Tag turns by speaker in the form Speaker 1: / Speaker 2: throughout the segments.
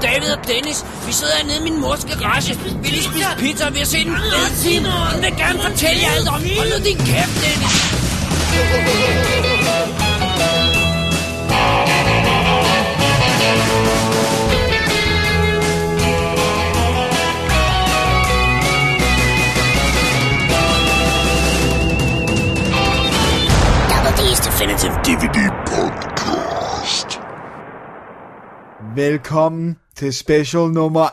Speaker 1: Dennis. Vi sidder hernede i min mors garage. Vi lige spise pizza, og vi har set en fed film. Hun vil gerne fortælle jer alt om. Hold nu din kæft, Dennis.
Speaker 2: Double D's Definitive DVD Podcast.
Speaker 3: Velkommen til special nummer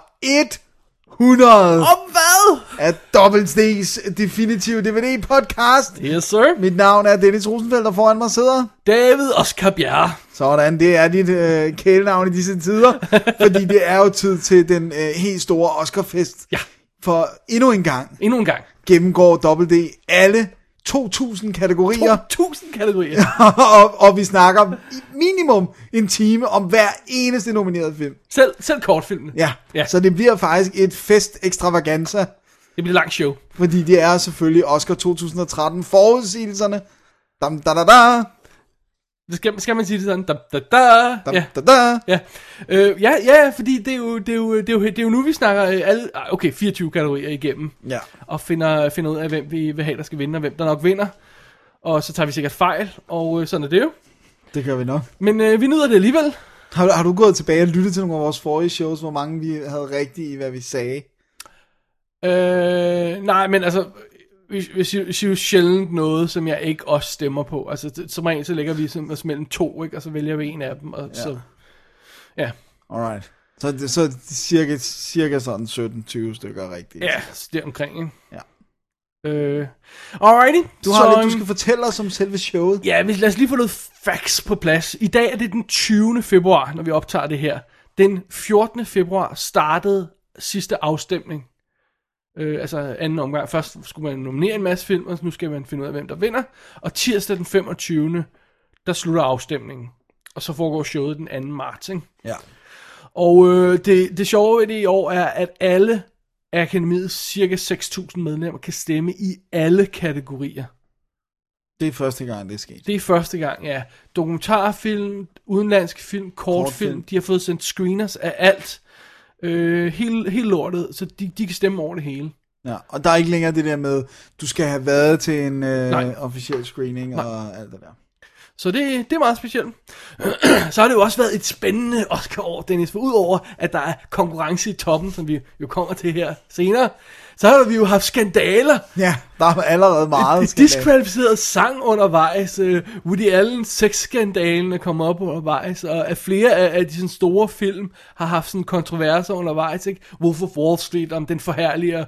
Speaker 3: 100
Speaker 4: Om hvad?
Speaker 3: af Double D's Definitive DVD Podcast.
Speaker 4: Yes, sir.
Speaker 3: Mit navn er Dennis Rosenfeldt, og foran mig sidder...
Speaker 4: David Oscar Bjerre.
Speaker 3: Sådan, det er dit øh, kælenavn i disse tider, fordi det er jo tid til den øh, helt store Oscarfest.
Speaker 4: Ja.
Speaker 3: For endnu en gang
Speaker 4: Endnu en gang.
Speaker 3: gennemgår Double D alle 2.000 kategorier,
Speaker 4: 1000 kategorier.
Speaker 3: og, og vi snakker i minimum en time om hver eneste nomineret film.
Speaker 4: Selv, selv kortfilmene.
Speaker 3: Ja,
Speaker 4: Ja.
Speaker 3: så det bliver faktisk et fest ekstravaganza,
Speaker 4: Det bliver et langt show.
Speaker 3: fordi det er selvfølgelig Oscar 2013 forudsigelserne. Dam, da, da, da,
Speaker 4: Det skal, skal man sige det sådan. Da, da, da.
Speaker 3: dam,
Speaker 4: Ja.
Speaker 3: da, da.
Speaker 4: Ja. Øh, ja, ja, fordi det er, jo, det, er jo, det, er jo, det er jo nu, vi snakker øh, alle, ah, okay, 24 kategorier igennem,
Speaker 3: Ja.
Speaker 4: og finder, finder ud af, hvem vi vil have, der skal vinde, og hvem der nok vinder. Og så tager vi sikkert fejl, og øh, sådan er det jo.
Speaker 3: Det gør vi nok.
Speaker 4: Men øh, vi nyder det alligevel.
Speaker 3: Har, du- har du gået tilbage og lyttet til nogle af vores forrige shows, hvor mange vi havde rigtigt i, hvad vi sagde?
Speaker 4: Øh, nej, men altså, vi, vi siger vi siger jo sjældent noget, som jeg ikke også stemmer på. Altså, det- som regel, så lægger vi sådan os mellem to, ikke? Og så vælger vi en af dem, og ja. så... Ja,
Speaker 3: Alright. Så det så er det cirka, cirka sådan 17-20 stykker rigtigt.
Speaker 4: ja, så der omkring, ikke?
Speaker 3: Ja.
Speaker 4: Øh, alrighty.
Speaker 3: Du, har
Speaker 4: så,
Speaker 3: lidt, du
Speaker 4: øhm,
Speaker 3: skal fortælle os om selve showet.
Speaker 4: Ja, vi- lad os lige få noget facts på plads. I dag er det den 20. februar, når vi optager det her. Den 14. februar startede sidste afstemning. Øh, altså anden omgang. Først skulle man nominere en masse film, og nu skal man finde ud af, hvem der vinder. Og tirsdag den 25. der slutter afstemningen. Og så foregår showet den 2. marts, ikke?
Speaker 3: Ja.
Speaker 4: Og øh, det, det sjove ved det i år er, at alle af akademiets cirka 6.000 medlemmer kan stemme i alle kategorier.
Speaker 3: Det er første gang, det er sket.
Speaker 4: Det er første gang, ja. Dokumentarfilm, udenlandsk film, kortfilm,
Speaker 3: Kortfilm.
Speaker 4: de har fået sendt screeners af alt. Øh, hele, hele lortet, så de, de kan stemme over det hele.
Speaker 3: Ja. Og der er ikke længere det der med, du skal have været til en
Speaker 4: Nej.
Speaker 3: øh, officiel screening Nej. og alt det der.
Speaker 4: Så det, det er meget specielt. så har det jo også været et spændende Oscar-år, Dennis. For udover, at der er konkurrence i toppen, som vi jo kommer til her senere, så har vi jo haft skandaler.
Speaker 3: Ja, der er allerede meget. skandale.
Speaker 4: Diskvalificeret sang undervejs. øh, Woody Allen sexskandalen er kommet op undervejs. Og at flere af, af de sådan store film har haft sådan kontroverser undervejs. Ikke? Wolf of Wall Street om den forherlige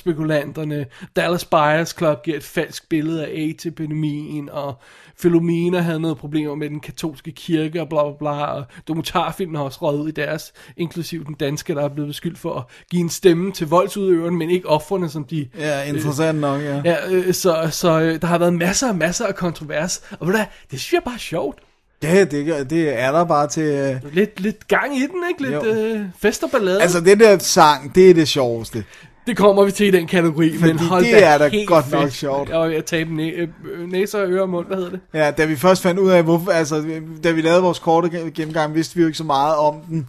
Speaker 4: børsspekulanterne. Dallas Buyers Club giver et falsk billede af AIDS-epidemien. Og Philomena havde noget problemer med den katolske kirke og bla bla bla. Og dokumentarfilmen har også røget ud i deres, inklusive den danske, der er blevet beskyldt for at give en stemme til voldsudøveren, men ikke offrene, som de
Speaker 3: Ja, interessant nok, ja. ja.
Speaker 4: Ja, øh, så, så øh, der har været masser og masser af kontrovers. Og ved du hvad, det synes jeg bare er sjovt.
Speaker 3: Ja, det, gør- det er der bare til... Øh...
Speaker 4: Lidt, lidt gang i den, ikke? Lidt
Speaker 3: Jo.
Speaker 4: øh, fest og ballade.
Speaker 3: Altså, den der sang, det er det sjoveste.
Speaker 4: det kommer vi til i den kategori, men hold
Speaker 3: det
Speaker 4: da
Speaker 3: er da
Speaker 4: helt
Speaker 3: godt
Speaker 4: fedt.
Speaker 3: nok sjovt.
Speaker 4: Jeg var ved at tabe næ- øh, øh, næser, ører og mund, hvad hedder det?
Speaker 3: Ja, da vi først fandt ud af, hvorfor, altså, da vi lavede vores korte gen- gennemgang, vidste vi jo ikke så meget om den.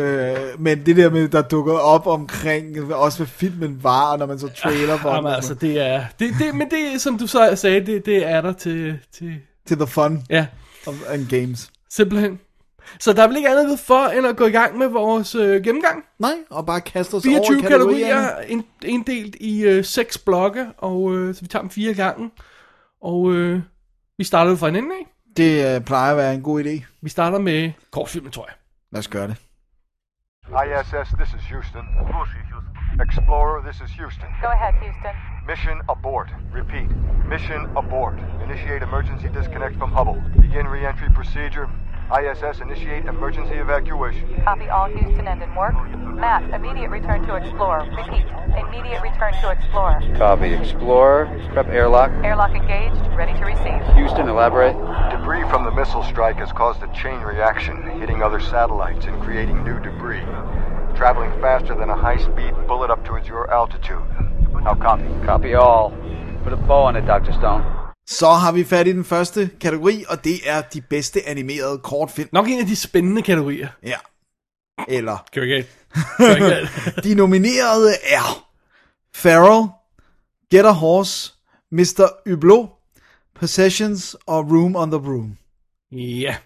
Speaker 3: Øh, men det der med, der dukkede op omkring, også hvad filmen var, og når man så trailer for den,
Speaker 4: Jamen,
Speaker 3: og
Speaker 4: altså,
Speaker 3: sådan
Speaker 4: det er... Det, det, men det, som du så sagde, det, det er der til, til...
Speaker 3: noget. til the fun
Speaker 4: Ja,
Speaker 3: of, and games.
Speaker 4: simpelthen. Så der er vel ikke andet ved for, end at gå i gang med vores øh, gennemgang.
Speaker 3: Nej, og bare kaste os
Speaker 4: 24
Speaker 3: over kategorierne.
Speaker 4: kategorier, ind- inddelt i øh, seks blokke, og øh, så vi tager dem fire gange. Og øh, vi starter jo fra en ende af.
Speaker 3: Det øh, plejer at være en god idé.
Speaker 4: Vi starter med kortfilmen, tror jeg.
Speaker 3: Lad os gøre det.
Speaker 5: ISS, this is Houston. Explorer, this is Houston.
Speaker 6: Go ahead, Houston.
Speaker 5: Mission abort. Repeat. Mission abort. Initiate emergency disconnect from Hubble. Begin reentry procedure. ISS, initiate emergency evacuation.
Speaker 6: Copy all Houston and in work. Matt, immediate return to Explorer. Repeat, immediate return to Explorer.
Speaker 7: Copy. Explorer. Prep airlock.
Speaker 6: Airlock engaged, ready to receive.
Speaker 7: Houston, elaborate.
Speaker 5: Debris from the missile strike has caused a chain reaction, hitting other satellites and creating new debris. Traveling faster than a high speed bullet up towards your altitude. Now copy.
Speaker 7: Copy all. Put a bow on it, Dr. Stone.
Speaker 3: Så har vi fat i den første kategori, og det er de bedste animerede kortfilm.
Speaker 4: Nok en af de spændende kategorier.
Speaker 3: Ja. Eller
Speaker 4: Kan vi ikke? Kan vi ikke?
Speaker 3: De nominerede er Farrell, Get a Horse, Mr. Hublot, Possessions og Room on the Broom.
Speaker 4: Ja.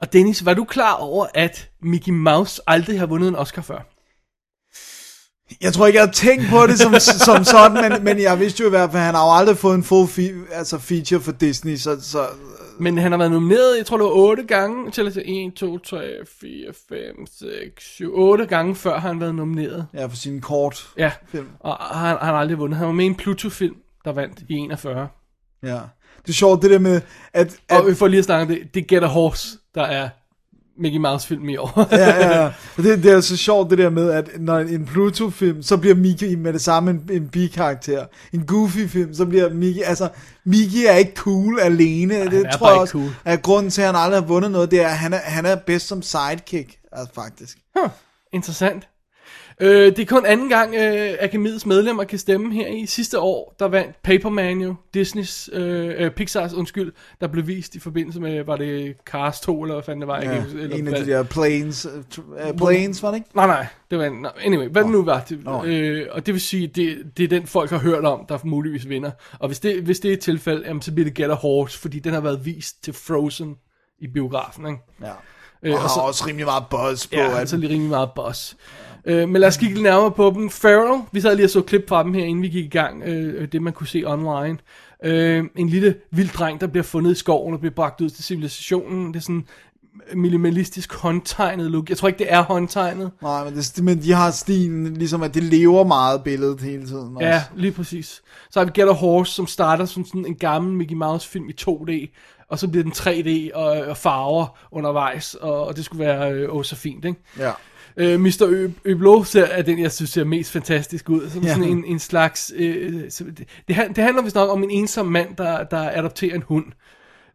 Speaker 4: Og Dennis, var du klar over, at Mickey Mouse aldrig har vundet en Oscar før?
Speaker 3: Jeg tror ikke, jeg har tænkt på det som, som sådan, men, men jeg vidste jo i hvert fald, at han har jo aldrig fået en full fe- altså feature for Disney, så, så
Speaker 4: Men han har været nomineret, jeg tror det var 8 gange, til altså 1, 2, 3, 4, 5, 6, 7, 8 gange før har han været nomineret.
Speaker 3: ja, for sin kort.
Speaker 4: Ja,
Speaker 3: Film.
Speaker 4: og han, han har aldrig vundet. Han var med i en Pluto-film, der vandt i 41.
Speaker 3: Ja. Det er sjovt, det der med, at... at
Speaker 4: Og vi får lige at snakke om det, det er Get a Horse, der er Mickey Mouse-film i år.
Speaker 3: ja, ja, ja. Og Det, det er så sjovt det der med, at når en Pluto-film, så bliver Mickey med det samme en, en bi-karakter. En Goofy-film, så bliver Mickey... Altså, Mickey er ikke cool alene. Ej, det
Speaker 4: han er
Speaker 3: tror
Speaker 4: bare
Speaker 3: jeg
Speaker 4: ikke
Speaker 3: også,
Speaker 4: cool.
Speaker 3: at grunden til, at han aldrig har vundet noget, det er, at han er, han er bedst som sidekick, altså, faktisk.
Speaker 4: Interessant. Øh, det er kun anden gang, øh, Akademiets medlemmer kan stemme her i. Sidste år, der vandt Paperman jo, Disney's, øh, øh, Pixar's undskyld, der blev vist i forbindelse med, var det Cars 2, eller hvad fanden det var? jeg
Speaker 3: Ja,
Speaker 4: kan ikke huske, eller
Speaker 3: en af
Speaker 4: hvad-
Speaker 3: de der planes... øh, tr- øh, planes, var det ikke?
Speaker 4: Nej, nej, det var en, nej, anyway, hvad det nu var, det,
Speaker 3: Nå.
Speaker 4: øh, og det vil sige, det, det er den folk har hørt om, der muligvis vinder, og hvis det, hvis det er et tilfælde, jamen, så bliver det Get a Horse, fordi den har været vist til Frozen i biografen, ikke?
Speaker 3: Ja.
Speaker 4: Øh,
Speaker 3: Og, og har også rimelig meget buzz på,
Speaker 4: Ja,
Speaker 3: ja,
Speaker 4: altså
Speaker 3: at
Speaker 4: lige rimelig meget boss. Øh, men lad os kigge lidt nærmere på dem. Farrell, vi sad lige og så et klip fra dem her, inden vi gik i gang. Øh, det man kunne se online. Øh, en lille vild dreng, der bliver fundet i skoven og bliver bragt ud til civilisationen. Det er sådan minimalistisk håndtegnet look. Jeg tror ikke, det er håndtegnet.
Speaker 3: Nej, men, det, men de har stilen, ligesom at det lever meget billedet hele tiden. Også.
Speaker 4: Ja, lige præcis. Så har vi Get a Horse, som starter som sådan en gammel Mickey Mouse film i 2D, og så bliver den 3D og, og farver undervejs, og, og det skulle være øh, åh så fint, ikke?
Speaker 3: Ja.
Speaker 4: Øh, Mr. Ø- Øblo ser, er den, jeg synes ser mest fantastisk ud. Som
Speaker 3: Ja.
Speaker 4: ja. sådan en, en slags... Øh, så det, det, han- det handler vist nok om en ensom mand, der, der adopterer en hund.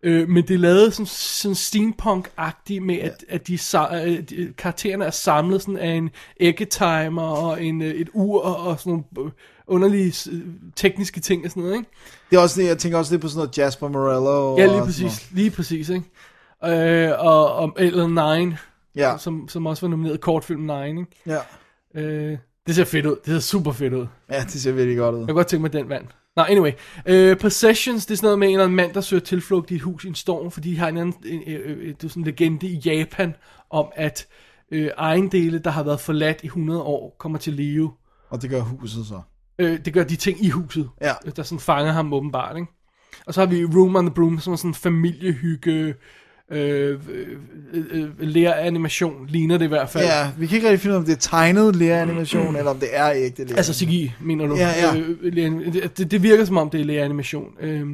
Speaker 4: Øh, men det er lavet sådan, sådan steampunk-agtigt med, at, at de, sa- øh, de, karaktererne er samlet sådan af en æggetimer og en, øh, et ur og sådan nogle øh, underlige øh, tekniske ting og sådan noget, ikke?
Speaker 3: Det er også det, jeg tænker også lidt på sådan noget Jasper Morello.
Speaker 4: Ja,
Speaker 3: og
Speaker 4: lige
Speaker 3: sådan noget.
Speaker 4: præcis. Lige præcis, ikke? Øh, og, og eller Nine,
Speaker 3: Ja,
Speaker 4: som, som også var nomineret kortfilm Nine, ikke?
Speaker 3: ja.
Speaker 4: Øh, det ser fedt ud. Det ser super fedt ud.
Speaker 3: Ja, det ser virkelig godt ud.
Speaker 4: Jeg kunne godt tænke mig den vand. Nå, anyway. Øh, Possessions, det er sådan noget med en eller anden mand, der søger tilflugt i et hus i en storm, fordi de har en anden, en, øh, øh, det er sådan en legende i Japan, om at øh, ejendele, der har været forladt i 100 år, kommer til live.
Speaker 3: Og det gør huset så.
Speaker 4: Øh, det gør de ting i huset,
Speaker 3: Ja.
Speaker 4: øh, der sådan fanger ham åbenbart, ikke? Og så har vi Room on the Broom, som er sådan en familiehygge, øh, øh, øh, øh, læreanimation, ligner det i hvert fald. Mm.
Speaker 3: Ja, vi kan ikke rigtig finde ud af, om det er tegnet læreanimation, eller om det er ægte lære.
Speaker 4: Altså CGI, mener du?
Speaker 3: Ja, ja.
Speaker 4: Øh, lægeanim- det- det, det virker som om, det er lægeanimation. Øh,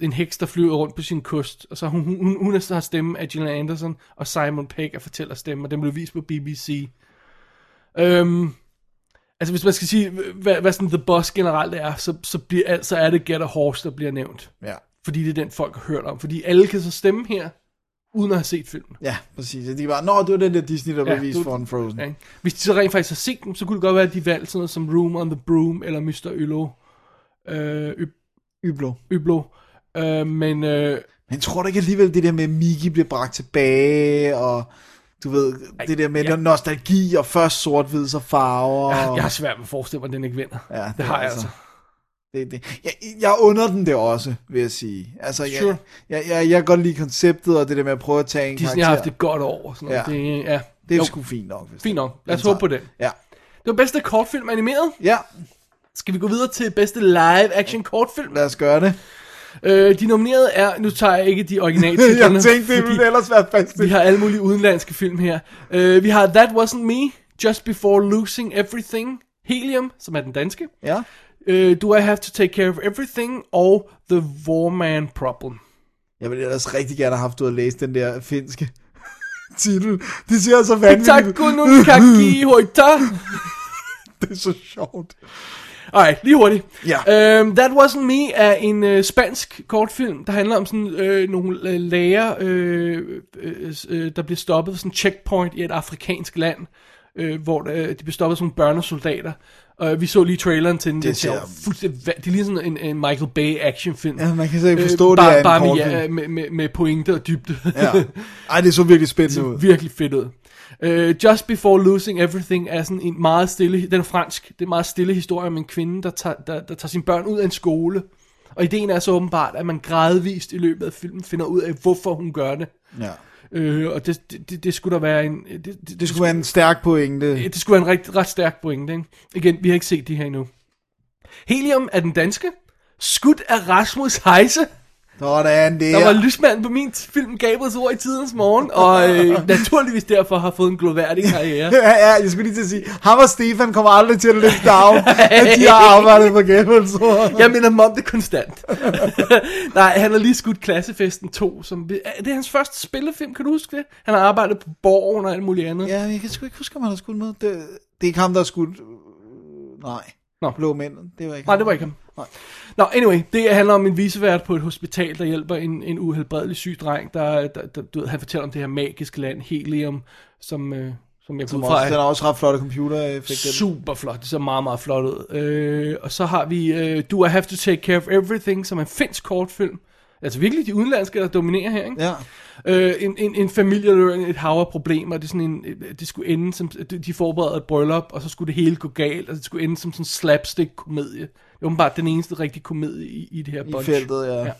Speaker 4: en heks, der flyver rundt på sin kyst, og så hun, hun, hun, hun er så har stemme af Gillian Anderson, og Simon Pegg er fortæller stemme, og den blev vist på BBC. Øh, altså hvis man skal sige, hvad, hvad sådan The Boss generelt er, så, så, bliver, alt- så er det Get a Horse, der bliver nævnt.
Speaker 3: Ja,
Speaker 4: Fordi det er den, folk har hørt om. Fordi alle kan så stemme her, uden at have set filmen.
Speaker 3: ja præcis. De er bare, nå, det var den der Disney, der blev
Speaker 4: Ja,
Speaker 3: vist
Speaker 4: du-
Speaker 3: foran Frozen.
Speaker 4: Ja, ikke? Hvis de så rent faktisk har set dem, så kunne det godt være, at de valgte sådan noget som Room on the Broom, eller Mr. Ølo. Øh, Ø-
Speaker 3: Yblo.
Speaker 4: Øblo. Øh, men øh,
Speaker 3: Men tror du ikke alligevel, det der med, at Miki bliver bragt tilbage, og du ved, det der med
Speaker 4: ja.
Speaker 3: ja. nostalgi, og først sort-hvid, så farver.
Speaker 4: jeg
Speaker 3: og-
Speaker 4: har svært ved at forestille mig, at den ikke vinder.
Speaker 3: Ja,
Speaker 4: det har jeg altså.
Speaker 3: Det, det. Jeg, jeg under den det også, vil jeg sige. Altså,
Speaker 4: Sure.
Speaker 3: jeg, jeg, jeg, jeg kan godt lide konceptet, og det der med at prøve at tage en
Speaker 4: Disney
Speaker 3: karakter.
Speaker 4: har haft et godt år. og Sådan noget.
Speaker 3: Ja.
Speaker 4: Det, ja.
Speaker 3: Det er
Speaker 4: Jo,
Speaker 3: sgu Altså- fint nok. Hvis
Speaker 4: Fint nok. Lad os
Speaker 3: Den
Speaker 4: håbe på
Speaker 3: tager-
Speaker 4: det.
Speaker 3: Ja.
Speaker 4: Det var bedste kortfilm animeret.
Speaker 3: Ja,
Speaker 4: Skal vi gå videre til bedste live-action kortfilm?
Speaker 3: lad os gøre det.
Speaker 4: Øh, de nominerede er... Nu tager jeg ikke de originale
Speaker 3: jeg
Speaker 4: titlerne,
Speaker 3: tænkte, det ville ellers være fast.
Speaker 4: Vi har alle mulige udenlandske film her. Uh, vi har That Wasn't Me, Just Before Losing Everything, Helium, som er den danske,
Speaker 3: Ja.
Speaker 4: uh, Do I Have To Take Care Of Everything, og The Warman Problem.
Speaker 3: Jeg ville ellers rigtig gerne have haft ud at læse den der finske titel. Det ser så vanvittigt.
Speaker 4: Taku nun kaki hoita.
Speaker 3: Det er så sjovt.
Speaker 4: Alright, lige hurtigt.
Speaker 3: Ja.
Speaker 4: Uh, That Wasn't Me er en uh, spansk kortfilm, der handler om sådan uh, nogle øh, læger, øh, øh, øh, der bliver stoppet ved sådan en checkpoint i et afrikansk land, øh, hvor øh, de bliver stoppet af sådan nogle børnesoldater. Og vi så lige traileren til den. Det,
Speaker 3: ser-
Speaker 4: fuldstændig... va- Det er lige sådan en, en Michael Bay actionfilm.
Speaker 3: Ja, man kan slet ikke forstå, det er en
Speaker 4: bare med,
Speaker 3: kortfilm.
Speaker 4: ja, med, med, med pointe og dybde.
Speaker 3: Ja. Ej, det så virkelig spændende ud.
Speaker 4: det virkelig fedt ud. Øh, Just Before Losing Everything er sådan en meget stille, den er fransk, det er en meget stille historie om en kvinde, der tager, der, der tager sine børn ud af en skole. Og ideen er så åbenbart, at man gradvist i løbet af filmen finder ud af, hvorfor hun gør det.
Speaker 3: Ja.
Speaker 4: Øh, og det, det, det, det skulle der være en... Det, det,
Speaker 3: Det skulle være en stærk pointe.
Speaker 4: det skulle være en ret, ret stærk pointe, ikke? Igen, vi har ikke set de her endnu. Helium er den danske. Skudt af Rasmus Heise.
Speaker 3: Sådan der.
Speaker 4: Der var lysmanden på min film Gabriels ord i tidens morgen. Og øh, naturligvis derfor har fået en gloværdig karriere.
Speaker 3: Ja, ja, jeg skulle lige til at sige, ham og Stefan kommer aldrig til at løfte down, at de har arbejdet på gæmmelsord.
Speaker 4: Jeg minder mig om det konstant. Nej, han har lige skudt Klassefesten 2. Som, er det hans første spillefilm, kan du huske det? Han har arbejdet på Borgen og alt muligt andet.
Speaker 3: Ja, jeg kan sgu ikke huske, om han har skudt med. Det, det er ikke ham, der har skudt... øh, Nej.
Speaker 4: Nå.
Speaker 3: Blå mænd. Det var ikke
Speaker 4: Nej, det var ikke ham.
Speaker 3: Nej.
Speaker 4: Nå, anyway, det handler om en visevært på et hospital, der hjælper en, en uhelbredelig syg dreng, der, der, der, du ved, han fortæller om det her magiske land, Helium, som, øh, som jeg
Speaker 3: Som
Speaker 4: kunne
Speaker 3: også,
Speaker 4: fra
Speaker 3: den
Speaker 4: er
Speaker 3: har også ret flotte øh, computereffekter.
Speaker 4: super flot, det ser meget, meget flot ud. Øh, og så har vi øh, Do I Have to Take Care of Everything, som er en finsk kortfilm. Altså virkelig de udenlandske, der dominerer her, ikke?
Speaker 3: Ja.
Speaker 4: Øh, en, en, en familie, der er i et hav af problemer, det, er sådan en, øh, det skulle ende som, de- de forbereder et bryllup, og så skulle det hele gå galt, og det skulle ende som sådan en slapstick-komedie. Det er åbenbart den eneste rigtige komedie i, i det her
Speaker 3: I
Speaker 4: bunch.
Speaker 3: feltet, ja.
Speaker 4: Ja.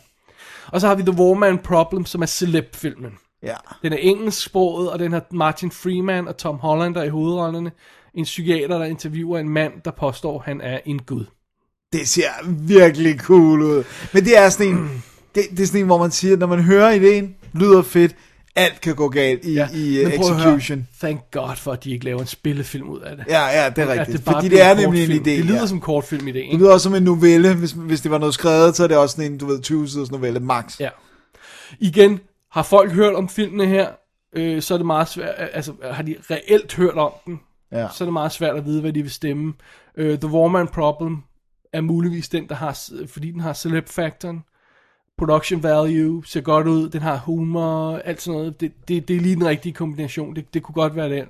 Speaker 4: Og så har vi The Warman Problem, som er celeb-filmen.
Speaker 3: Ja.
Speaker 4: Den er engelsksproget, og den har Martin Freeman og Tom Hollander i hovedrollerne. En psykiater, der interviewer en mand, der påstår, han er en gud.
Speaker 3: Det ser virkelig cool ud. Men det er sådan en, det, det er sådan en hvor man siger, at når man hører ideen, lyder fedt, alt kan gå galt i, ja. i uh,
Speaker 4: men prøv at høre.
Speaker 3: execution.
Speaker 4: Thank God for, at de ikke laver en spillefilm ud af det.
Speaker 3: Ja, ja, det er
Speaker 4: At
Speaker 3: rigtigt.
Speaker 4: bare
Speaker 3: fordi det
Speaker 4: bliver
Speaker 3: er
Speaker 4: en
Speaker 3: nemlig en idé.
Speaker 4: kortfilm. Det lyder
Speaker 3: ja.
Speaker 4: som en kortfilm-idé, ikke?
Speaker 3: det lyder også som en novelle. Hvis, hvis det var noget skrevet, så er det også sådan en, du ved, 20-siders novelle max.
Speaker 4: Ja. Igen, har folk hørt om filmene her, øh, så er det meget svært, altså har de reelt hørt om den,
Speaker 3: Ja.
Speaker 4: så er det meget svært at vide, hvad de vil stemme. Øh, The Warman Problem er muligvis den, der har, fordi den har celeb factoren, production value, ser godt ud, den har humor, alt sådan noget. Det, det, det er lige den rigtige kombination, det, det kunne godt være den.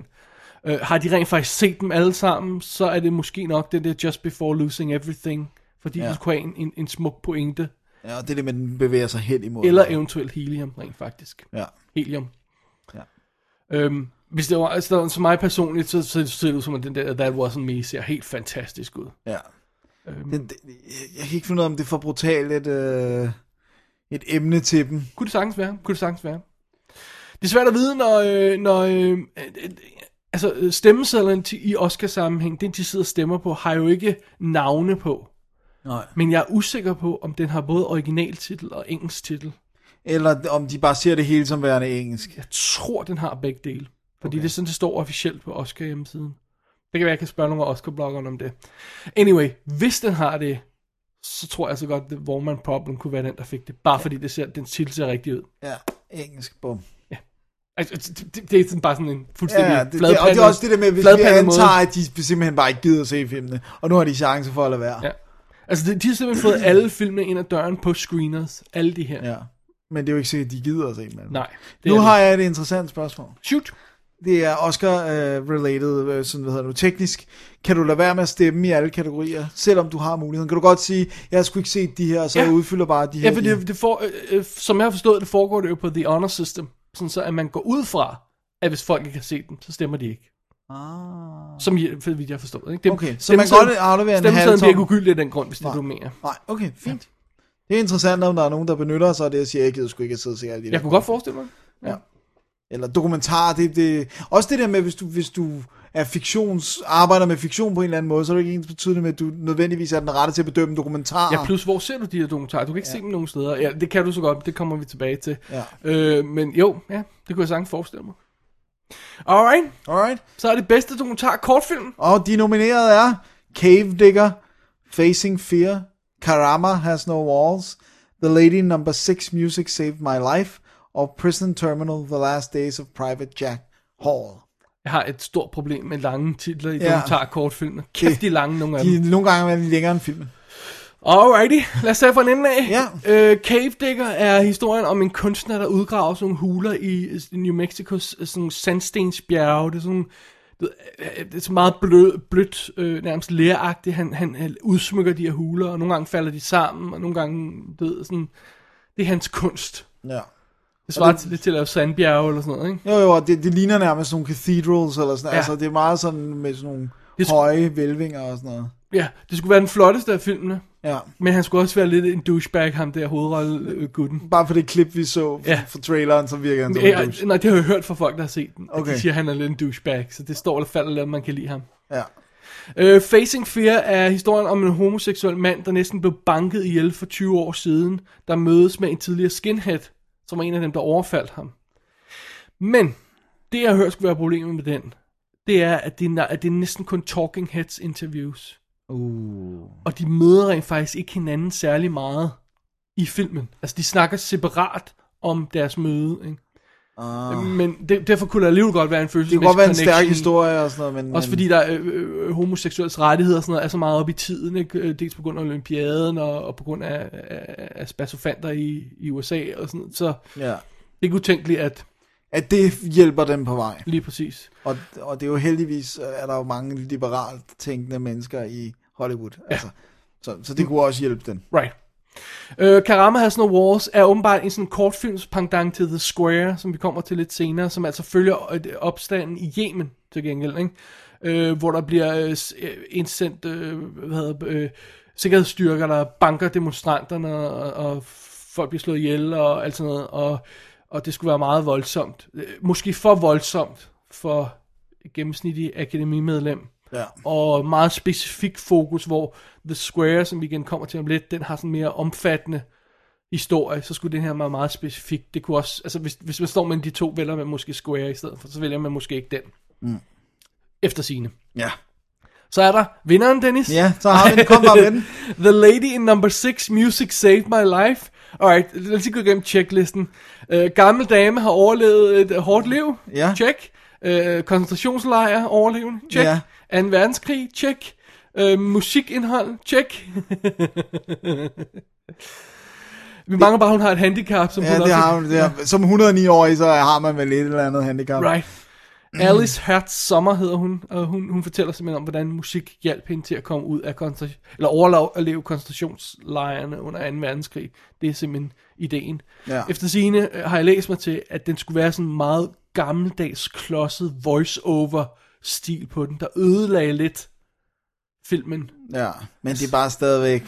Speaker 4: Øh, har de rent faktisk set dem alle sammen, så er det måske nok den der Just Before Losing Everything, fordi ja.
Speaker 3: Ja.
Speaker 4: det kunne have en, en, en smuk pointe.
Speaker 3: Ja, og det er det med, at den bevæger sig hen imod.
Speaker 4: Eller eventuelt helium, rent faktisk.
Speaker 3: Ja.
Speaker 4: Helium.
Speaker 3: Ja.
Speaker 4: Øhm, hvis det var, altså, der- for mig personligt, så, så ser det ud som, at den der That Wasn't Me ser helt fantastisk ud.
Speaker 3: ja.
Speaker 4: Øhm.
Speaker 3: Den, den, jeg- jeg kan ikke finde ud af, om det er for brutalt et, øh, et emne til dem.
Speaker 4: Kunne det sagtens være? Kunne det sagtens være? Det er svært at vide, når, øh, når øh, øh, øh, altså, øh, stemmesedlerne til- i Oscar-sammenhæng, den de sidder og stemmer på, har jo ikke navne på.
Speaker 3: Nej.
Speaker 4: Men jeg er usikker på, om den har både originaltitel og engelsk titel.
Speaker 3: Eller om de bare ser det hele som værende engelsk.
Speaker 4: Jeg tror, den har begge dele. Fordi okay. det er sådan, det står officielt på Oscar hjemmesiden. Det kan være, jeg kan spørge nogle af Oscar-bloggerne om det. Anyway, hvis den har det, så tror jeg så godt, at Warman Problem kunne være den, der fik det. Bare ja. fordi det ser, den titel ser rigtig ud.
Speaker 3: Ja, engelsk, bum.
Speaker 4: Altså, det, det, det er sådan bare sådan en fuldstændig
Speaker 3: Ja,
Speaker 4: ja,
Speaker 3: det, det, og det er også det der med, hvis vi antager, at de simpelthen bare ikke gider at se filmene, og nu har de chance for at lade være.
Speaker 4: Ja. Altså, de, de har simpelthen fået alle filmene ind ad døren på screeners. Alle de her. Ja.
Speaker 3: ja. Men det er jo ikke sikkert, at de gider at se dem. alle.
Speaker 4: Nej. Det
Speaker 3: Nu
Speaker 4: er
Speaker 3: har
Speaker 4: det.
Speaker 3: jeg et interessant spørgsmål.
Speaker 4: Shoot.
Speaker 3: Det er Oscar-related, øh, sådan hvad hedder det nu, teknisk. Kan du lade være med at stemme i alle kategorier, selvom du har muligheden? Kan du godt sige, jeg har sgu ikke set de her, og så
Speaker 4: Ja.
Speaker 3: jeg udfylder bare de her.
Speaker 4: Ja, for det, det for, øh, øh, som jeg har forstået, det foregår det jo på The Honor System. Sådan så, at man går ud fra, at hvis folk ikke har set den, så stemmer de ikke.
Speaker 3: Ah.
Speaker 4: Som jeg, for vidt jeg har forstået. Ikke? Dem,
Speaker 3: Okay, så man kan godt aflevere en
Speaker 4: Stemmesedlen
Speaker 3: halv
Speaker 4: bliver
Speaker 3: tom.
Speaker 4: ikke ugyldig af den grund, hvis det er
Speaker 3: Nej.
Speaker 4: du mener.
Speaker 3: Nej, okay, fint. Det er interessant, om der er nogen, der benytter sig af det, og siger, jeg gider sgu ikke at sidde og se alle de der.
Speaker 4: Jeg kunne godt forestille mig.
Speaker 3: eller dokumentar, det, det også det der med, hvis du, hvis du er fiktions, arbejder med fiktion på en eller anden måde, så er det ikke ens betydende med, at du nødvendigvis er den rette til at bedømme dokumentarer.
Speaker 4: Ja, plus hvor ser du de her dokumentarer? Du kan ikke ja. se dem nogen steder. Ja, det kan du så godt, det kommer vi tilbage til.
Speaker 3: Ja.
Speaker 4: Øh, men jo, ja, det kunne jeg sagtens forestille mig. Alright,
Speaker 3: Alright.
Speaker 4: så er det bedste dokumentar kortfilm.
Speaker 3: Og de nominerede er Cave Digger, Facing Fear, Karama Has No Walls, The Lady Number 6 Music Saved My Life, og Prison Terminal, The Last Days of Private Jack Hall.
Speaker 4: Jeg har et stort problem med lange titler i
Speaker 3: Ja.
Speaker 4: dokumentar kortfilm. Kæft, de er lange nogle af dem.
Speaker 3: De, nogle gange er de længere end filmen.
Speaker 4: Alrighty, lad os tage fra en ende af.
Speaker 3: Ja.
Speaker 4: Øh, Cave Digger er historien om en kunstner, der udgraver sådan nogle huler i øh, New Mexico's øh, sådan nogle sandstensbjerge. Det er sådan du ved, øh, det er så meget blød, blødt, øh, nærmest læragtigt. Han, han, han udsmykker de her huler, og nogle gange falder de sammen, og nogle gange, du ved, sådan, det er hans kunst.
Speaker 3: Ja.
Speaker 4: Det svarer til, til at lave sandbjerge eller sådan noget, ikke?
Speaker 3: Jo, jo, og det, det ligner nærmest nogle cathedrals eller sådan ja.
Speaker 4: Ja.
Speaker 3: Altså, det er meget sådan med sådan nogle
Speaker 4: Det sku-
Speaker 3: høje hvælvinger og sådan noget.
Speaker 4: Ja, det skulle være den flotteste af filmene.
Speaker 3: Ja.
Speaker 4: Men han skulle også være lidt en douchebag, ham der hovedrolle-gutten.
Speaker 3: Bare for det klip, vi så fra,
Speaker 4: Ja.
Speaker 3: fra traileren, så virker han som en douche.
Speaker 4: Ja, nej, det har jeg hørt fra folk, der har set den. Okay.
Speaker 3: Okay.
Speaker 4: De siger, at han er lidt en douchebag, så det står eller falder lidt, om man kan lide ham.
Speaker 3: Ja.
Speaker 4: Øh, Facing Fear er historien om en homoseksuel mand, der næsten blev banket ihjel for 20 år siden, der mødes med en tidligere skinhead, som er en af dem, der overfaldt ham. Men det, jeg har hørt skulle være problemet med den, det er, at det, er- at det er næsten kun talking heads interviews. Uh. Og de møder rent faktisk ikke hinanden særlig meget i filmen. Altså, de snakker separat om deres møde, ikke? Uh. Men det, derfor kunne der alligevel godt være en følelse
Speaker 3: Ah. Det kan godt være en stærk historie og sådan noget, men...
Speaker 4: også
Speaker 3: men,
Speaker 4: fordi der er, øh, øh, homoseksuelles rettigheder og sådan noget, er så meget op i tiden, ikke? Øh, dels på grund af olympiaden og, og på grund af, af, af spasofanter i, i USA og sådan noget. Så
Speaker 3: Ja.
Speaker 4: det er utænkeligt, at
Speaker 3: At det hjælper dem på vej.
Speaker 4: lige præcis.
Speaker 3: Og, og det er jo heldigvis, øh, er der jo mange liberalt tænkende mennesker i Hollywood. Ja. Altså, så, så det kunne også hjælpe den.
Speaker 4: Right. Øh, Karama Has No Walls er åbenbart en sådan kortfilms pendant til The Square, som vi kommer til lidt senere, som altså følger øh, opstanden i Yemen til gengæld, ikke? Øh, hvor der bliver øh, s- øh, indsendt øh, hvad hedder, det, øh, sikkerhedsstyrker, der banker demonstranterne, og, og folk bliver slået ihjel og alt sådan noget, og, og det skulle være meget voldsomt. Øh, Måske for voldsomt for et gennemsnitlige akademimedlem
Speaker 3: Ja.
Speaker 4: og meget specifik fokus, hvor The Square, som vi igen kommer til om lidt, den har sådan mere omfattende historie, så skulle den her være meget specifik. Det kunne også, altså hvis, hvis man står mellem de to, vælger man måske Square i stedet for, så vælger man måske ikke den. Mm. Efter sine.
Speaker 3: Ja.
Speaker 4: Så er der vinderen, Dennis.
Speaker 3: Ja, så har vi den. Kom bare med den.
Speaker 4: The Lady in Number 6, Music Saved My Life. Alright, lad os lige gå igennem checklisten. Uh, gammel dame har overlevet et øh, hårdt liv.
Speaker 3: Ja.
Speaker 4: Check. Uh, koncentrationslejr, overlevende. Check.
Speaker 3: Ja.
Speaker 4: 2. verdenskrig. Check. Uh, musikindhold. Check. Vi mangler bare, at hun har et handicap, som
Speaker 3: Ja,
Speaker 4: hun
Speaker 3: det
Speaker 4: også...
Speaker 3: har, det har, som 109-årig, så har man vel et eller andet handicap.
Speaker 4: Right.
Speaker 3: Mm.
Speaker 4: Alice Hertz Sommer hedder hun, og hun, hun fortæller simpelthen om, hvordan musik hjalp hende til at komme ud af koncentra- eller overleve koncentrationslejrene under 2. verdenskrig. Det er simpelthen ideen.
Speaker 3: Ja.
Speaker 4: Efter sigende øh, har jeg læst mig til, at den skulle være sådan en meget gammeldags klodset voice-over stil på den, der ødelagde lidt filmen.
Speaker 3: Ja, men det er bare stadigvæk...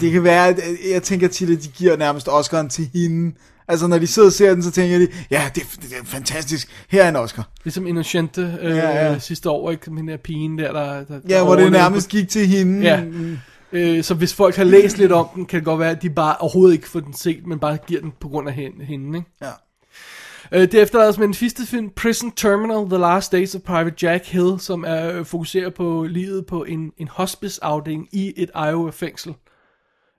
Speaker 3: Det kan være, at øh, jeg tænker tit, at de giver nærmest Oscar'en til hende. Altså, når de sidder og ser den, så tænker de, ja, det, er- det er fantastisk, her er en Oscar.
Speaker 4: Ligesom Innocente øh, ja,
Speaker 3: Ja,
Speaker 4: ja.
Speaker 3: ja.
Speaker 4: sidste år, ikke? Som den der pige der, der, der
Speaker 3: Ja,
Speaker 4: der
Speaker 3: hvor det
Speaker 4: overlevede
Speaker 3: nærmest gik til hende.
Speaker 4: Ja. Øh, så hvis folk har læst lidt om den, kan det godt være, at de bare overhovedet ikke får den set, men bare giver den på grund af hende. hende ikke?
Speaker 3: ja.
Speaker 4: Øh, det efterlader os med den sidste film, Prison Terminal, The Last Days of Private Jack Hill, som er, øh, fokuserer på livet på en, en hospiceafdeling i et Iowa-fængsel.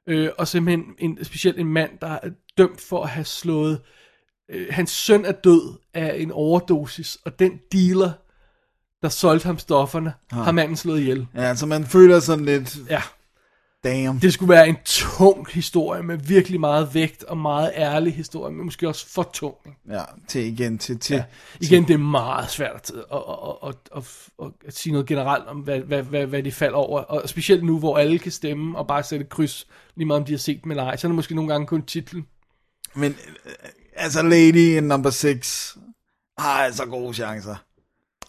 Speaker 4: Øh, og simpelthen en, specielt en mand, der er dømt for at have slået... Øh, hans søn er død af en overdosis, og den dealer, der solgte ham stofferne, har manden slået ihjel.
Speaker 3: ja, så man føler sådan lidt,
Speaker 4: Ja.
Speaker 3: damn.
Speaker 4: Det skulle være en tung historie med virkelig meget vægt og meget ærlig historie, men måske også for tung. ikke?
Speaker 3: Ja, til igen, til, til. Ja.
Speaker 4: Igen, det er meget svært at, at, at, at, at, at, at sige noget generelt om, hvad, hvad, hvad, hvad de falder over. Og specielt nu, hvor alle kan stemme og bare sætte kryds, lige meget om de har set dem eller ej. Så er det måske nogle gange kun titlen.
Speaker 3: Men, øh, altså, Lady in number 6 har altså gode chancer.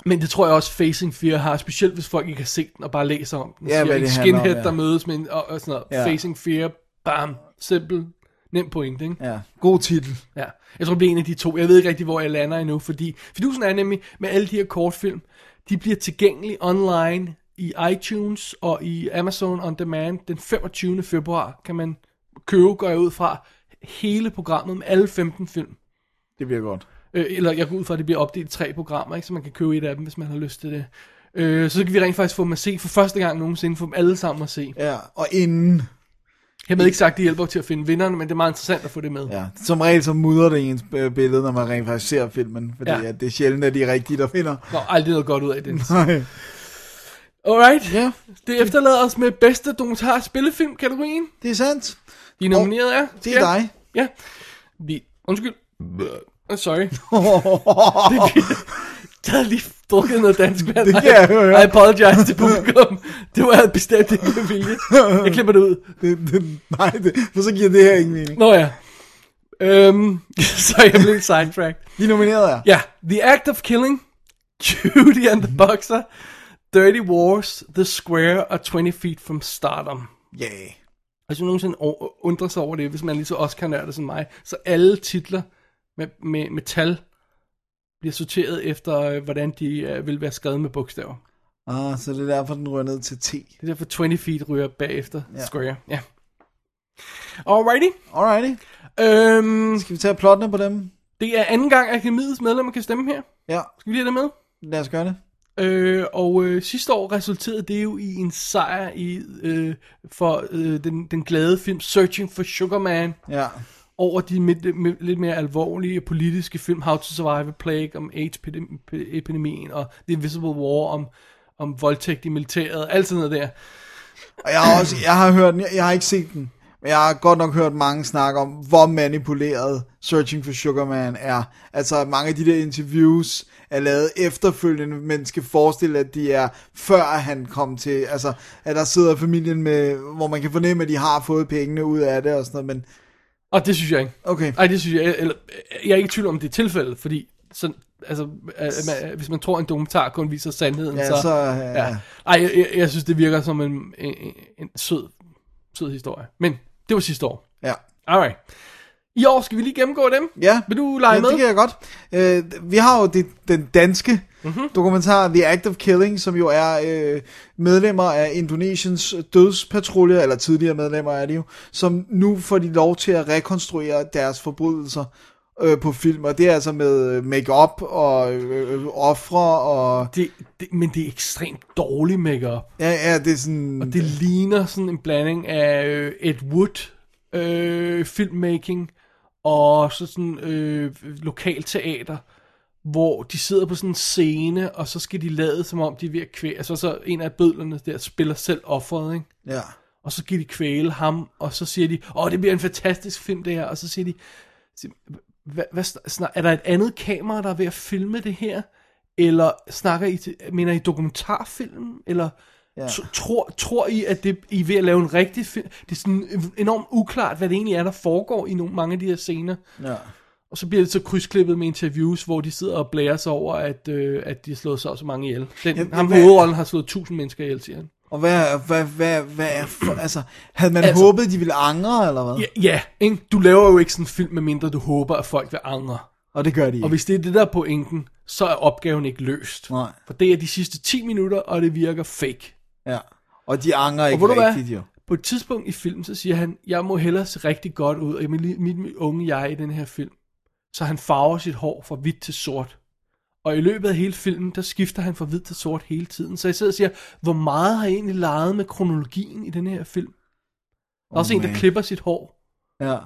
Speaker 4: Men det tror jeg også, Facing Fear har, specielt hvis folk ikke har set den og bare læser om den.
Speaker 3: Ja,
Speaker 4: Siger,
Speaker 3: hvad
Speaker 4: en
Speaker 3: det handler om,
Speaker 4: skinhead,
Speaker 3: ja.
Speaker 4: der mødes med en, og, og sådan noget.
Speaker 3: Ja.
Speaker 4: Facing Fear, bam, simpel, nem pointe, ikke?
Speaker 3: Ja, god titel.
Speaker 4: Ja, jeg tror, det bliver en af de to. Jeg ved ikke rigtig, hvor jeg lander endnu, fordi fidusen er nemlig med alle de her kortfilm, de bliver tilgængelige online i iTunes og i Amazon On Demand den 25. februar. Kan man købe, går jeg ud fra, hele programmet med alle 15 film.
Speaker 3: Det bliver godt.
Speaker 4: Øh, eller jeg går ud fra, at det bliver opdelt i tre programmer, ikke? så man kan købe et af dem, hvis man har lyst til det. Øh, så kan vi rent faktisk få dem at se for første gang nogensinde, få dem alle sammen at se.
Speaker 3: Ja, og inden,
Speaker 4: Jeg har ikke sagt, at det hjælper til at finde vinderne, men det er meget interessant at få det med.
Speaker 3: ja, som regel så mudrer det ens øh, billede, når man rent faktisk ser filmen, fordi
Speaker 4: Ja.
Speaker 3: ja. at det er sjældent, at de er rigtige, der finder.
Speaker 4: Der er aldrig noget godt ud af det.
Speaker 3: Nej.
Speaker 4: Alright.
Speaker 3: Ja.
Speaker 4: Det efterlader os med bedste dokumentar spillefilm kategorien.
Speaker 3: Det er sandt.
Speaker 4: De nominerede er.
Speaker 3: Det er
Speaker 4: ja.
Speaker 3: dig.
Speaker 4: Ja. Vi, undskyld. Oh, sorry. Jeg havde lige drukket noget dansk vand.
Speaker 3: Det kan jeg høre.
Speaker 4: I apologize til publikum. Det var bestemt ikke med vilje. Jeg klipper det ud.
Speaker 3: det, det, nej, det, for så giver det her ingen mening.
Speaker 4: Nå ja. Øhm, så jeg blev sidetracked.
Speaker 3: De nominerede er.
Speaker 4: Ja, The Act of Killing, Judy and the Boxer, Dirty Wars, The Square og 20 Feet from Stardom.
Speaker 3: Yeah.
Speaker 4: Og hvis man nogensinde o- undrer sig over det, hvis man er lige så Oscar-nørdet som mig, så alle titler med, med, med tal bliver sorteret efter, øh, hvordan de øh, vil være skrevet med bogstaver.
Speaker 3: Ah, så det er derfor, den rører ned til 10.
Speaker 4: Det er derfor 20 feet ryger bagefter
Speaker 3: Ja.
Speaker 4: ja. Square. Ja. Alrighty.
Speaker 3: Alrighty.
Speaker 4: Øhm,
Speaker 3: Skal vi tage plottene på dem?
Speaker 4: det er anden gang, akademiets medlemmer kan stemme her.
Speaker 3: Ja,
Speaker 4: Skal vi lige have det med?
Speaker 3: lad os gøre det.
Speaker 4: Øh, og øh, sidste år resulterede det jo i en sejr i, øh, for øh, den, den glade film Searching for Sugar Man
Speaker 3: Ja.
Speaker 4: over de mid, mid, lidt mere alvorlige politiske film How to Survive a Plague om AIDS-epidemien og The Invisible War om, om voldtægt i militæret, alt sådan noget der.
Speaker 3: Og jeg har, også, jeg har hørt den, jeg, jeg har ikke set den, men jeg har godt nok hørt mange snakke om, hvor manipuleret Searching for Sugar Man er. Altså mange af de der interviews er lavet efterfølgende, men skal forestille, at de er før han kom til, altså at der sidder familien med, hvor man kan fornemme, at de har fået pengene ud af det og sådan noget, men
Speaker 4: Og det synes jeg ikke.
Speaker 3: okay.
Speaker 4: Nej, det synes jeg, eller, jeg er ikke i tvivl om, det er tilfældet, fordi sådan, altså, øh, man, hvis man tror, en dokumentar kun viser sandheden,
Speaker 3: Ja,
Speaker 4: så...
Speaker 3: så, øh,
Speaker 4: ja. Ej, jeg, jeg, jeg synes, det virker som en, en, en- en sød, sød historie. Men det var sidste år.
Speaker 3: Ja.
Speaker 4: Alright. I år skal vi lige gennemgå dem.
Speaker 3: Ja.
Speaker 4: Vil du lege
Speaker 3: ja,
Speaker 4: med?
Speaker 3: det kan jeg godt. Øh, vi har jo det, den danske mm-hmm.
Speaker 4: Mhm.
Speaker 3: dokumentar The Act of Killing, som jo er øh, medlemmer af Indonesiens dødspatrulje, eller tidligere medlemmer er det jo, som nu får de lov til at rekonstruere deres forbrydelser øh, på film, og det er altså med øh, make-up og øh, øh, ofre og...
Speaker 4: Det, det, men det er ekstremt dårlig makeup.
Speaker 3: Ja, ja, det er sådan...
Speaker 4: Det ligner sådan en blanding af øh, Ed Wood øh, filmmaking og så sådan øh, lokalteater, hvor de sidder på sådan en scene, og så skal de lade som om de er ved at kvæle. Altså så en af bødlerne der spiller selv offeret, ikke?
Speaker 3: Ja.
Speaker 4: Og så skal de kvæle ham, og så siger de, åh, det bliver en fantastisk film det her, og så siger de, sig- hvad, hvad sn- snak, er der et andet kamera, der er ved at filme det her? Eller snakker I, til, mener I dokumentarfilm? Eller
Speaker 3: Ja.
Speaker 4: ja. tror, tror I, at det, I er ved at lave en rigtig film? Det er sådan enormt uklart, hvad det egentlig er, der foregår i nogle, mange af de her scener.
Speaker 3: ja.
Speaker 4: Og så bliver det så krydsklippet med interviews, hvor de sidder og blærer sig over, at, øh, at de har slået så og så mange ihjel. Den,
Speaker 3: Jamen,
Speaker 4: ham
Speaker 3: hvad-
Speaker 4: hovedrollen har slået tusind mennesker ihjel, siger han.
Speaker 3: Og hvad, hvad, hvad, hvad er for, altså, havde man altså,
Speaker 4: Altså-
Speaker 3: håbet, de ville angre, eller hvad?
Speaker 4: Ja, ja ikke? du laver jo ikke sådan en film, medmindre du håber, at folk vil angre.
Speaker 3: Og det gør de ikke.
Speaker 4: Og hvis det er det der er pointen, så er opgaven ikke løst.
Speaker 3: Nej.
Speaker 4: For det er de sidste 10 minutter, og det virker fake.
Speaker 3: Ja. Og de angrer ikke
Speaker 4: Og ved du hvad?
Speaker 3: rigtigt, jo.
Speaker 4: På et tidspunkt i filmen, så siger han, jeg må hellere se rigtig godt ud, og mit, mit, mit unge jeg i den her film. Så han farver sit hår fra hvidt til sort. Og i løbet af hele filmen, der skifter han fra hvidt til sort hele tiden. Så jeg sidder og siger, hvor meget har jeg egentlig leget med kronologien i den her film? Der er også en, der
Speaker 3: man.
Speaker 4: klipper sit hår.
Speaker 3: Ja.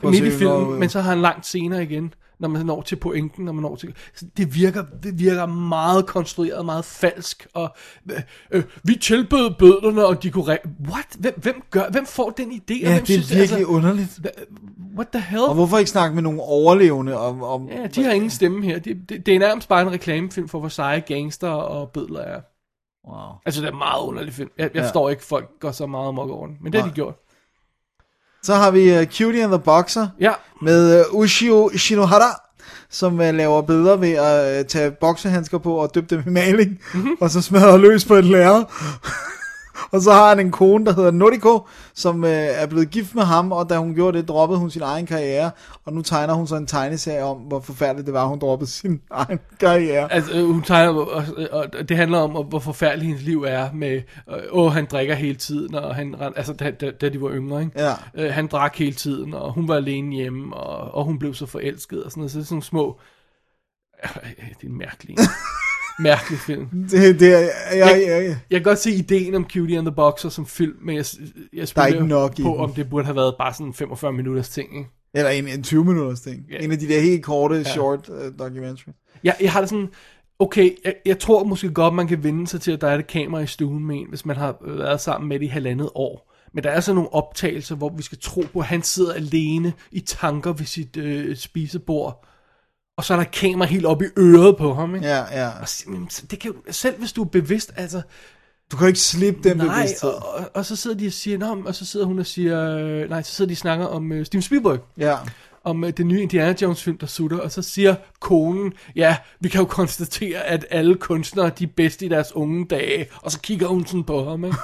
Speaker 3: Prøv at
Speaker 4: midt i
Speaker 3: se,
Speaker 4: filmen,
Speaker 3: hvor-
Speaker 4: men så har han langt senere igen, når man når til pointen, når man når til... Så det virker, det virker meget konstrueret, meget falsk, og øh, øh, vi tilbød bødlerne, og de kunne... Re- What? Hvem, hvem, gør, hvem får den idé? og
Speaker 3: Ja,
Speaker 4: hvem
Speaker 3: det er virkelig altså...
Speaker 4: altså,
Speaker 3: underligt.
Speaker 4: What the hell?
Speaker 3: Og hvorfor ikke snakke med nogle overlevende om... om
Speaker 4: Ja, de har ingen stemme her. Det, det, det er nærmest bare en reklamefilm for, hvor seje gangster og bødler er.
Speaker 3: Wow.
Speaker 4: Altså, det er en meget underlig film. Jeg, jeg
Speaker 3: Ja.
Speaker 4: ja. forstår ikke, folk går så meget amok over den. Men det har
Speaker 3: Nej.
Speaker 4: de gjort.
Speaker 3: Så har vi uh, Cutie and the Boxer
Speaker 4: Ja,
Speaker 3: med uh, Ushio Shinohara, som uh, laver billeder ved at uh, tage boksehandsker på og døbe dem i maling,
Speaker 4: Mhm.
Speaker 3: mm-hmm. og så smadrer løs på et lærred. og så har han en kone, der hedder Noriko, som uh, er blevet gift med ham, og da hun gjorde det, droppede hun sin egen karriere, og nu tegner hun så en tegneserie om, hvor forfærdeligt det var, hun droppede sin egen karriere.
Speaker 4: Altså, øh, hun tegner, og, og og det handler om, hvor forfærdeligt hendes liv er med, øh, åh, han drikker hele tiden, og han, ren- altså, da, da, da de var yngre, ikke?
Speaker 3: Ja.
Speaker 4: Øh, han drak hele tiden, og hun var alene hjemme, og, og hun blev så forelsket, og sådan noget, så det er sådan nogle små, Øh, det er en mærkelig, mærkelig film.
Speaker 3: Det, det er, jeg, jeg, jeg,
Speaker 4: Jeg kan godt se ideen om Cutie and the Boxer som film, men jeg, jeg
Speaker 3: Der er
Speaker 4: spiller
Speaker 3: ikke nok i
Speaker 4: på,
Speaker 3: den.
Speaker 4: om det burde have været bare sådan en 45 minutters ting, ikke?
Speaker 3: Eller en, en 20 minutters ting.
Speaker 4: Ja.
Speaker 3: En af de der helt korte, short uh, documentary.
Speaker 4: Jeg, jeg har det sådan, okay, jeg, jeg tror måske godt, man kan vende sig til, at der er et kamera i stuen med en, hvis man har været sammen med det i halvandet år. Men der er sådan nogle optagelser, hvor vi skal tro på, at han sidder alene i tanker ved sit øh, spisebord, og så er der et kamera helt op i øret på ham, ikke?
Speaker 3: Ja, ja.
Speaker 4: Og s- men s- det kan jo, selv hvis du er bevidst, altså,
Speaker 3: Du kan jo ikke slippe den
Speaker 4: nej,
Speaker 3: bevidsthed.
Speaker 4: og, og, og så sidder de og siger, Nå, men- og så sidder hun og siger, øh, nej, så sidder de og snakker om øh, Steven Spielberg.
Speaker 3: Ja,
Speaker 4: om øh, den nye Indiana Jones film, der sutter, og så siger konen, ja, vi kan jo konstatere, at alle kunstnere, de er bedst i deres unge dage, og så kigger hun sådan på ham, ikke?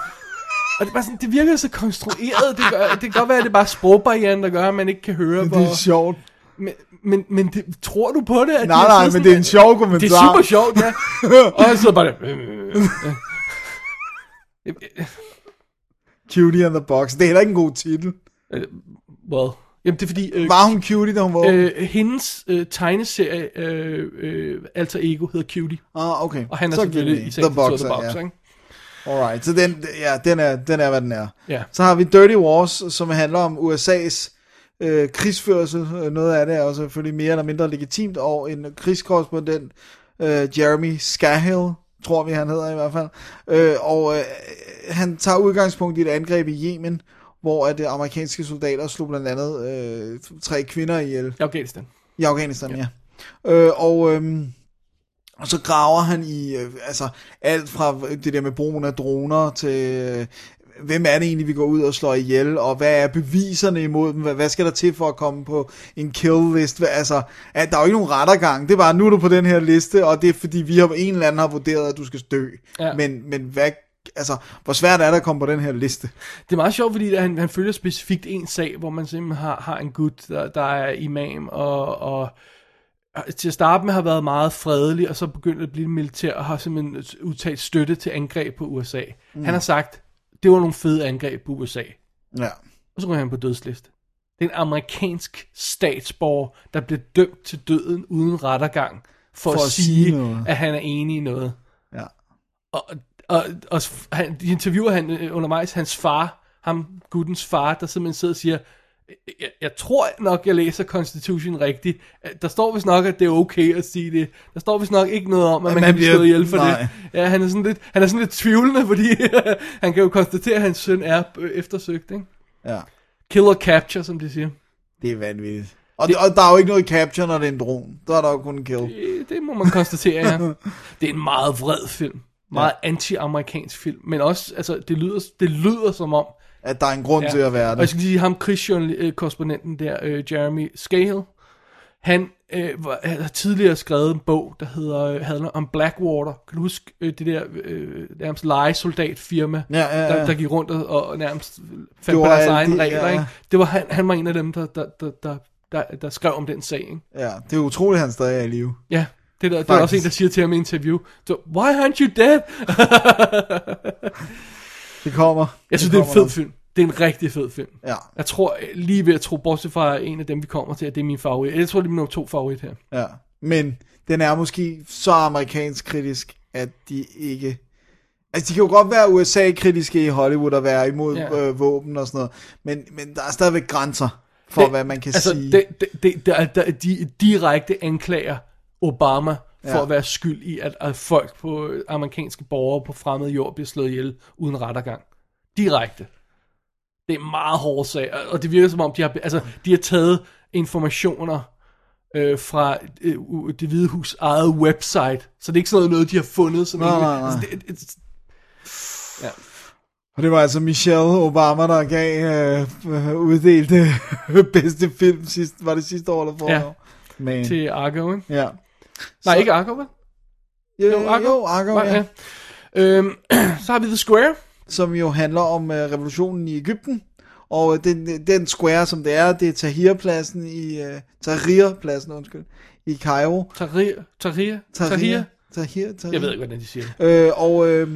Speaker 4: Og det, er bare sådan, det virker så konstrueret, det, gør, det kan godt være, at det er bare sprogbarrieren, der gør, at man ikke kan høre,
Speaker 3: Det er
Speaker 4: hvor...
Speaker 3: sjovt.
Speaker 4: Men, men, men det, tror du på det? At de
Speaker 3: Nej,
Speaker 4: har
Speaker 3: nej,
Speaker 4: siddet
Speaker 3: men
Speaker 4: sådan-
Speaker 3: det er en sjov kommentar.
Speaker 4: det er super sjovt, ja. og jeg sidder bare der. øh, øh, øh, øh.
Speaker 3: Cutie and the Box. Det er heller ikke en god titel.
Speaker 4: Well, jamen det er fordi, øh,
Speaker 3: Var hun cutie, da hun var ung?
Speaker 4: øh, hendes øh, tegneserie, øh, øh, alter ego, hedder Cutie.
Speaker 3: Ah, okay.
Speaker 4: Og han er
Speaker 3: Så
Speaker 4: selvfølgelig
Speaker 3: cutie.
Speaker 4: i sagens
Speaker 3: The
Speaker 4: natur
Speaker 3: Boxer,
Speaker 4: The Boxer,
Speaker 3: ja.
Speaker 4: ikke?
Speaker 3: Alright, så den, ja, den, er, den er, hvad den er.
Speaker 4: Ja.
Speaker 3: Så har vi Dirty Wars, som handler om USA's øh, krigsførelse. Øh, Noget af det er jo selvfølgelig mere eller mindre legitimt, og en krigskorrespondent, øh, Jeremy Scahill, tror vi han hedder i hvert fald, øh, og øh, han tager udgangspunkt i et angreb i Yemen, hvor at øh, amerikanske soldater slog blandt andet øh, tre kvinder ihjel.
Speaker 4: I Afghanistan.
Speaker 3: I Afghanistan, ja. ja. Øh, og, øhm, og så graver han i øh, altså alt fra det der med brugen af droner til... Øh, hvem er det egentlig, vi går ud og slår ihjel, og hvad er beviserne imod dem, hvad, hvad skal der til for at komme på en kill list, hvad, altså, at der er jo ikke nogen rettergang, det er bare, nu er du på den her liste, og det er fordi, vi har en eller anden har vurderet, at du skal dø,
Speaker 4: Ja.
Speaker 3: men, men hvad, altså, hvor svært er det at komme på den her liste?
Speaker 4: Det er meget sjovt, fordi han, han følger specifikt en sag, hvor man simpelthen har, har en gut, der, der er imam, og, og til at starte med har været meget fredelig, og så begyndt at blive militær, og har simpelthen udtalt støtte til angreb på USA. Mm. Han har sagt, det var nogle fede angreb på USA.
Speaker 3: Ja.
Speaker 4: Og så ryger han på dødsliste. Det er en amerikansk statsborger, der bliver dømt til døden uden rettergang, for, for at, at sige,
Speaker 3: noget.
Speaker 4: at han er enig i noget.
Speaker 3: Ja.
Speaker 4: Og, og, og s- han, de interviewer han øh, undervejs hans far, ham guttens far, der simpelthen sidder og siger, jeg, jeg tror nok, jeg læser Constitution rigtigt. Øh, Der står vist nok, at det er okay at sige det. Der står vist nok ikke noget om, at man, man kan blive slået ihjel for
Speaker 3: nej.
Speaker 4: det. Ja, han er sådan lidt, han er sådan lidt tvivlende, fordi han kan jo konstatere, at hans søn er øh, eftersøgt. Ikke?
Speaker 3: ja.
Speaker 4: Kill or capture, som de siger.
Speaker 3: Det er vanvittigt. Og, det... og der er jo ikke noget capture, når det er en drone. Der er der jo kun en kill.
Speaker 4: Øh, Det må man konstatere, ja. Det er en meget vred film. Meget ja. anti-amerikansk film. Men også, altså, det lyder, det lyder som om...
Speaker 3: at der er en grund ja. til at være
Speaker 4: Og jeg
Speaker 3: det.
Speaker 4: skal lige sige, ham krigskorrespondenten der, øh, Jeremy Scahill, han øh, var, han har tidligere skrevet en bog, der hedder, øh, handler om Blackwater. Kan du huske øh, det der øh, nærmest legesoldatfirma,
Speaker 3: Ja, ja, ja.
Speaker 4: Der, der gik rundt og, og nærmest fandt på
Speaker 3: Gjorde
Speaker 4: deres
Speaker 3: alt
Speaker 4: egne
Speaker 3: det,
Speaker 4: regler?
Speaker 3: ja.
Speaker 4: Ikke? Det var han, han var en af dem, der, der, der, der, der, der skrev om den sag. Ikke?
Speaker 3: Ja, det er utroligt, at han stadig er i live.
Speaker 4: Ja, det der, der er også en,
Speaker 3: Faktisk.
Speaker 4: der siger til ham i interview, så, why aren't you dead?
Speaker 3: Det kommer.
Speaker 4: Jeg synes, det er en fed
Speaker 3: kommer
Speaker 4: film. Det er en rigtig fed film.
Speaker 3: nok. Ja,
Speaker 4: Jeg tror øh, lige ved at tro, bortset fra en af dem, vi kommer til, at det er min favorit. Jeg tror, det er min nummer to favorit her.
Speaker 3: ja. Men den er måske så amerikansk kritisk, at de ikke... Altså, de kan jo godt være USA-kritiske i Hollywood og være imod
Speaker 4: Ja.
Speaker 3: ja. øh, våben og sådan noget, men, men der er stadigvæk grænser for, det, hvad man kan
Speaker 4: altså,
Speaker 3: sige.
Speaker 4: Det, det, det, der, der, de direkte anklager Obama for
Speaker 3: Ja.
Speaker 4: at være skyld i, at, at folk på øh, amerikanske borgere på fremmed jord bliver slået ihjel uden rettergang. Direkte. Det er meget hårde sag, og- og det virker som om, de har, altså, de har taget informationer øh, fra øh, u- det hvide hus eget website, så det er ikke sådan noget, noget de har fundet. Sådan
Speaker 3: Nej,
Speaker 4: en-
Speaker 3: nej, nej.
Speaker 4: Altså, det, det,
Speaker 3: Og det var altså Michelle Obama, der gav øh, øh, uddelte bedste film sidst, var det sidste år eller forrige
Speaker 4: Ja.
Speaker 3: år? Man.
Speaker 4: til Argo, ikke?
Speaker 3: Ja.
Speaker 4: Nej,
Speaker 3: Så-
Speaker 4: ikke Argo, vel?
Speaker 3: Jo,
Speaker 4: Argo.
Speaker 3: Jo, Argo,
Speaker 4: Nej,
Speaker 3: ja.
Speaker 4: ja. Øhm, så har vi The Square.
Speaker 3: som jo handler om øh, revolutionen i Ægypten. Og øh, den, den square, som det er, det er Tahrirpladsen i øh, Tahrirpladsen, undskyld, i Cairo.
Speaker 4: Tahrir, Tahrir, Tahrir.
Speaker 3: Tahrir, Tahrir.
Speaker 4: Jeg ved ikke, hvordan de siger det.
Speaker 3: Øh, og, øh,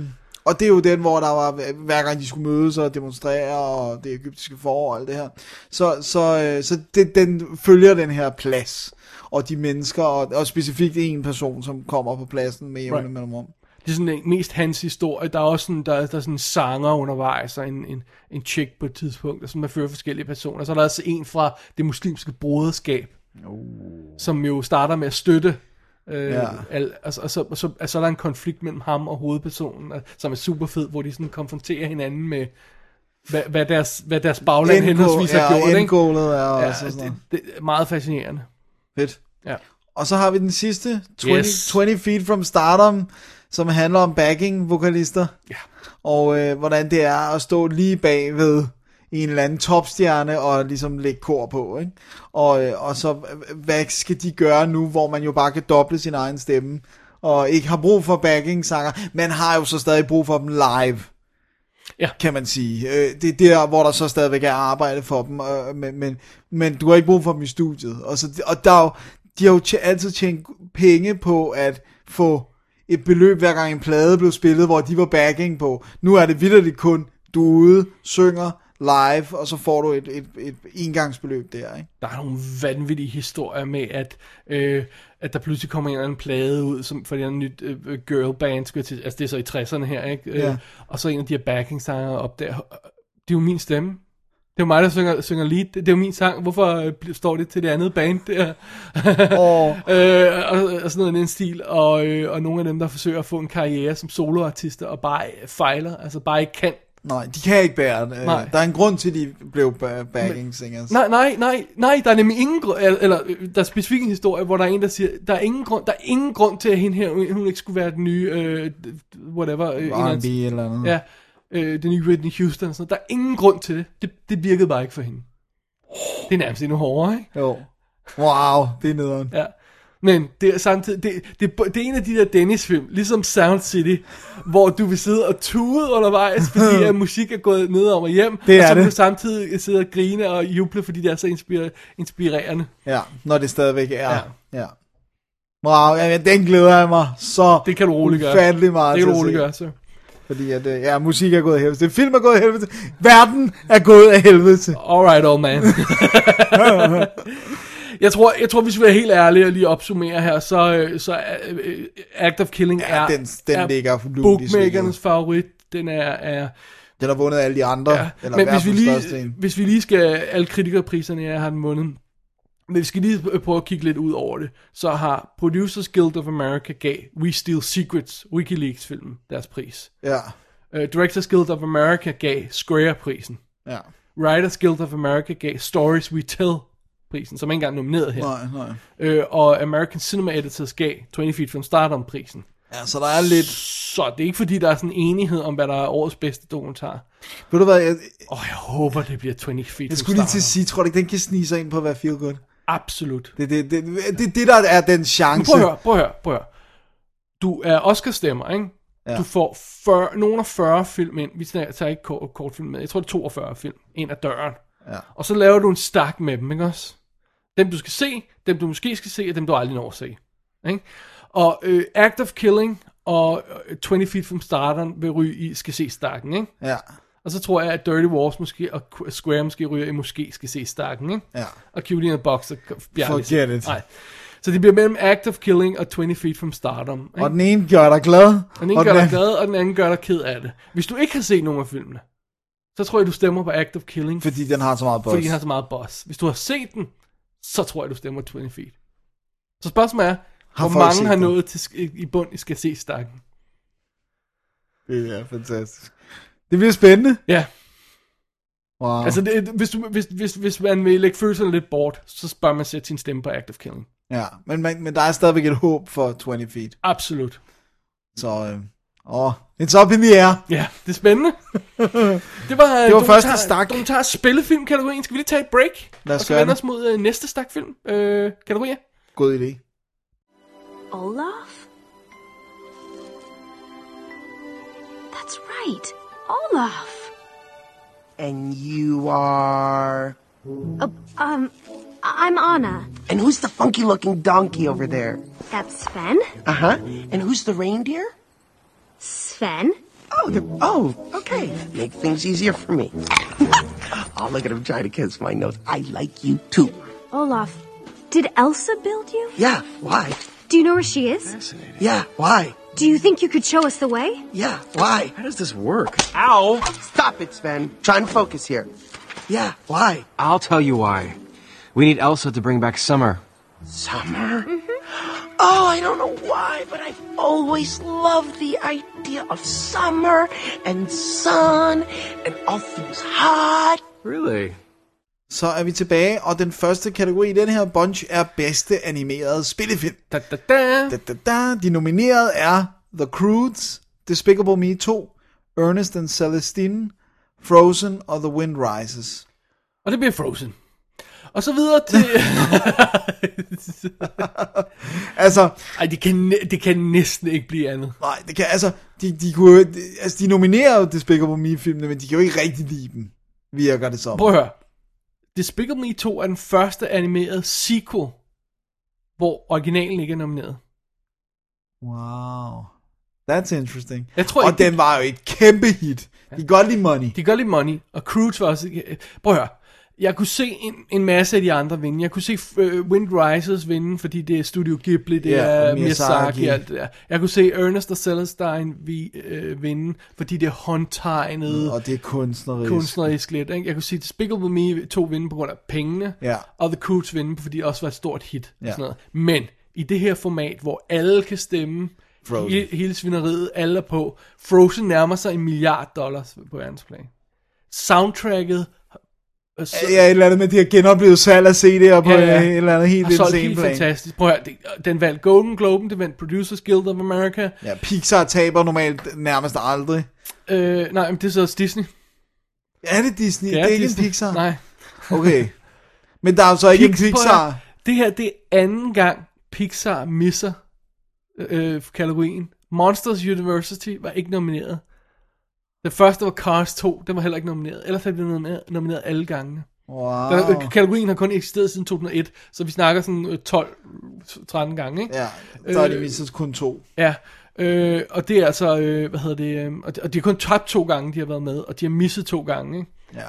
Speaker 3: og det er jo den, hvor der var, hver gang de skulle mødes og demonstrere, og det egyptiske forår og alt det her. Så, så, øh, så det, den følger den her plads, og de mennesker, og, og specifikt en person, som kommer på pladsen med jævne
Speaker 4: Right.
Speaker 3: right. mellemrum.
Speaker 4: Det er sådan en, mest hans historie. Der er også sådan, der, der er sådan en sanger undervejs, og en, en, en chick på et tidspunkt, og sådan, der fører forskellige personer. Så er der også en fra det muslimske broderskab, oh. som jo starter med at støtte Øh,
Speaker 3: Ja.
Speaker 4: al, altså, og, så, og, så, og så er der en konflikt mellem ham og hovedpersonen, og- som er super fed, hvor de sådan konfronterer hinanden med, hvad, hvad, deres, hvad deres bagland henholdsvis har gjort.
Speaker 3: ja,
Speaker 4: ikke?
Speaker 3: endgålet er ja, også
Speaker 4: ja, altså,
Speaker 3: sådan noget.
Speaker 4: det, det, er meget fascinerende.
Speaker 3: Fedt.
Speaker 4: Ja.
Speaker 3: Og så har vi den sidste, 20,
Speaker 4: Yes.
Speaker 3: yes. 20 Feet from Stardom, som handler om backing vokalister.
Speaker 4: Ja.
Speaker 3: Og øh, hvordan det er at stå lige bagved i en eller anden topstjerne og ligesom lægge kor på, ikke? Og, øh, og så, øh, hvad skal de gøre nu, hvor man jo bare kan doble sin egen stemme, og ikke har brug for backing-sanger, men har jo så stadig brug for dem live,
Speaker 4: Ja.
Speaker 3: kan man sige. Øh, det er der, hvor der så stadigvæk er arbejde for dem, øh, men, men, men du har ikke brug for dem i studiet. Og, så, og der er jo, de har jo tj- altid tjent penge på at få et beløb, hver gang en plade blev spillet, hvor de var backing på. Nu er det vidderligt kun, du er ude, synger live, og så får du et, et, et engangsbeløb der, ikke?
Speaker 4: Der er nogle vanvittige historier med, at, øh, at der pludselig kommer en eller anden plade ud, som for en eller anden nyt øh, girlband, skulle jeg til, altså det er så i 60'erne her, ikke? Øh,
Speaker 3: Ja.
Speaker 4: Og så en af de her backing sanger opdager, "Hå, det er jo min stemme. Det er jo mig, der synger, synger lead. Det, det er jo min sang. Hvorfor øh, bl- står det til det andet band der?
Speaker 3: Og
Speaker 4: øh, og, og sådan noget i den stil, og, øh, og nogle af dem, der forsøger at få en karriere som soloartister, og bare øh, fejler, altså bare ikke kan.
Speaker 3: nej, de kan ikke bære det. Øh,
Speaker 4: Nej.
Speaker 3: Der er en grund til, de blev ba- backing singers.
Speaker 4: Nej, nej, nej, nej, der er nemlig ingen grund, eller, eller øh, der er specifikt en historie, hvor der er en, der siger, der er ingen grund, der er ingen grund til, at hende her, hun ikke skulle være den nye, øh, whatever, øh, en eller anden-
Speaker 3: R&B eller andet.
Speaker 4: ja, øh, den nye Whitney Houston, og sådan noget. der er ingen grund til det. det, det virkede bare ikke for hende. Det er nærmest endnu hårdere, ikke?
Speaker 3: Jo. Wow, det er nederen.
Speaker 4: Ja. Men det er samtidig, det, det, det er en af de der Dennis-film, ligesom Sound City, hvor du vil sidde og tude undervejs, fordi at musik er gået ned om og hjem,
Speaker 3: Det
Speaker 4: og
Speaker 3: er
Speaker 4: så vil
Speaker 3: det.
Speaker 4: du samtidig sidde og grine og juble, fordi det er så inspir- inspirerende.
Speaker 3: Ja, når det stadigvæk er.
Speaker 4: Ja.
Speaker 3: Ja. ja. Wow, jamen, den glæder jeg mig så
Speaker 4: Det kan du roligt gøre.
Speaker 3: ufattelig meget
Speaker 4: Det
Speaker 3: til
Speaker 4: kan du
Speaker 3: at
Speaker 4: roligt
Speaker 3: se.
Speaker 4: gøre, så.
Speaker 3: Fordi at, øh, ja, musik er gået af helvede til. Film er gået af helvede til. Verden er gået af helvede til.
Speaker 4: Alright, old man. jeg, tror, jeg tror, hvis vi er helt ærlige og lige opsummere her, så, øh, så er, øh, Act of Killing
Speaker 3: Ja,
Speaker 4: er,
Speaker 3: den- den
Speaker 4: er
Speaker 3: ligger lunt i
Speaker 4: bookmakernes
Speaker 3: svinget.
Speaker 4: favorit. Den er, er
Speaker 3: Den har vundet alle de andre. Ja, eller
Speaker 4: men
Speaker 3: i hvert
Speaker 4: hvis vi,
Speaker 3: fald største
Speaker 4: lige,
Speaker 3: en.
Speaker 4: hvis vi lige skal, alle kritikerpriserne jeg har den vundet, men vi skal lige prøve at kigge lidt ud over det, så har Producers Guild of America gav We Steal Secrets, Wikileaks-filmen, deres pris.
Speaker 3: Ja,
Speaker 4: Uh, Directors Guild of America gav Square-prisen.
Speaker 3: ja.
Speaker 4: Writers Guild of America gav Stories We Tell-prisen, som ikke engang er nomineret her.
Speaker 3: Nej, nej.
Speaker 4: Uh, og American Cinema Editors gav 20 Feet from Stardom-prisen.
Speaker 3: Ja, så der er lidt...
Speaker 4: Så det er ikke fordi, der er sådan enighed om, hvad der er årets bedste dokumentar.
Speaker 3: Ved du hvad, jeg,
Speaker 4: Og jeg håber, det bliver 20 Feet from
Speaker 3: jeg skulle lige til at
Speaker 4: Stardom.
Speaker 3: sige, tror du ikke, den kan snige sig ind på at være feel good?
Speaker 4: Absolut.
Speaker 3: Det er det, det, det, det, der er den
Speaker 4: Men
Speaker 3: chance.
Speaker 4: prøv at høre, prøv at høre, prøv at høre. Du er Oscar-stemmer, ikke? Ja.
Speaker 3: Ja.
Speaker 4: Du får 40, nogle af 40 film ind. Vi snakker- tager ikke kort, kortfilm med. Jeg tror, det er 42 film ind ad døren.
Speaker 3: Ja.
Speaker 4: Og så laver du en stak med dem, ikke også? Dem, du skal se, dem, du måske skal se, og dem, du aldrig når at se. Ikke? Og øh, Act of Killing og øh, 20 Feet from Stardom vil ryge i, skal se stakken, ikke?
Speaker 3: Ja,
Speaker 4: Og så tror jeg, at Dirty Wars måske, og Qu- Square måske ryger i, måske skal se stakken, ikke?
Speaker 3: ja.
Speaker 4: Og Cutie and the Boxer bjerges.
Speaker 3: Forget it.
Speaker 4: Nej. Så det bliver mellem Act of Killing og 20 Feet from Stardom. Ikke?
Speaker 3: Og den ene gør dig glad.
Speaker 4: den ene gør dig glad, og den anden gør dig ked af det. Hvis du ikke har set nogen af filmene, så tror jeg, du stemmer på Act of Killing,
Speaker 3: Fordi den har så meget buzz.
Speaker 4: fordi den har så meget boss. Hvis du har set den, så tror jeg, du stemmer 20 Feet. Så spørgsmålet er,
Speaker 3: Har
Speaker 4: hvor
Speaker 3: folk
Speaker 4: mange
Speaker 3: set
Speaker 4: har
Speaker 3: den?
Speaker 4: nået til, sk- i bund i skal se stakken?
Speaker 3: Det er fantastisk. Det bliver spændende.
Speaker 4: Ja,
Speaker 3: Wow.
Speaker 4: altså det, hvis, du, hvis, hvis, hvis man vil lægge følelserne lidt bort, så bør man sætte sin stemme på Act of Killing.
Speaker 3: Ja, men, men, men der er stadigvæk et håb for 20 feet.
Speaker 4: Absolut.
Speaker 3: Så, øh, åh, it's up in the air.
Speaker 4: Ja, det er spændende. det var, øh,
Speaker 3: Det var
Speaker 4: dokumentar-
Speaker 3: første stak.
Speaker 4: Dokumentar spillefilm-kategorien. Skal vi lige tage et break?
Speaker 3: Lad os
Speaker 4: og så
Speaker 3: gøre
Speaker 4: vende
Speaker 3: det.
Speaker 4: os mod øh, næste stak film øh, kategorier.
Speaker 3: God idé.
Speaker 8: Olaf? That's right, Olaf.
Speaker 9: And you are.
Speaker 8: Uh, um, I- I'm Anna.
Speaker 9: And who's the funky looking donkey over there?
Speaker 8: That's Sven.
Speaker 9: Uh huh. And who's the reindeer?
Speaker 8: Sven.
Speaker 9: Oh, the. Oh, okay. Make things easier for me. oh, look at him trying to kiss my nose. I like you too.
Speaker 8: Olaf, did Elsa build you?
Speaker 9: Yeah, why?
Speaker 8: Do you know where she is?
Speaker 9: Yeah, why?
Speaker 8: Do you think you could show us the way?
Speaker 9: Yeah, why? How does this work? Ow! Stop it, Sven. Try and focus here. Yeah, why?
Speaker 10: I'll tell you why. We need Elsa to bring back summer.
Speaker 9: Summer? Oh, I don't know why, but I've always loved the idea of summer and sun and all things hot.
Speaker 10: Really?
Speaker 3: Så er vi tilbage, og den første kategori i den her bunch er bedste animerede spillefilm.
Speaker 4: Da, da, da.
Speaker 3: Da, da, da. De nominerede er The Croods, Despicable Me 2, Ernest and Celestine, Frozen og The Wind Rises.
Speaker 4: Og det bliver Frozen. Og så videre til...
Speaker 3: Altså,
Speaker 4: Ej, det kan, næ- det kan næsten ikke blive andet.
Speaker 3: nej, det kan, altså, de, de, kunne, de, altså, de nominerer jo Despicable Me-filmene, men de kan jo ikke rigtig lide dem, virker det som.
Speaker 4: Prøv at høre. Despicable Me 2 er den første animerede sequel, hvor originalen ikke er nomineret.
Speaker 3: Wow. That's interesting.
Speaker 4: Jeg tror
Speaker 3: og
Speaker 4: ikke,
Speaker 3: den var jo et kæmpe hit. De kan godt lide money.
Speaker 4: De gør lidt money, og Cruise var også... Prøv at høre. Jeg kunne se en, en masse af de andre vinde. Jeg kunne se uh, Wind Rises vinde, fordi det er Studio Ghibli, det
Speaker 3: Ja,
Speaker 4: er
Speaker 3: og Miyazaki.
Speaker 4: Miyazaki og alt det der. Jeg kunne se Ernest og Celestine vi, øh, vinde, fordi det er håndtegnet
Speaker 3: Mm, Og det er kunstnerisk.
Speaker 4: kunstnerisk lidt. Ikke? Jeg kunne se Despicable Me to vinde på grund af pengene,
Speaker 3: Ja.
Speaker 4: og The Croods vinde, fordi det også var et stort hit. Og
Speaker 3: Ja.
Speaker 4: sådan noget. Men i det her format, hvor alle kan stemme,
Speaker 3: Frozen.
Speaker 4: He, hele svineriet, alle er på, Frozen nærmer sig en milliard dollars på verdensplan. Soundtracket øh, så,
Speaker 3: Ja, et eller andet med, de har genoplevet salg af CD'er på
Speaker 4: Ja, ja.
Speaker 3: øh, et eller andet helt
Speaker 4: har solgt
Speaker 3: insane
Speaker 4: helt
Speaker 3: plan.
Speaker 4: fantastisk. Prøv at høre, det- den vandt Golden Globen, det vandt Producers Guild of America.
Speaker 3: Ja, Pixar taber normalt nærmest aldrig.
Speaker 4: Øh, nej, men det er så også Disney.
Speaker 3: Er det Disney? Det er, ikke
Speaker 4: Disney.
Speaker 3: en Pixar?
Speaker 4: Nej.
Speaker 3: Okay. Men der er jo så ikke en
Speaker 4: Pix-
Speaker 3: Pixar.
Speaker 4: prøv at høre, Det her, det er anden gang, Pixar misser øh, kategorien. Monsters University var ikke nomineret. Den første var Cars 2, den var heller ikke nomineret. Ellers har de blevet nomineret, nomineret alle gangene.
Speaker 3: Wow.
Speaker 4: Der, øh, kategorien har kun eksisteret siden 2001, så vi snakker sådan øh, 12-13 gange, ikke?
Speaker 3: Ja, der er
Speaker 4: Øh,
Speaker 3: de vist kun to.
Speaker 4: Ja, øh, og det er altså, øh, hvad hedder det, øh, og det- og de har kun tabt to gange, de har været med, og de har misset to gange, ikke?
Speaker 3: Ja.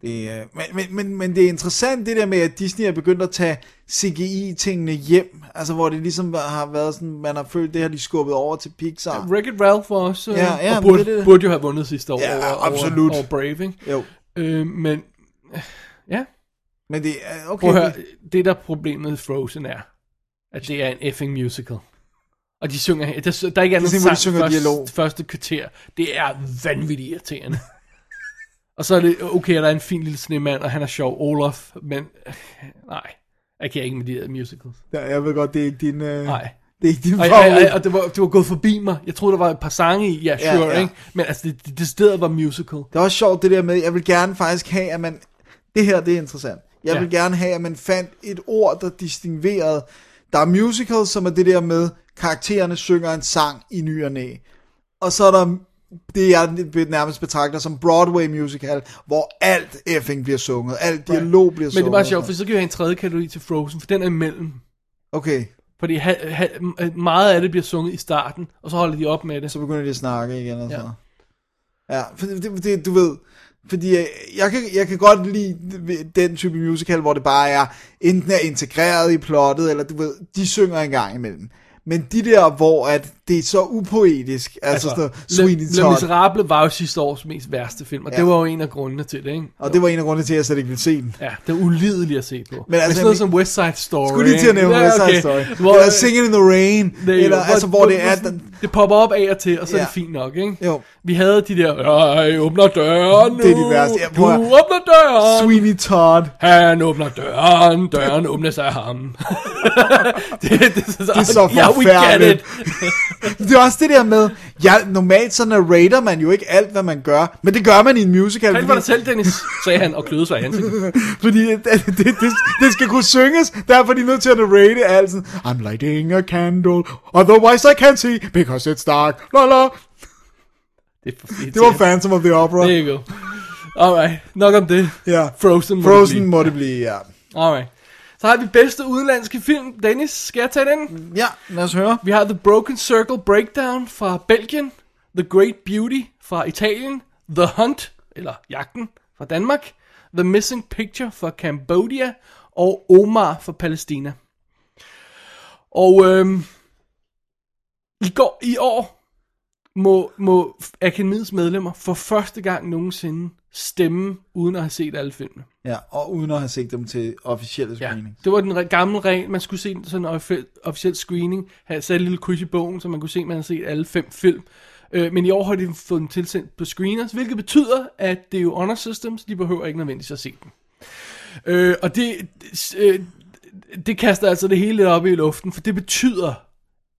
Speaker 3: Det, er- men, men, men, men det er interessant det der med, at Disney er begyndt at tage CGI-tingene hjem. Altså hvor det ligesom har været sådan, man har følt, det har de skubbet over til Pixar.
Speaker 4: Wreck-It Ralph var også, øh,
Speaker 3: Ah. Ja, ja,
Speaker 4: og
Speaker 3: men
Speaker 4: burde,
Speaker 3: det er det.
Speaker 4: burde jo have vundet sidste år
Speaker 3: Ja,
Speaker 4: over,
Speaker 3: absolut.
Speaker 4: over, over Brave, ikke?
Speaker 3: Jo,
Speaker 4: Øh, men, ja,
Speaker 3: men det er... Okay,
Speaker 4: prøv at høre,
Speaker 3: det-
Speaker 4: det der problemet med Frozen er, at det er en effing musical. Og de synger, der, der er ikke andet
Speaker 3: sådan, hvor de
Speaker 4: sang
Speaker 3: synger
Speaker 4: første,
Speaker 3: dialog.
Speaker 4: første kvarter. Det er vanvittigt irriterende. og så er det, okay, der er en fin lille snemand, og han er sjov, Olaf, men øh, nej, jeg kan ikke med de der musicals.
Speaker 3: Ja, jeg ved godt, det er ikke din... Øh,
Speaker 4: Nej.
Speaker 3: Det er ikke din
Speaker 4: Og, og,
Speaker 3: favorit.
Speaker 4: og, og det, var, det var gået forbi mig. Jeg troede, der var et par sange i. Ja,
Speaker 3: Ja,
Speaker 4: sure,
Speaker 3: ja.
Speaker 4: ikke? Men altså, det, det, det stedet var musical.
Speaker 3: Det er også sjovt det der med, jeg vil gerne faktisk have, at man... Det her, det er interessant. Jeg
Speaker 4: Ja.
Speaker 3: ja. vil gerne have, at man fandt et ord, der distinguerede... Der er musicals, som er det der med, karaktererne synger en sang i ny og næ. Og så er der det, jeg nærmest betragter som Broadway musical, hvor alt effing bliver sunget, alt dialog bliver
Speaker 4: Men
Speaker 3: sunget.
Speaker 4: det var sjovt, for så kan vi have en tredje kategori til Frozen, for den er imellem.
Speaker 3: Okay,
Speaker 4: Fordi ha, ha, meget af det bliver sunget i starten, og så holder de op med det.
Speaker 3: så begynder de at snakke igen og
Speaker 4: Ja.
Speaker 3: ja. sådan noget. Ja, for det, det, det, du ved, fordi øh, jeg kan, jeg kan godt lide den type musical, hvor det bare er, enten er integreret i plottet, eller du ved, de synger en gang imellem. Men de der, hvor at det er så upoetisk, altså, altså sådan noget, Sweeney
Speaker 4: Le, Le
Speaker 3: Todd,
Speaker 4: Miserable var jo sidste års mest værste film, og ja.
Speaker 3: Ja.
Speaker 4: det var jo en af grundene til det, ikke?
Speaker 3: og det var en af grundene til, at jeg slet ikke ville se den.
Speaker 4: Ja, det er ulideligt at se på. Men, altså,
Speaker 3: altså,
Speaker 4: Men sådan noget
Speaker 3: jeg
Speaker 4: som West Side Story.
Speaker 3: Skulle lige til at
Speaker 4: ikke?
Speaker 3: nævne
Speaker 4: Ja,
Speaker 3: West Side
Speaker 4: okay.
Speaker 3: Story,
Speaker 4: Hvor-
Speaker 3: eller Singing in the Rain,
Speaker 4: Det er jo-
Speaker 3: eller altså, hvor det er, den,
Speaker 4: Det popper op af og til, og så er det
Speaker 3: Ja.
Speaker 4: fint nok, ikke?
Speaker 3: Jo.
Speaker 4: Vi havde de der, Øj, åbner døren nu.
Speaker 3: Det er de værste. Ja,
Speaker 4: du
Speaker 3: prøv at-
Speaker 4: åbner døren.
Speaker 3: Sweeney Todd,
Speaker 4: Han åbner døren, døren åbner sig af ham. det, det, det,
Speaker 3: Det er så forfærdeligt. det er også det der med, ja, normalt så narrater man jo ikke alt, hvad man gør, men det gør man i en musical.
Speaker 4: Han var der selv, Dennis, sagde han, og kløede sig i ansigtet.
Speaker 3: fordi at- at det, det, det, skal kunne synges, derfor er de nødt til at narrate alt sådan, I'm lighting a candle, otherwise I can't see, because it's dark, la la.
Speaker 4: Det, er for-
Speaker 3: Det var Phantom of the Opera.
Speaker 4: There you go. Alright, nok om det.
Speaker 3: Ja.
Speaker 4: Frozen må det
Speaker 3: Frozen
Speaker 4: blive.
Speaker 3: må det blive, ja.
Speaker 4: Alright. Så har vi bedste udenlandske film. Dennis, skal jeg tage den?
Speaker 3: Ja, lad os høre.
Speaker 4: Vi har The Broken Circle Breakdown fra Belgien, The Great Beauty fra Italien, The Hunt, eller Jagten, fra Danmark, The Missing Picture fra Cambodia, og Omar fra Palæstina. Og øhm, i, går, i år må, må Akademiets medlemmer for første gang nogensinde stemme, uden at have set alle filmene.
Speaker 3: Ja, og uden at have set dem til officielle
Speaker 4: Ja,
Speaker 3: screening.
Speaker 4: det var den re- gamle regel, man skulle se sådan en officiel, officiel screening, have sat et lille kryds i bogen, så man kunne se, at man havde set alle fem film. Øh, men i år har de fået dem tilsendt på screeners, hvilket betyder, at det er jo honor systems, de behøver ikke nødvendigvis at se dem. Øh, og det, øh, det kaster altså det hele lidt op i luften, for det betyder,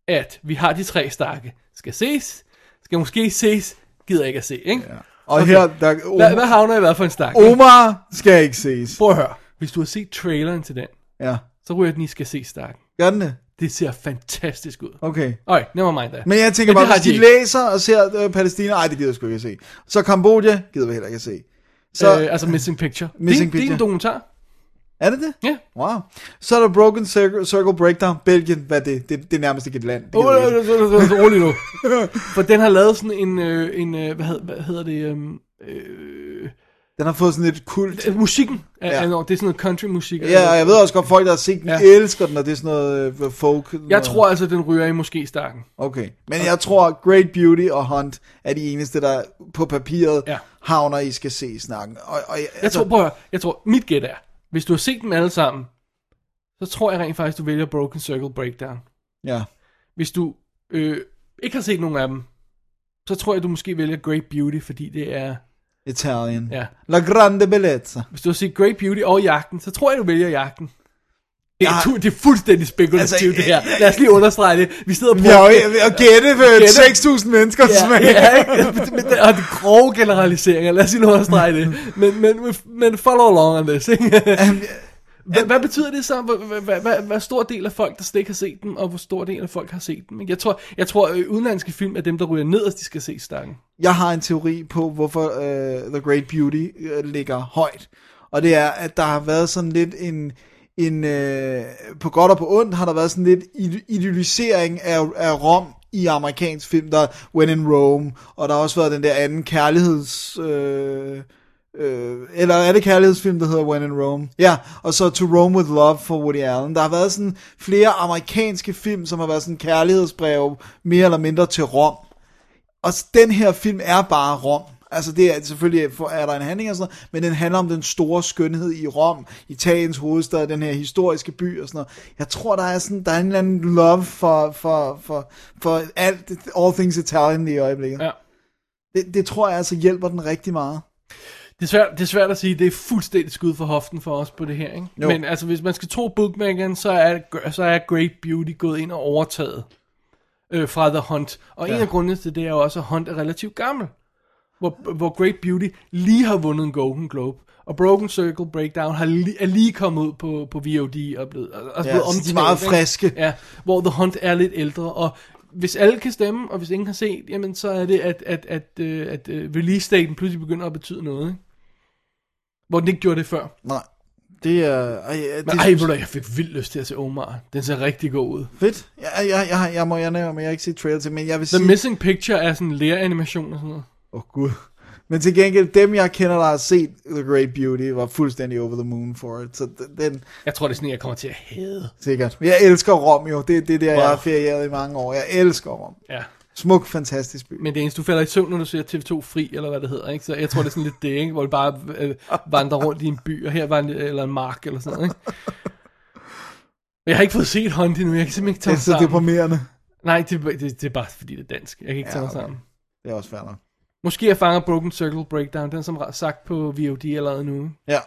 Speaker 4: at vi har de tre stakke. Skal ses, skal måske ses, gider ikke at se, ikke? Ja.
Speaker 3: Og okay. her, der,
Speaker 4: Hvad, hvad havner jeg hvad for en stak?
Speaker 3: Omar skal ikke ses.
Speaker 4: Prøv at høre. Hvis du har set traileren til den,
Speaker 3: Ja,
Speaker 4: så ryger den, I skal se stakken.
Speaker 3: gør den det?
Speaker 4: Det ser fantastisk ud.
Speaker 3: Okay.
Speaker 4: Okay, never mind da.
Speaker 3: Men jeg tænker
Speaker 4: Men
Speaker 3: bare,
Speaker 4: det har
Speaker 3: hvis
Speaker 4: de
Speaker 3: de
Speaker 4: ikke.
Speaker 3: læser og ser øh, Palæstina, ej, det gider jeg sgu ikke at se. Så Kambodja gider vi heller ikke at se. Så
Speaker 4: øh, altså Missing Picture.
Speaker 3: Missing
Speaker 4: det, det er
Speaker 3: Picture.
Speaker 4: en dokumentar.
Speaker 3: er det det?
Speaker 4: Ja.
Speaker 3: Wow. Så er der Broken Cir- Circle Breakdown. Belgien, hvad er det? Det, det er nærmest ikke et land. Det
Speaker 4: Åh, øh,
Speaker 3: gider vi ikke.
Speaker 4: rolig nu. For den har lavet sådan en, øh, en øh, hvad, hed, hvad hedder det, øhm,
Speaker 3: Den har fået sådan et kult.
Speaker 4: øh, musikken. Er,
Speaker 3: Ja.
Speaker 4: ja. er, det er sådan noget country musik.
Speaker 3: Ja, og jeg ved også godt, folk, der har set den, ja.
Speaker 4: Ja.
Speaker 3: elsker den, og det er sådan noget øh, folk.
Speaker 4: Jeg tror altså, den ryger i måske stakken.
Speaker 3: Okay. Men jeg tror, Great Beauty og Hunt er de eneste, der på papiret ja.
Speaker 4: Ja.
Speaker 3: havner, I skal se snakken. Og, og, jeg altså,
Speaker 4: Jeg tror, prøv at høre, jeg tror, mit gæt er, hvis du har set dem alle sammen, så tror jeg rent faktisk, du vælger Broken Circle Breakdown.
Speaker 3: Ja.
Speaker 4: Hvis du øh, ikke har set nogen af dem, så tror jeg, du måske vælger Great Beauty, fordi det er...
Speaker 3: Italien.
Speaker 4: Ja.
Speaker 3: La Grande Bellezza.
Speaker 4: Hvis du har set Great Beauty og Jagten, så tror jeg, du vælger Jagten. Det er,
Speaker 3: Jeg-
Speaker 4: ja. det er fuldstændig spekulativt,
Speaker 3: Altså,
Speaker 4: altså, det her. Lad os lige understrege det. Vi sidder på...
Speaker 3: Vi har jo ved at gætte øh,
Speaker 4: Gætte.
Speaker 3: 6.000 mennesker
Speaker 4: Ja,
Speaker 3: smag.
Speaker 4: ja, ikke? Men det- Og de grove generaliseringer, lad os lige nu understrege det. Men, men, men follow along on this, ikke? Hvad, hvad betyder det så? Hvor- Hvad, hvad, hvad, hvad stor del af folk, der slet ikke har set dem, og hvor stor del af folk har set dem? ikke? Jeg tror, jeg tror øh, udenlandske film er dem, der ryger ned, de skal se stakken.
Speaker 3: Jeg har en teori på, hvorfor uh, The Great Beauty uh, ligger højt. Og det er, at der har været sådan lidt en... en uh, på godt og på ondt har der været sådan lidt id- idealisering af, af Rom i amerikansk film, der er When in Rome, og der har også været den der anden kærligheds... Uh, Øh, eller er det kærlighedsfilm, der hedder When in Rome? Ja, og så To Rome with Love for Woody Allen. Der har været sådan flere amerikanske film, som har været sådan kærlighedsbreve, mere eller mindre til Rom. Og s- den her film er bare Rom. Altså det er selvfølgelig, for- er der en handling og sådan noget, men den handler om den store skønhed i Rom, Italiens hovedstad, den her historiske by og sådan noget. Jeg tror, der er sådan, der er en eller anden love for, for, for, for alt, all things Italian i øjeblikket.
Speaker 4: Ja.
Speaker 3: Det, det, tror jeg altså hjælper den rigtig meget.
Speaker 4: Det er, svært, det er svært at sige, det er fuldstændig skud for hoften for os på det her, ikke?
Speaker 3: Jo.
Speaker 4: Men altså, hvis man skal tro bookmakeren, så er, så er Great Beauty gået ind og overtaget øh, fra The Hunt. Og ja. en af grundene til det er jo også, at Hunt er relativt gammel. Hvor, hvor Great Beauty lige har vundet en Golden Globe. Og Broken Circle Breakdown har li, er lige kommet ud på, på VOD og blevet, og, og
Speaker 3: Ja, så
Speaker 4: blevet
Speaker 3: de er
Speaker 4: omtalt.
Speaker 3: meget
Speaker 4: ikke?
Speaker 3: friske.
Speaker 4: Ja, hvor The Hunt er lidt ældre, og hvis alle kan stemme, og hvis ingen har set, jamen så er det, at, at, at, øh, at øh, release-daten pludselig begynder at betyde noget, ikke? Hvor den ikke gjorde det før.
Speaker 3: Nej, det er... Ej, det,
Speaker 4: Men ej, ved du, hvad, jeg fik vildt lyst til at se Omar. Den ser rigtig god ud.
Speaker 3: Fedt. Jeg, jeg, jeg, jeg må jeg nævne, men jeg har ikke set trailer til, men jeg vil
Speaker 4: The
Speaker 3: sige...
Speaker 4: Missing Picture er sådan en læreanimation og sådan noget.
Speaker 3: Åh, oh, gud. Men til gengæld, dem jeg kender, der har set The Great Beauty, var fuldstændig over the moon for it. Så d- den,
Speaker 4: Jeg tror, det er sådan, en, jeg kommer til at hade.
Speaker 3: sikkert. Jeg elsker Rom jo. Det er det, der,
Speaker 4: Wow.
Speaker 3: jeg har ferieret i mange år. Jeg elsker Rom.
Speaker 4: Ja.
Speaker 3: Smuk, fantastisk by.
Speaker 4: Men det eneste, du falder i søvn, når du ser TV2 Fri, eller hvad det hedder, ikke? Så jeg tror, det er sådan lidt det, ikke? Hvor du bare øh, vandrer rundt i en by, og her var en, eller en mark, eller sådan noget, ikke? Men Jeg har ikke fået set Hunt endnu, jeg kan simpelthen ikke tage
Speaker 3: det
Speaker 4: mig
Speaker 3: er så
Speaker 4: sammen.
Speaker 3: deprimerende.
Speaker 4: Nej, det, er- det, det er bare fordi, det er dansk. Jeg kan ikke
Speaker 3: Ja,
Speaker 4: ja, tage mig
Speaker 3: okay.
Speaker 4: sammen.
Speaker 3: Det er også fair nok.
Speaker 4: Måske jeg fanger Broken Circle Breakdown, den er som sagt på VOD allerede nu. ikke?
Speaker 3: Ja.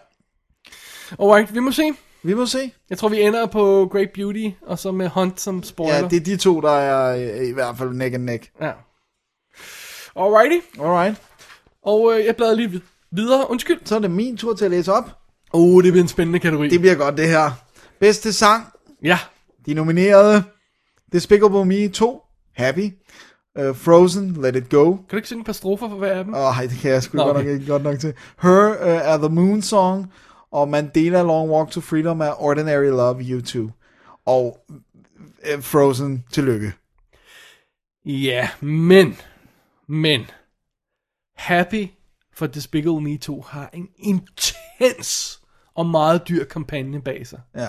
Speaker 4: Alright, vi må se.
Speaker 3: Vi må se.
Speaker 4: Jeg tror, vi ender på Great Beauty, og så med Hunt som spoiler.
Speaker 3: Ja, det er de to, der er øh, i hvert fald neck and neck.
Speaker 4: Ja. Alrighty,
Speaker 3: Alright.
Speaker 4: og øh, jeg bladrer lige vid- videre. Undskyld.
Speaker 3: Så er det min tur til at læse op.
Speaker 4: Åh, oh, det bliver en spændende kategori.
Speaker 3: Det bliver godt, det her. Bedste sang.
Speaker 4: Ja.
Speaker 3: De nominerede. Despicable Me 2. Happy. Uh, Frozen. Let It Go.
Speaker 4: Kan du ikke synge et par strofer for hver af dem?
Speaker 3: Åh, oh, det kan jeg sgu
Speaker 4: Nå,
Speaker 3: godt, nok
Speaker 4: okay.
Speaker 3: ikke godt nok til. Her uh, er The Moon Song, og Mandela Long Walk to Freedom er Ordinary Love U2. Og uh, Frozen, tillykke.
Speaker 4: Ja, men, men, Happy for Despicable Me 2 har en intens og meget dyr kampagne bag sig.
Speaker 3: Ja.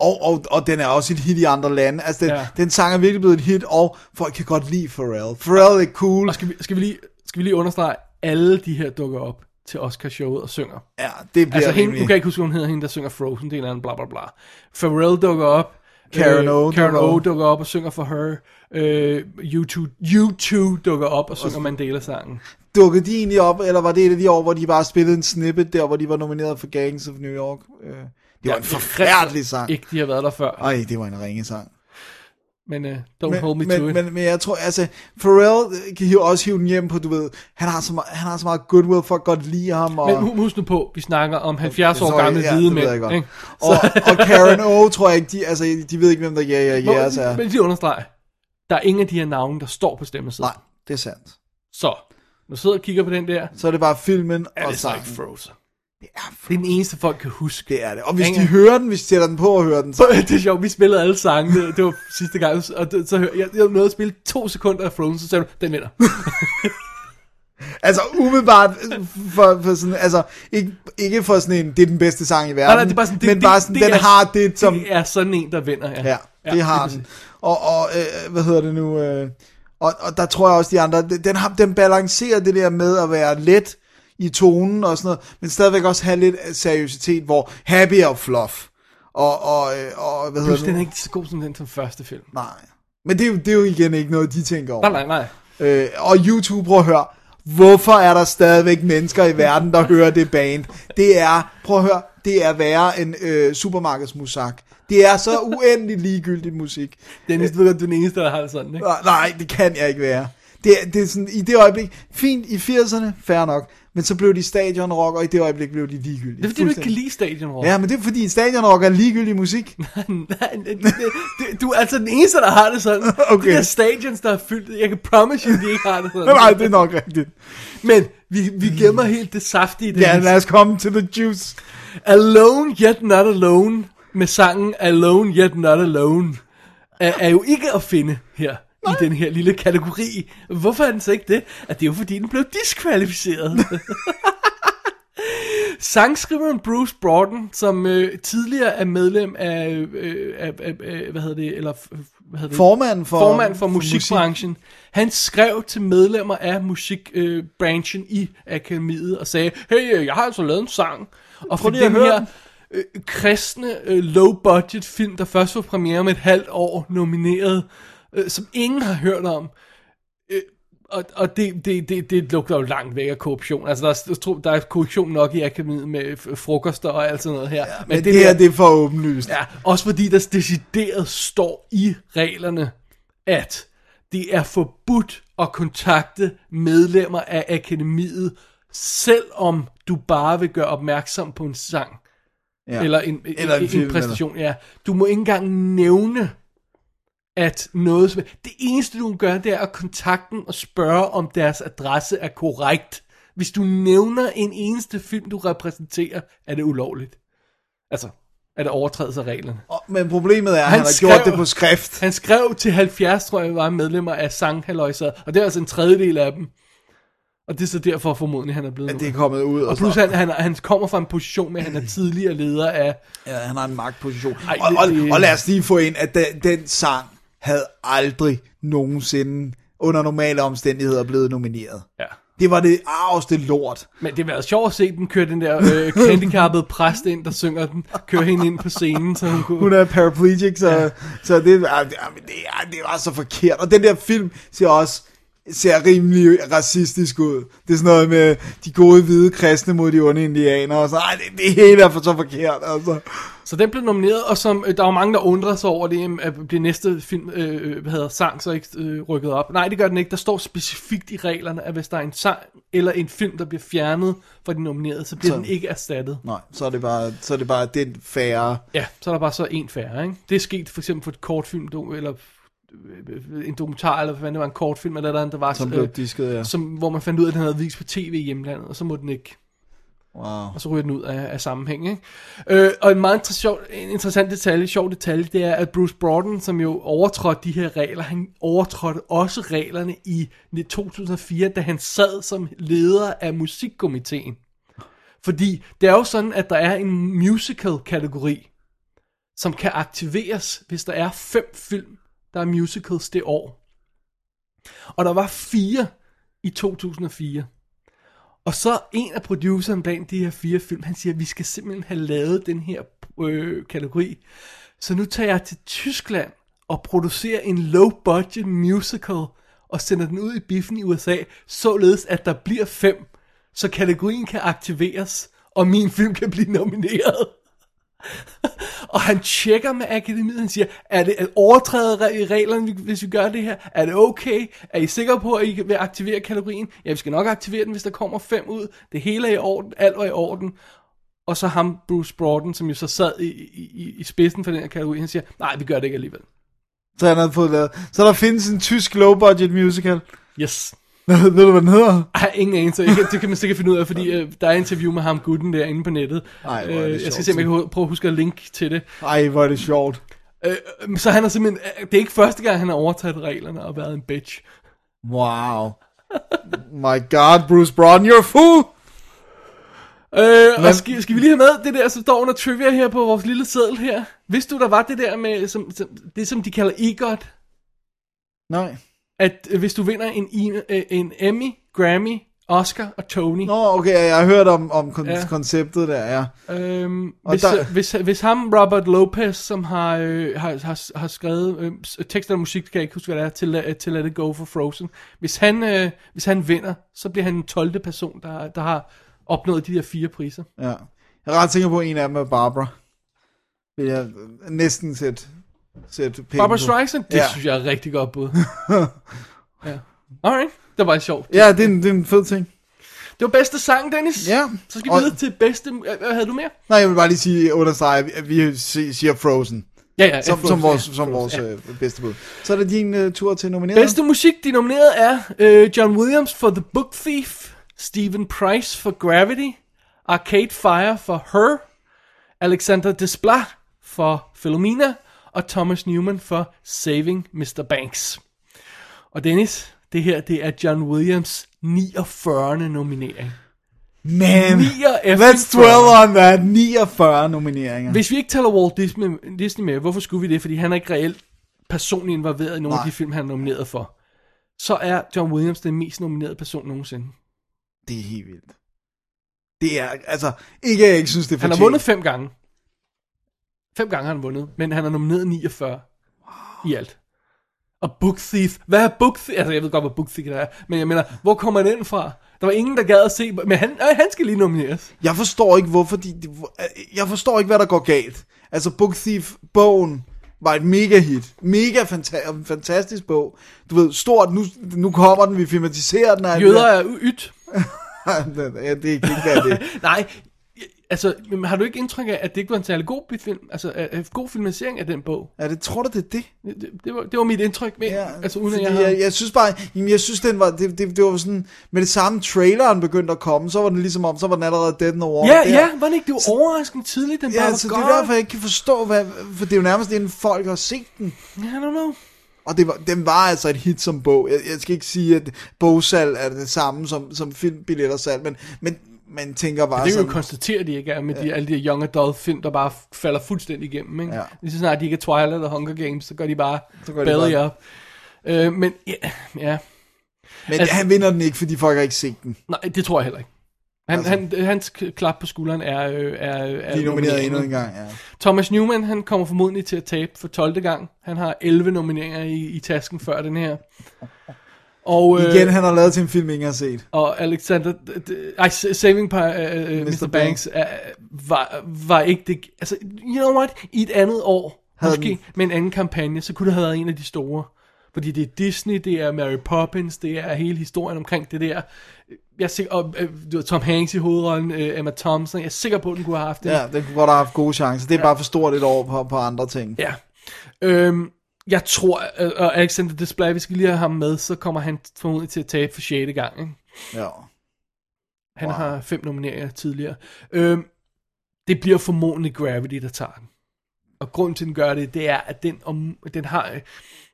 Speaker 3: Og, og, og den er også et hit i andre lande. Altså, den, ja.
Speaker 4: Ja.
Speaker 3: den sang er virkelig blevet et hit, og folk kan godt lide Pharrell. Pharrell er cool.
Speaker 4: Og skal vi, skal vi, lige, skal vi lige understrege, alle de her dukker op til Oscar-showet og synger.
Speaker 3: Ja, det bliver
Speaker 4: Altså, hende, nu
Speaker 3: rimelig-
Speaker 4: kan jeg ikke huske, hvad hun hedder, hende, der synger Frozen, det er en eller anden bla bla bla. Pharrell dukker op.
Speaker 3: Karen O
Speaker 4: øh, Karen
Speaker 3: dukker
Speaker 4: O
Speaker 3: op.
Speaker 4: dukker op og synger for her. Øh, U2, U2 dukker op og synger Mandela-sangen.
Speaker 3: Dukkede de egentlig op, eller var det et af de år, hvor de bare spillede en snippet der, hvor de var nomineret for Gangs of New York? Øh, Det var ja, en forfærdelig sang.
Speaker 4: Ikke, de har været der før.
Speaker 3: Ej, det var en ringe sang.
Speaker 4: Men uh, don't
Speaker 3: men,
Speaker 4: hold me to
Speaker 3: men,
Speaker 4: it.
Speaker 3: men, men jeg tror, altså, Pharrell øh, kan hive, også hive den hjem på, du ved, han har så meget, han har så meget goodwill, folk godt lide ham, og...
Speaker 4: Men hu- husk nu på, vi snakker om 70 år
Speaker 3: Sorry,
Speaker 4: gamle
Speaker 3: ja,
Speaker 4: hvide
Speaker 3: det ved jeg
Speaker 4: mænd.
Speaker 3: godt.
Speaker 4: ikke?
Speaker 3: Og, og Karen O, tror jeg ikke, de, altså, de ved ikke, hvem der yeah, yeah,
Speaker 4: Må-
Speaker 3: yes, er.
Speaker 4: Men lige understrege, der er ingen af de her navne, der står på stemmesiden.
Speaker 3: Nej, det er sandt.
Speaker 4: Så, nu sidder jeg og kigger på den der.
Speaker 3: Så er det bare filmen
Speaker 4: Er
Speaker 3: og
Speaker 4: det så ikke
Speaker 3: sangen.
Speaker 4: Frozen? Det er den eneste, folk kan huske.
Speaker 3: Det er det. Og hvis
Speaker 4: Ingen-
Speaker 3: de hører den, hvis de sætter den på og hører den, så...
Speaker 4: det er sjovt, vi spillede alle sange, det, det var sidste gang, og det, så hør- jeg, jeg nåede at spille to sekunder af Frozen, så sagde du, den vinder.
Speaker 3: Altså umiddelbart øh, for, for sådan, altså ikke, ikke for sådan en, det er den bedste sang i verden,
Speaker 4: Nej, nej, det er bare sådan, det,
Speaker 3: men
Speaker 4: det,
Speaker 3: bare sådan,
Speaker 4: det
Speaker 3: den
Speaker 4: er,
Speaker 3: har det, som,
Speaker 4: Det er sådan en, der vinder, ja.
Speaker 3: ja, det har den. Og, og øh, hvad hedder det nu, øh, og, og der tror jeg også de andre, den- den, har, den balancerer det der med at være let i tonen og sådan noget, men stadigvæk også have lidt seriøsitet, hvor happy og fluff, og, og, øh, og hvad
Speaker 4: Plus,
Speaker 3: hedder
Speaker 4: den er
Speaker 3: det nu?
Speaker 4: ikke så god som den som første film.
Speaker 3: Nej. Men det er, jo, det er jo igen ikke noget, de tænker over.
Speaker 4: Nej, nej, nej.
Speaker 3: Øh, og YouTube, prøv at høre, hvorfor er der stadigvæk mennesker i verden, der hører det band? Det er, prøv at høre, det er værre end øh, supermarkedsmusak. Det er så uendelig ligegyldigt musik.
Speaker 4: Dennis, du ved godt, du er den eneste, der har det sådan, ikke?
Speaker 3: Nej, Nej, det kan jeg ikke være. Det, er- det er sådan, i det øjeblik, fint i 80'erne, fair nok, men så blev de stadionrock, og i det øjeblik blev de ligegyldige.
Speaker 4: Det er fordi, du ikke kan
Speaker 3: Fuldstændig.
Speaker 4: lide Stadion Rock.
Speaker 3: Ja, men det er fordi stadionrock er ligegyldig musik.
Speaker 4: Nej, det- det- du er altså den eneste, der har det sådan.
Speaker 3: Okay.
Speaker 4: De der stadions, der er fyldt, jeg kan promise you, de ikke har det sådan.
Speaker 3: Nej, det er nok rigtigt.
Speaker 4: Men vi, vi glemmer helt det saftige. Dennis.
Speaker 3: Ja, lad os komme til the juice.
Speaker 4: Alone Yet Not Alone med sangen Alone Yet Not Alone er, er jo ikke at finde her i den her lille kategori. Hvorfor er den så ikke det? At det er jo fordi, den blev diskvalificeret. Sangskriveren Bruce Broughton, som øh, tidligere er medlem af, øh, af, af, af, hvad hedder det, eller f- hvad hedder det?
Speaker 3: Formanden for-
Speaker 4: formand for
Speaker 3: for musik.
Speaker 4: musikbranchen, han skrev til medlemmer af musikbranchen øh, branchen i akademiet og sagde, hey, øh, jeg har altså lavet en sang, og for
Speaker 3: lige at
Speaker 4: den
Speaker 3: høre
Speaker 4: her
Speaker 3: den.
Speaker 4: øh, kristne øh, low-budget film, der først var premiere om et halvt år nomineret, øh, som ingen har hørt om, Øh, og, og det, det, det, det lugter jo langt væk af korruption. Altså, der er, jeg tror, der er korruption nok i akademiet med f- frokoster og alt sådan noget her. Ja,
Speaker 3: Men det, det her, det er for åbenlyst.
Speaker 4: Ja, også fordi der decideret står i reglerne, at det er forbudt at kontakte medlemmer af akademiet, selvom du bare vil gøre opmærksom på en sang.
Speaker 3: Ja.
Speaker 4: Eller en, eller en, en,
Speaker 3: film,
Speaker 4: en præstation, ja. Du må ikke engang nævne, at noget... Som, det eneste, du kan gøre, det er at kontakte dem og spørge, om deres adresse er korrekt. Hvis du nævner en eneste film, du repræsenterer, er det ulovligt. Altså, er det overtrædelse af reglerne.
Speaker 3: Og- Men problemet er, at han,
Speaker 4: Han
Speaker 3: han har
Speaker 4: skrev-
Speaker 3: gjort det på skrift.
Speaker 4: Han skrev til 70, tror jeg, var medlemmer af Sanghaløjser, og det er altså en tredjedel af dem. Og det er så derfor formodentlig, han er blevet
Speaker 3: At det er
Speaker 4: nu.
Speaker 3: kommet ud.
Speaker 4: Og plus, han, han, han kommer fra en position med, at han er tidligere leder af...
Speaker 3: ja, han har en magtposition.
Speaker 4: Ej,
Speaker 3: og, og,
Speaker 4: det-
Speaker 3: og lad os lige få ind, at den, den sang havde aldrig nogensinde under normale omstændigheder blevet nomineret.
Speaker 4: Ja.
Speaker 3: Det var det arveste lort.
Speaker 4: Men det har været sjovt at se den køre den der øh, handicappede præst ind, der synger den, køre hende ind på scenen, så hun kunne...
Speaker 3: Hun er paraplegic, så, ja. så det, ah, det, ah, men det, ah, det var så forkert. Og den der film ser også ser rimelig racistisk ud. Det er sådan noget med de gode hvide kristne mod de onde indianere, og så, ej, det, det hele er for så forkert, altså.
Speaker 4: Så den blev nomineret, og som, øh, der var mange, der undrede sig over det, jamen, at bliver næste film, øh, hvad hedder sang, så ikke øh, rykket op. Nej, det gør den ikke. Der står specifikt i reglerne, at hvis der er en sang eller en film, der bliver fjernet fra de nominerede, så bliver
Speaker 3: Så-
Speaker 4: så. den ikke erstattet.
Speaker 3: Nej, så er det bare, så er det bare den færre.
Speaker 4: Ja, så er der bare så en færre, ikke? Det er sket for eksempel for et kortfilm, do- eller øh, en dokumentar, eller hvad fanden det var, en kortfilm, eller et eller andet, der var, øh,
Speaker 3: Som blev disket, ja.
Speaker 4: som, hvor man fandt ud af, at den havde vist på tv i hjemlandet, og så må den ikke
Speaker 3: Wow.
Speaker 4: og så ryger den ud af, af sammenhæng. Ikke? Øh, og en meget inter- sjov, en interessant detalje, sjov detalje, det er, at Bruce Broughton, som jo overtrådte de her regler, han overtrådte også reglerne i 2004, da han sad som leder af musikkomiteen. Fordi det er jo sådan, at der er en musical-kategori, som kan aktiveres, hvis der er fem film, der er musicals det år. Og der var fire i 2004. Og så en af produceren blandt de her fire film, han siger, vi skal simpelthen have lavet den her øh, kategori. Så nu tager jeg til Tyskland og producerer en low-budget musical og sender den ud i biffen i USA, således at der bliver fem, så kategorien kan aktiveres, og min film kan blive nomineret. og han tjekker med akademiet, han siger, er det at overtræde re- reglerne, hvis vi gør det her? Er det okay? Er I sikre på, at I vil aktivere kategorien? Ja, vi skal nok aktivere den, hvis der kommer fem ud. Det hele er i orden, alt var i orden. Og så ham, Bruce Broughton, som jo så sad i, i, i- i spidsen for den her kategori, han siger, nej, vi gør det ikke alligevel.
Speaker 3: Så han havde fået lavet. Så der findes en tysk low-budget musical.
Speaker 4: Yes.
Speaker 3: Ved du, hvad den hedder?
Speaker 4: Jeg har ingen anelse, jeg kan, det kan man sikkert finde ud af, fordi øh, der er interview med ham gutten der inde på nettet. Øh,
Speaker 3: Ej, hvor er det
Speaker 4: jeg skal
Speaker 3: sjovt.
Speaker 4: se, om jeg kan ho- prøve at huske at link til det.
Speaker 3: Ej, hvor er det sjovt.
Speaker 4: Øh, så han er simpelthen, øh, det er ikke første gang, han har overtaget reglerne og været en bitch.
Speaker 3: Wow. My god, Bruce Broughton, you're a fool!
Speaker 4: Øh, og skal, skal vi lige have med det der, som står under trivia her på vores lille seddel her? Vidste du, der var det der med, som, som, det som de kalder EGOT?
Speaker 3: Nej.
Speaker 4: At øh, hvis du vinder en, I- øh, en Emmy, Grammy, Oscar og Tony,
Speaker 3: Nå, okay, jeg har hørt om, om kon-
Speaker 4: Ja.
Speaker 3: ja. konceptet der, ja.
Speaker 4: Øhm,
Speaker 3: Og
Speaker 4: hvis,
Speaker 3: der-
Speaker 4: der... hvis, hvis ham, Robert Lopez, som har, øh, har, har, har skrevet øh, s- tekster og musik, kan jeg ikke huske, hvad det er, til, øh, til Let It Go for Frozen. Hvis han, øh, hvis han vinder, så bliver han den 12. person, der, der har opnået de der fire priser.
Speaker 3: ja. Jeg er ret sikker på, at en af dem er Barbara. Vil jeg næsten sætte, sætte penge
Speaker 4: Barbara
Speaker 3: på.
Speaker 4: Streisand, det
Speaker 3: Ja.
Speaker 4: synes jeg er et rigtig godt bud. ja. Alright, det var sjovt.
Speaker 3: Ja, det er, en, det er en fed ting.
Speaker 4: Det var bedste sang, Dennis.
Speaker 3: Ja.
Speaker 4: Så skal vi
Speaker 3: Og-
Speaker 4: videre til bedste... øh, Hvad havde du mere?
Speaker 3: Nej, jeg vil bare lige sige, understrege, at vi si- siger Frozen,
Speaker 4: Ja, ja.
Speaker 3: som,
Speaker 4: Frozen,
Speaker 3: som vores,
Speaker 4: ja.
Speaker 3: som vores øh, bedste bud. Så er det din øh, tur til nomineret.
Speaker 4: Bedste musik, de nominerede er øh, John Williams for The Book Thief, Stephen Price for Gravity, Arcade Fire for Her, Alexander Desplat for Philomena, og Thomas Newman for Saving Mr. Banks. Og Dennis, det her det er John Williams 49. nominering.
Speaker 3: Man,
Speaker 4: Nier efter
Speaker 3: let's dwell
Speaker 4: Frozen.
Speaker 3: on that. 49 nomineringer.
Speaker 4: Hvis vi ikke taler Walt Disney, Disney med, hvorfor skulle vi det? Fordi han er ikke reelt personligt involveret i nogle af
Speaker 3: Nej.
Speaker 4: de film, han er nomineret for. Så er John Williams den mest nominerede person nogensinde.
Speaker 3: Det er helt vildt. Det er, altså, ikke at jeg ikke synes, det er
Speaker 4: Han har
Speaker 3: fortjent.
Speaker 4: vundet fem gange. Fem gange har han vundet, men han er nomineret 49 wow. i alt. Og Book Thief, hvad er Book Thief? Altså, jeg ved godt, hvad Book Thief er, men jeg mener, hvor kommer den fra? Der var ingen, der gad at se, men han, øh, han skal lige nomineres.
Speaker 3: Jeg forstår ikke, hvorfor de, de... Jeg forstår ikke, hvad der går galt. Altså, Book Thief-bogen var et mega hit. Mega fanta- fantastisk bog. Du ved, stort, nu, nu kommer den, vi filmatiserer den. og alt
Speaker 4: Jøder er u- ydt.
Speaker 3: det der. ja, det kan ikke være det.
Speaker 4: Nej, altså, men har du ikke indtryk af, at det ikke var en særlig god bi- film? Altså, øh, øh, god filmatisering af den bog?
Speaker 3: Er det, tror du, det er det?
Speaker 4: Det, det, det, var, det var mit indtryk, men, ja, altså, uden at
Speaker 3: fordi
Speaker 4: jeg har...
Speaker 3: jeg, jeg, synes bare, jamen, jeg synes, den var, det, det, det var sådan, med det samme traileren begyndte at komme, så var den ligesom om, så var den allerede dead in the water.
Speaker 4: Ja,
Speaker 3: der.
Speaker 4: ja, var det ikke? Det var overraskende tidligt, den bare
Speaker 3: Ja,
Speaker 4: var
Speaker 3: så det
Speaker 4: godt.
Speaker 3: er derfor, jeg ikke kan forstå, hvad, for det er jo nærmest inden folk har set den.
Speaker 4: I don't know.
Speaker 3: Og det var, den var altså et hit som bog. Jeg, jeg skal ikke sige, at bogsal er det samme som, som filmbillettersalg, men, men man tænker bare
Speaker 4: Det kan vi
Speaker 3: sådan,
Speaker 4: jo konstatere, de ikke er med de, alle de young adult film, der bare f- falder fuldstændig igennem. Ikke?
Speaker 3: Ja.
Speaker 4: Lige så snart de ikke er Twilight og Hunger Games, så går de bare
Speaker 3: Så
Speaker 4: går
Speaker 3: går de
Speaker 4: belly
Speaker 3: bare-
Speaker 4: up. Øh, men ja, ja,
Speaker 3: men
Speaker 4: altså-
Speaker 3: altså, han vinder den ikke, fordi folk har ikke set den.
Speaker 4: nej, det tror jeg heller ikke. Han, altså, han, hans k- klap på skulderen er, øh, er, er
Speaker 3: De er nomineret
Speaker 4: nomineringen.
Speaker 3: endnu en gang, ja.
Speaker 4: Thomas Newman, han kommer formodentlig til at tabe for 12. gang. Han har 11 nomineringer i, i tasken før den her. Og, øh,
Speaker 3: Igen, han har lavet til en film, ingen har set.
Speaker 4: og Alexander, d- d- ej, S- Saving pa, uh, Mr. Mr.
Speaker 3: Mr.
Speaker 4: Banks uh, var, var ikke det, altså, you know what, i et andet år, havde
Speaker 3: Havde
Speaker 4: måske den.
Speaker 3: den-
Speaker 4: med en anden kampagne, så kunne det have været en af de store, fordi det er Disney, det er Mary Poppins, det er hele historien omkring det der, jeg er sikker, og, øh, du ved, Tom Hanks i hovedrollen, øh, Emma Thompson, jeg er sikker på, at den kunne have haft det.
Speaker 3: Ja, den kunne godt have haft gode chancer. Det er bare for stort et år på, på andre ting.
Speaker 4: Ja. Øhm, jeg tror, øh, og Alexander Display, vi skal lige have ham med, så kommer han formodentlig til at tabe for 6. gang, ikke?
Speaker 3: Ja.
Speaker 4: Han wow. har fem nomineringer tidligere. Øhm, det bliver formodentlig Gravity, der tager den. Og grunden til, at den gør det, det er, at den, om, den har... øh,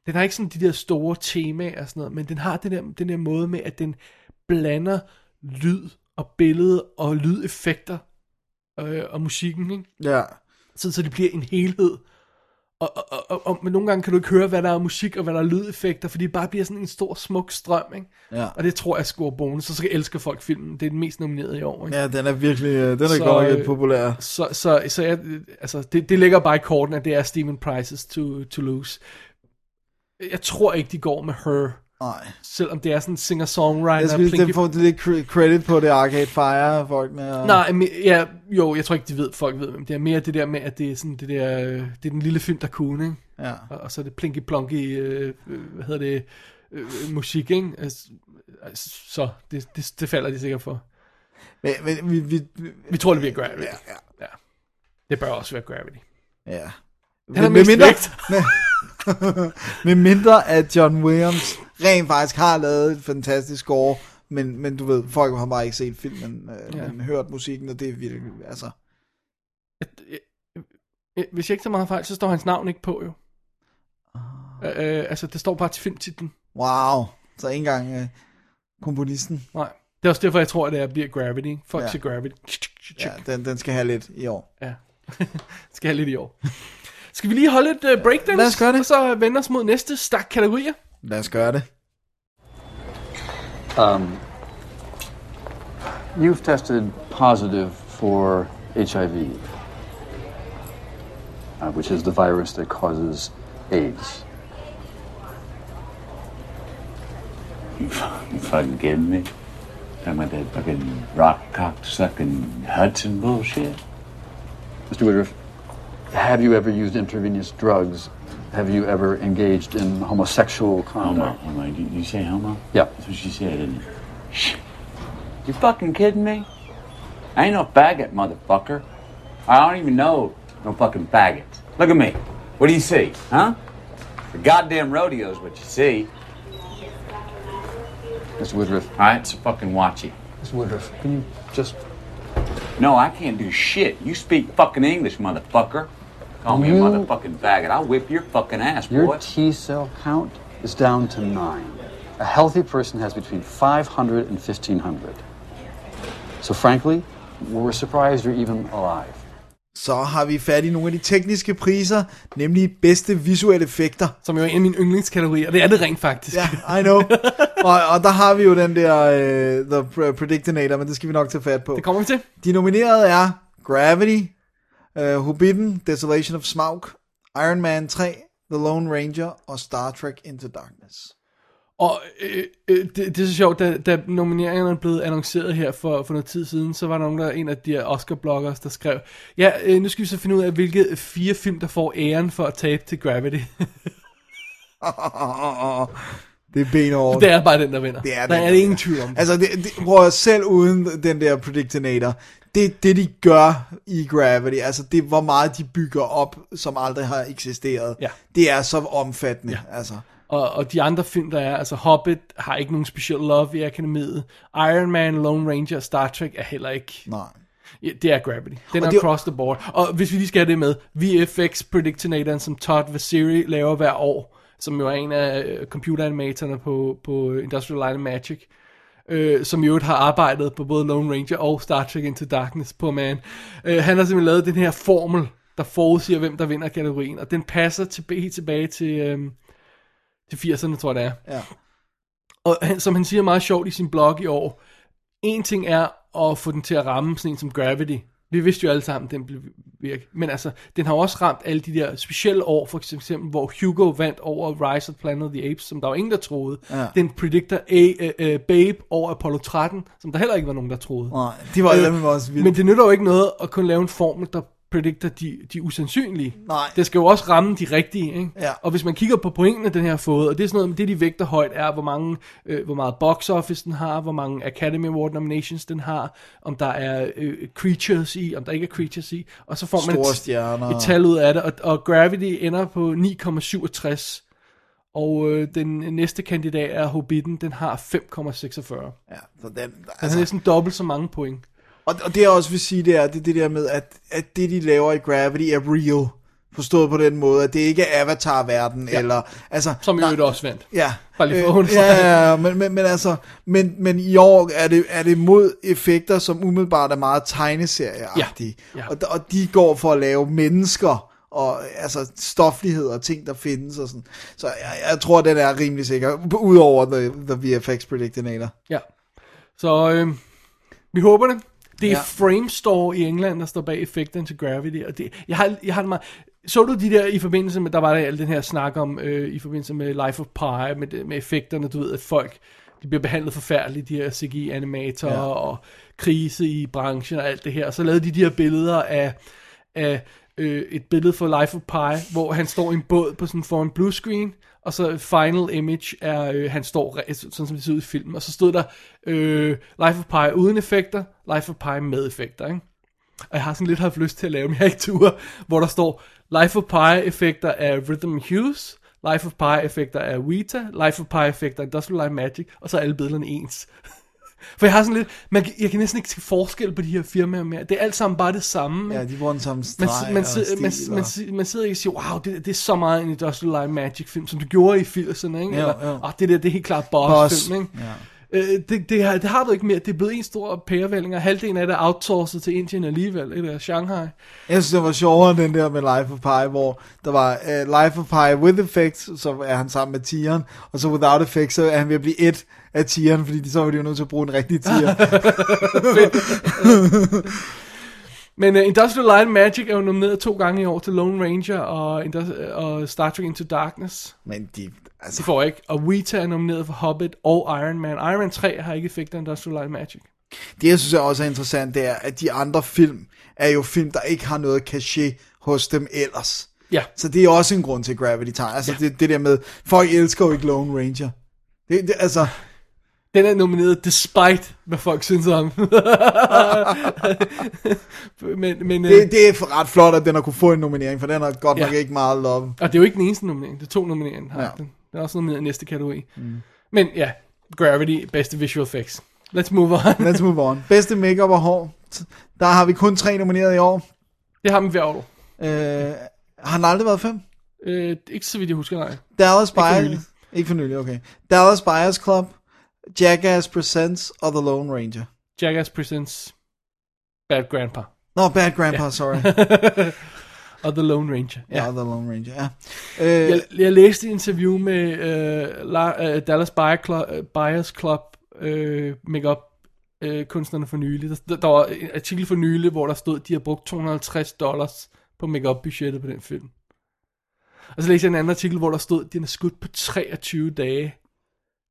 Speaker 4: Den har ikke sådan de der store temaer og sådan noget, men den har den der, den der måde med, at den blander lyd og billede og lydeffekter øh, og musikken, ikke?
Speaker 3: ja.
Speaker 4: sådan så det bliver en helhed. Og, og, og, og, og men nogle gange kan du ikke høre, hvad der er musik og hvad der er lydeffekter, fordi det bare bliver sådan en stor, smuk strøm, ikke?
Speaker 3: Ja.
Speaker 4: Og det tror jeg scorer bonus, så skal elsker folk filmen. Det er den mest nominerede i år, ikke?
Speaker 3: Ja, den er virkelig, øh, den er
Speaker 4: Så,
Speaker 3: godt nok
Speaker 4: øh,
Speaker 3: lidt populær.
Speaker 4: Så, så, så jeg, altså, det, det ligger bare i korten, at det er Steven Price's to, to lose. Jeg tror ikke, de går med her.
Speaker 3: Nej.
Speaker 4: Selvom det er sådan en
Speaker 3: Jeg
Speaker 4: singer-songwriter.
Speaker 3: synes, den
Speaker 4: plinky-
Speaker 3: får lidt cre- credit på det Arcade Fire folk med. Og...
Speaker 4: Nej, men, ja, jo, jeg tror ikke, de ved, folk ved, hvem det er. Mere det der med, at det er sådan det der, øh, det er den lille film, der kunne, ikke?
Speaker 3: Ja.
Speaker 4: Og, og så er det plinky-plonky, øh, øh, hvad hedder det, øh, musik, ikke? Altså, altså, Så det, det, det falder de sikkert for.
Speaker 3: Men, men vi, vi, vi,
Speaker 4: Vi tror, det bliver Gravity. Ja, ja. ja. Det bør også være Gravity.
Speaker 3: ja.
Speaker 4: Han er
Speaker 3: med,
Speaker 4: mest
Speaker 3: mindre,
Speaker 4: vægt.
Speaker 3: med, med mindre at John Williams rent faktisk har lavet et fantastisk score, men, men du ved, folk har bare ikke set filmen, øh,
Speaker 4: Ja.
Speaker 3: ja. men hørt musikken, og det er virkelig, altså...
Speaker 4: At, øh, øh, Hvis jeg ikke tager meget fejl, så står hans navn ikke på, jo.
Speaker 3: Ah.
Speaker 4: Øh, øh, altså, det står bare til filmtitlen.
Speaker 3: Wow. Så ikke engang øh, komponisten.
Speaker 4: Nej. Det er også derfor, jeg tror, at det er- bliver Gravity. ikke? Folk ja.
Speaker 3: Ja.
Speaker 4: siger Gravity.
Speaker 3: Ja, den, den skal have lidt i år.
Speaker 4: Ja. Skal jeg lidt i år. Skal vi lige holde et uh, breakdance?
Speaker 3: Lad os gøre det.
Speaker 4: Og så øh, vende os mod næste stak kategorier.
Speaker 3: Lad os gøre det.
Speaker 7: Um, you've tested positive for HIV, uh, which is the virus that causes AIDS.
Speaker 2: You fucking kidding me? Talking about that fucking rock cock sucking Hudson bullshit?
Speaker 7: Mr. Woodruff, have you ever used intravenous drugs? Have you ever engaged in homosexual
Speaker 2: Homo,
Speaker 7: conduct?
Speaker 2: homo. You, you say homo?
Speaker 7: Yeah.
Speaker 2: That's what she said, isn't it? Shh. You fucking kidding me? I ain't no faggot, motherfucker. I don't even know no fucking faggot. Look at me. What do you see, huh? The goddamn rodeo's what you see.
Speaker 7: Mr. Woodruff,
Speaker 2: All right, so fucking watch it.
Speaker 7: Mr. Woodruff, can you just
Speaker 2: No, I can't do shit. You speak fucking English, motherfucker. Call me
Speaker 7: You-
Speaker 2: a motherfucking faggot. I'll whip your fucking ass,
Speaker 7: Your
Speaker 2: boy.
Speaker 7: T cell count is down to nine. A healthy person has between 500 and 1500. So, frankly, we're surprised you're even alive.
Speaker 3: Så har vi fat i nogle af de tekniske priser, nemlig bedste visuelle effekter.
Speaker 4: Som jo er en af mine yndlingskategorier. Det er det rent faktisk.
Speaker 3: Ja, I know. og, og der har vi jo den der øh, The Predictinator, men det skal vi nok tage fat på.
Speaker 4: Det kommer vi til.
Speaker 3: De nominerede er Gravity, øh, Hobbiten, Desolation of Smaug, Iron Man 3, The Lone Ranger og Star Trek Into Darkness.
Speaker 4: Og øh, øh, det, det er så sjovt, da, da nomineringerne blev annonceret her for, for noget tid siden, så var der nogen, der, en af de her Oscar-bloggers, der skrev, ja, øh, nu skal vi så finde ud af, hvilke fire film, der får æren for at tabe til Gravity.
Speaker 3: Det er benhårdt.
Speaker 4: det er bare den, der vinder.
Speaker 3: Det er
Speaker 4: der
Speaker 3: den,
Speaker 4: er
Speaker 3: der
Speaker 4: ingen
Speaker 3: vinder.
Speaker 4: tvivl om det.
Speaker 3: Altså, det, det, prøv at høre, selv uden den der Predictinator, det det, de gør i Gravity, altså det, hvor meget de bygger op, som aldrig har eksisteret,
Speaker 4: Ja.
Speaker 3: det er så omfattende, ja. altså.
Speaker 4: Og, og de andre film, der er, altså Hobbit har ikke nogen speciel love i akademiet. Iron Man, Lone Ranger og Star Trek er heller ikke...
Speaker 3: Nej.
Speaker 4: Ja, det er Gravity. Den
Speaker 3: Og
Speaker 4: er
Speaker 3: det-
Speaker 4: across the board. Og hvis vi lige skal have det med, VFX Predictinatoren, som Todd Vasiri laver hver år, som jo er en af øh, computeranimatorerne på, på Industrial Light and Magic, øh, som i øvrigt har arbejdet på både Lone Ranger og Star Trek Into Darkness på Man. Øh, han har simpelthen lavet den her formel, der forudsiger, hvem der vinder kategorien, og den passer til, helt tilbage til, øh, til 80'erne, tror jeg det er.
Speaker 3: Ja.
Speaker 4: Og han, som han siger meget sjovt i sin blog i år, en ting er at få den til at ramme sådan en som Gravity. Vi vidste jo alle sammen, den blev virke. Men altså, den har jo også ramt alle de der specielle år, for eksempel, hvor Hugo vandt over Rise of Planet of the Apes, som der var ingen, der troede. Ja. Den predictor A, uh, uh, Babe over Apollo 13, som der heller ikke var nogen, der troede.
Speaker 3: Nej, de var øh, også vildt.
Speaker 4: Men det nytter jo ikke noget at kun lave en formel, der predicter de, de usandsynlige.
Speaker 3: Nej.
Speaker 4: Det skal jo også ramme de rigtige, ikke?
Speaker 3: Ja.
Speaker 4: Og hvis man kigger på pointene, den her har fået, og det er sådan noget, det de vægter højt er, hvor, mange, øh, hvor meget box office den har, hvor mange Academy Award nominations den har, om der er øh, creatures i, om der ikke er creatures i, og så får man
Speaker 3: Store
Speaker 4: et,
Speaker 3: stjerner.
Speaker 4: et tal ud af det, og, og Gravity ender på 9,67. Og øh, den næste kandidat er Hobbiten, den har 5,46.
Speaker 3: Ja, så den,
Speaker 4: Altså,
Speaker 3: altså,
Speaker 4: det er sådan dobbelt så mange point.
Speaker 3: og, og det jeg også vil sige, det er det, er det der med, at, at det de laver i Gravity er real. Forstået på den måde, at det ikke er Avatar-verden, ja. eller... Altså,
Speaker 4: Som i
Speaker 3: nej,
Speaker 4: øvrigt også vandt.
Speaker 3: Ja.
Speaker 4: Bare lige for at
Speaker 3: øh,
Speaker 4: understrege.
Speaker 3: ja, ja, ja, men, men, men altså, men, men i år er det, er det mod effekter, som umiddelbart er meget tegneserieagtige.
Speaker 4: Ja, ja.
Speaker 3: Og, og de går for at lave mennesker, og altså stoflighed og ting, der findes og sådan. Så jeg, jeg tror, den er rimelig sikker, udover The, the VFX Predictinator.
Speaker 4: Ja. Så øh, vi håber det. Det er ja. Framestore i England, der står bag effekten til Gravity. Og det, jeg, har, jeg har det meget... Så du de der i forbindelse med, der var der al den her snak om, øh, i forbindelse med Life of Pi, med, det- med effekterne, du ved, at folk, de bliver behandlet forfærdeligt, de her CGI-animatorer ja. og krise i branchen og alt det her. Så lavede de de her billeder af, af øh, et billede fra Life of Pi, hvor han står i en båd på sådan foran blue screen, og så final image er, øh, han står re- sådan, som det ser ud i filmen, og så stod der øh, Life of Pi uden effekter, Life of Pi med effekter, ikke? Og jeg har sådan lidt haft lyst til at lave dem, jeg ikke tur, hvor der står Life of Pi-effekter af Rhythm Hughes, Life of Pi-effekter af Weta, Life of Pi-effekter af Industrial Light Magic, og så er alle billederne ens. For jeg har sådan lidt, man, kan- jeg kan næsten ikke se forskel på de her firmaer mere. Det er alt sammen bare det samme.
Speaker 3: Ja,
Speaker 4: ikke?
Speaker 3: de bruger den samme
Speaker 4: man,
Speaker 3: streg
Speaker 4: si- man,
Speaker 3: og
Speaker 4: si-
Speaker 3: stil
Speaker 4: man,
Speaker 3: og-
Speaker 4: man, si- man sidder ikke og siger, wow, det, det er så meget en Industrial Light Magic film, som du gjorde i 80'erne, ikke?
Speaker 3: Jo,
Speaker 4: Eller,
Speaker 3: jo.
Speaker 4: "Ah, det der, det er helt klart Boss,
Speaker 3: Boss,
Speaker 4: film, ikke?
Speaker 3: ja.
Speaker 4: Øh, det, det, har, det har du ikke mere. Det er blevet en stor pærevælling, og halvdelen af det er outsourcet til Indien alligevel, eller Shanghai.
Speaker 3: Jeg synes, det var sjovere, den der med Life of Pi, hvor der var uh, Life of Pi with effects, så er han sammen med tieren, og så without effects, så er han ved at blive et af tieren, fordi de, så var de jo nødt til at bruge en rigtig tier.
Speaker 4: Men uh, Industrial Light and Magic er jo nomineret to gange i år til Lone Ranger og, Indus- og Star Trek Into Darkness.
Speaker 3: Men de, altså,
Speaker 4: De får ikke. Og Weta er nomineret for Hobbit og Iron Man. Iron Man 3 har ikke effekter af Industrial Light and Magic.
Speaker 3: det jeg synes er også er interessant, det er, at de andre film, er jo film, der ikke har noget cachet hos dem ellers.
Speaker 4: Ja.
Speaker 3: Så det er også en grund til, at Gravity tager. Altså ja. det, det der med, folk elsker jo ikke Lone Ranger. Det, det, altså,
Speaker 4: Den er nomineret despite, hvad folk synes om. men, men, øh,
Speaker 3: det, det er ret flot, at den har kunne få en nominering, for den har godt
Speaker 4: Ja.
Speaker 3: nok ikke meget love.
Speaker 4: Og det er jo ikke den eneste nominering. Det er to nomineringer, den har
Speaker 3: Ja.
Speaker 4: ja. den. Den er også nomineret i næste kategori. Mm. Men ja, Gravity, bedste visual effects. Let's move on.
Speaker 3: Let's move on. Bedste makeup og hår. Der har vi kun tre nomineret i år.
Speaker 4: det har man hver år.
Speaker 3: Øh, har han aldrig været fem?
Speaker 4: Øh, ikke så vidt jeg husker, nej.
Speaker 3: Dallas
Speaker 4: for
Speaker 3: Buyers...
Speaker 4: nylig.
Speaker 3: Ikke for nylig, okay. Dallas Buyers Club, Jackass Presents og The Lone Ranger.
Speaker 4: Jackass Presents Bad Grandpa
Speaker 3: Nå, no, Bad Grandpa, yeah. sorry.
Speaker 4: og The Lone Ranger.
Speaker 3: Ja, The Lone Ranger, ja. Øh,
Speaker 4: Jeg, jeg læste et interview med øh, La, øh, Dallas Buyer Club, Buyers Club øh, makeup øh, kunstnerne for nylig. Der, der var en artikel for nylig, hvor der stod, at de har brugt 250 dollars på makeup budgettet på den film. Og så læste jeg en anden artikel, hvor der stod, at den er skudt på 23 dage,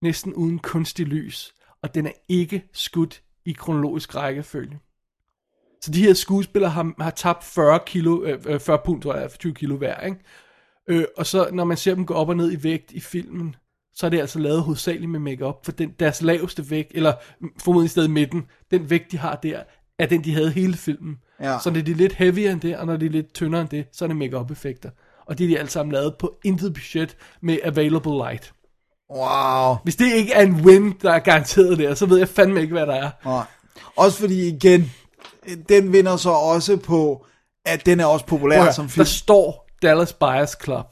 Speaker 4: næsten uden kunstig lys, og den er ikke skudt i kronologisk rækkefølge. Så de her skuespillere har, har tabt 40 kilo, øh, øh, 40 pund, tror jeg, 20 kilo hver, ikke? Øh, og så når man ser dem gå op og ned i vægt i filmen, så er det altså lavet hovedsageligt med makeup, for den, deres laveste vægt, eller mm, formodentlig stadig midten, den vægt, de har der, er den, de havde hele filmen.
Speaker 3: Ja.
Speaker 4: Så når de er lidt heavier end det, og når de er lidt tyndere end det, så er det makeup effekter Og det er de alle sammen lavet på intet budget med available light.
Speaker 3: wow.
Speaker 4: Hvis det ikke er en win, der er garanteret der, så ved jeg fandme ikke, hvad der er.
Speaker 3: Nej. Også fordi, igen, den vinder så også på, at den er også populær
Speaker 4: Prøv at
Speaker 3: som
Speaker 4: høre,
Speaker 3: film.
Speaker 4: der står Dallas Buyers Club,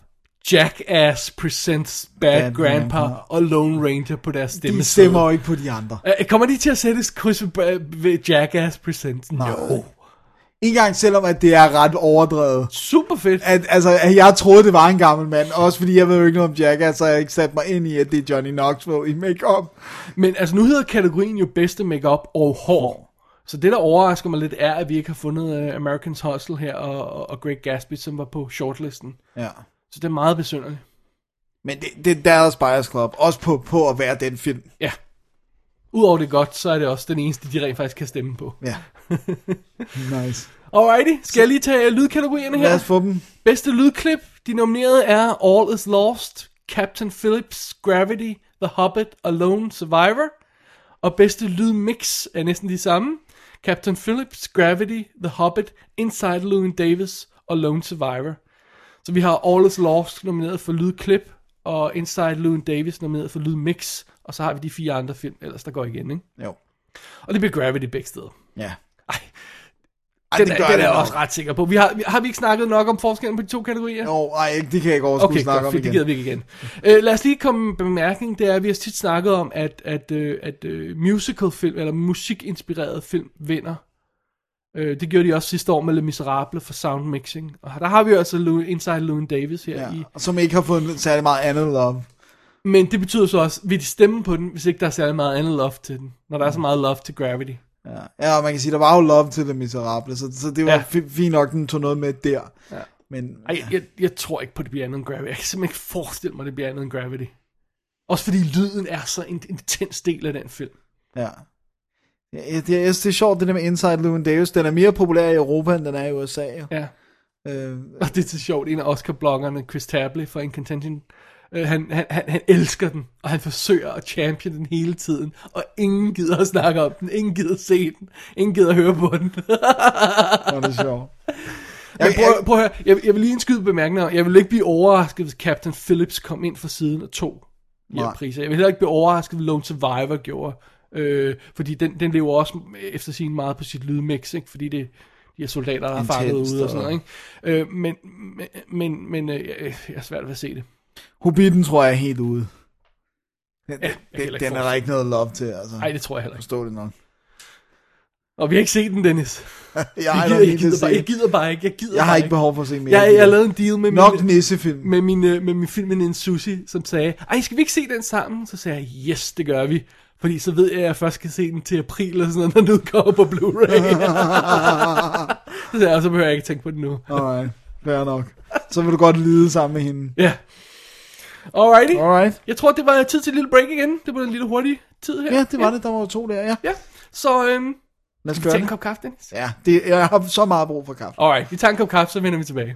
Speaker 4: Jackass Presents Bad,
Speaker 3: Bad
Speaker 4: Bad Grandpa
Speaker 3: Grandpa.
Speaker 4: og Lone Ranger på deres
Speaker 3: De
Speaker 4: stemmeside.
Speaker 3: stemmer jo ikke på de andre.
Speaker 4: Øh, Kommer de til at sætte et kryds ved, øh, ved Jackass Presents? Nej. No.
Speaker 3: Ikke engang selvom, at det er ret overdrevet.
Speaker 4: Super fedt.
Speaker 3: At, altså, at jeg troede, det var en gammel mand, også fordi jeg ved jo ikke noget om Jackass, så jeg har ikke sat mig ind i, at det er Johnny Knoxville i makeup.
Speaker 4: Men altså, nu hedder kategorien jo bedste makeup og hår. Så det, der overrasker mig lidt, er, at vi ikke har fundet øh, Americans Hustle her og, og- og Greg Gatsby, som var på shortlisten.
Speaker 3: Ja.
Speaker 4: Så det er meget besynderligt.
Speaker 3: Men det, det er Dallas Buyers Club, også på, på at være den film.
Speaker 4: Ja. Udover det godt, så er det også den eneste, de rent faktisk kan stemme på.
Speaker 3: Ja. nice.
Speaker 4: Alrighty, skal jeg lige tage øh, lydkategorierne her?
Speaker 3: Lad os få dem.
Speaker 4: Bedste lydklip, de nominerede er All Is Lost, Captain Phillips, Gravity, The Hobbit og Lone Survivor. Og bedste lydmix er næsten de samme. Captain Phillips, Gravity, The Hobbit, Inside Llewyn Davis og Lone Survivor. Så vi har All Is Lost nomineret for lydklip, og Inside Llewyn Davis nomineret for lydmix. Og så har vi de fire andre film, ellers der går igen, ikke?
Speaker 3: Jo.
Speaker 4: Og det bliver Gravity begge steder.
Speaker 3: Ja.
Speaker 4: Ej,
Speaker 3: Ej,
Speaker 4: den, det er, den er jeg
Speaker 3: nok.
Speaker 4: også ret sikker på. Vi har, vi- har vi ikke snakket nok om forskellen på de to kategorier?
Speaker 3: Jo, ej, ikke- det kan jeg ikke overskue
Speaker 4: Okay,
Speaker 3: okay, snakke
Speaker 4: godt,
Speaker 3: om
Speaker 4: fedt,
Speaker 3: igen.
Speaker 4: det gider vi ikke igen. Øh, lad os lige komme med en bemærkning, det er, at vi har tit snakket om, at, at, øh, at øh, musicalfilm, eller musikinspireret film, vinder. Øh, det gjorde de også sidste år med Le Miserable for soundmixing. Og der har vi jo altså Lou- Inside Llewyn Davis her ja. i.
Speaker 3: ja. Og som ikke har fået særlig meget andet love.
Speaker 4: Men det betyder så også, vil de stemme på den, hvis ikke der er særlig meget andet love til den. Når der
Speaker 3: Mm.
Speaker 4: er så meget love til Gravity.
Speaker 3: Ja. ja, og man kan sige, der var jo love til det miserable, så, så det var
Speaker 4: Ja.
Speaker 3: ja. fint nok, den tog noget med der. Ja. Men
Speaker 4: Ej, jeg, jeg tror ikke på, det bliver andet end Gravity. Jeg kan simpelthen ikke forestille mig, det bliver andet end Gravity. Også fordi lyden er så en intens del af den film.
Speaker 3: ja. Ja, det, jeg synes, det er sjovt, det der med Inside Llewyn Davis. Den er mere populær i Europa, end den er i USA. Jo.
Speaker 4: Ja.
Speaker 3: Øh,
Speaker 4: Og det er så sjovt, en af Oscar-bloggerne, Chris Tabley fra Incontention, øh, han, han, han, han elsker den, og han forsøger at champion den hele tiden, og ingen gider at snakke om den, ingen gider at se den, ingen gider at høre på den.
Speaker 3: hvor er det sjovt.
Speaker 4: Men
Speaker 3: Jeg,
Speaker 4: prøv, prøv at høre, jeg, jeg vil lige indskyde bemærkninger. Jeg vil ikke blive overrasket, hvis Captain Phillips kom ind fra siden og tog de her
Speaker 3: Nej.
Speaker 4: priser. Jeg vil heller ikke blive overrasket, hvis Lone Survivor gjorde. Øh, fordi den, den lever også efter sin meget på sit lydmix, ikke? fordi det de her soldater, der har fanget
Speaker 3: Intenst
Speaker 4: ud og sådan
Speaker 3: og-
Speaker 4: noget. Ikke? Øh, men men, men, men øh, jeg jeg har svært ved at se det.
Speaker 3: Hobbiten tror jeg er helt ude. Den,
Speaker 4: Ja, jeg kan heller
Speaker 3: den,
Speaker 4: ikke
Speaker 3: den er der
Speaker 4: forestille-
Speaker 3: ikke noget love til, altså.
Speaker 4: Nej, det tror jeg heller ikke.
Speaker 3: Forstå det nok.
Speaker 4: Og vi har ikke set den, Dennis.
Speaker 3: Jeg,
Speaker 4: Jeg,
Speaker 3: har
Speaker 4: gider,
Speaker 3: nok
Speaker 4: jeg,
Speaker 3: ikke
Speaker 4: gider,
Speaker 3: set
Speaker 4: bare, jeg
Speaker 3: den.
Speaker 4: gider bare ikke. Jeg, gider
Speaker 3: jeg har
Speaker 4: bare
Speaker 3: ikke behov for at se mere.
Speaker 4: Jeg, jeg lavede en deal med
Speaker 3: Nok
Speaker 4: min,
Speaker 3: nissefilm.
Speaker 4: med min, øh, med min filmveninde Susi, som sagde, ej, skal vi ikke se den sammen? Så sagde jeg, yes, det gør vi. Fordi så ved jeg, at jeg først skal se den til april, eller sådan noget, når den udkommer på Blu-ray. så sagde jeg, så behøver jeg ikke tænke på den nu.
Speaker 3: Alright, fair nok. Så vil du godt lide sammen med hende.
Speaker 4: Ja. Alrighty.
Speaker 3: Alright.
Speaker 4: Jeg tror, det var tid til et lille break igen. Det var en lille hurtig tid her.
Speaker 3: Ja, det var det. Der var jo to der, ja.
Speaker 4: Ja. Så øhm,
Speaker 3: Lad os
Speaker 4: vi
Speaker 3: gøre
Speaker 4: tager en
Speaker 3: det.
Speaker 4: kop kaffe, Dennis.
Speaker 3: Ja, det, jeg har så meget brug for kaffe.
Speaker 4: Alright, vi tager en kop kaffe, så vender vi tilbage.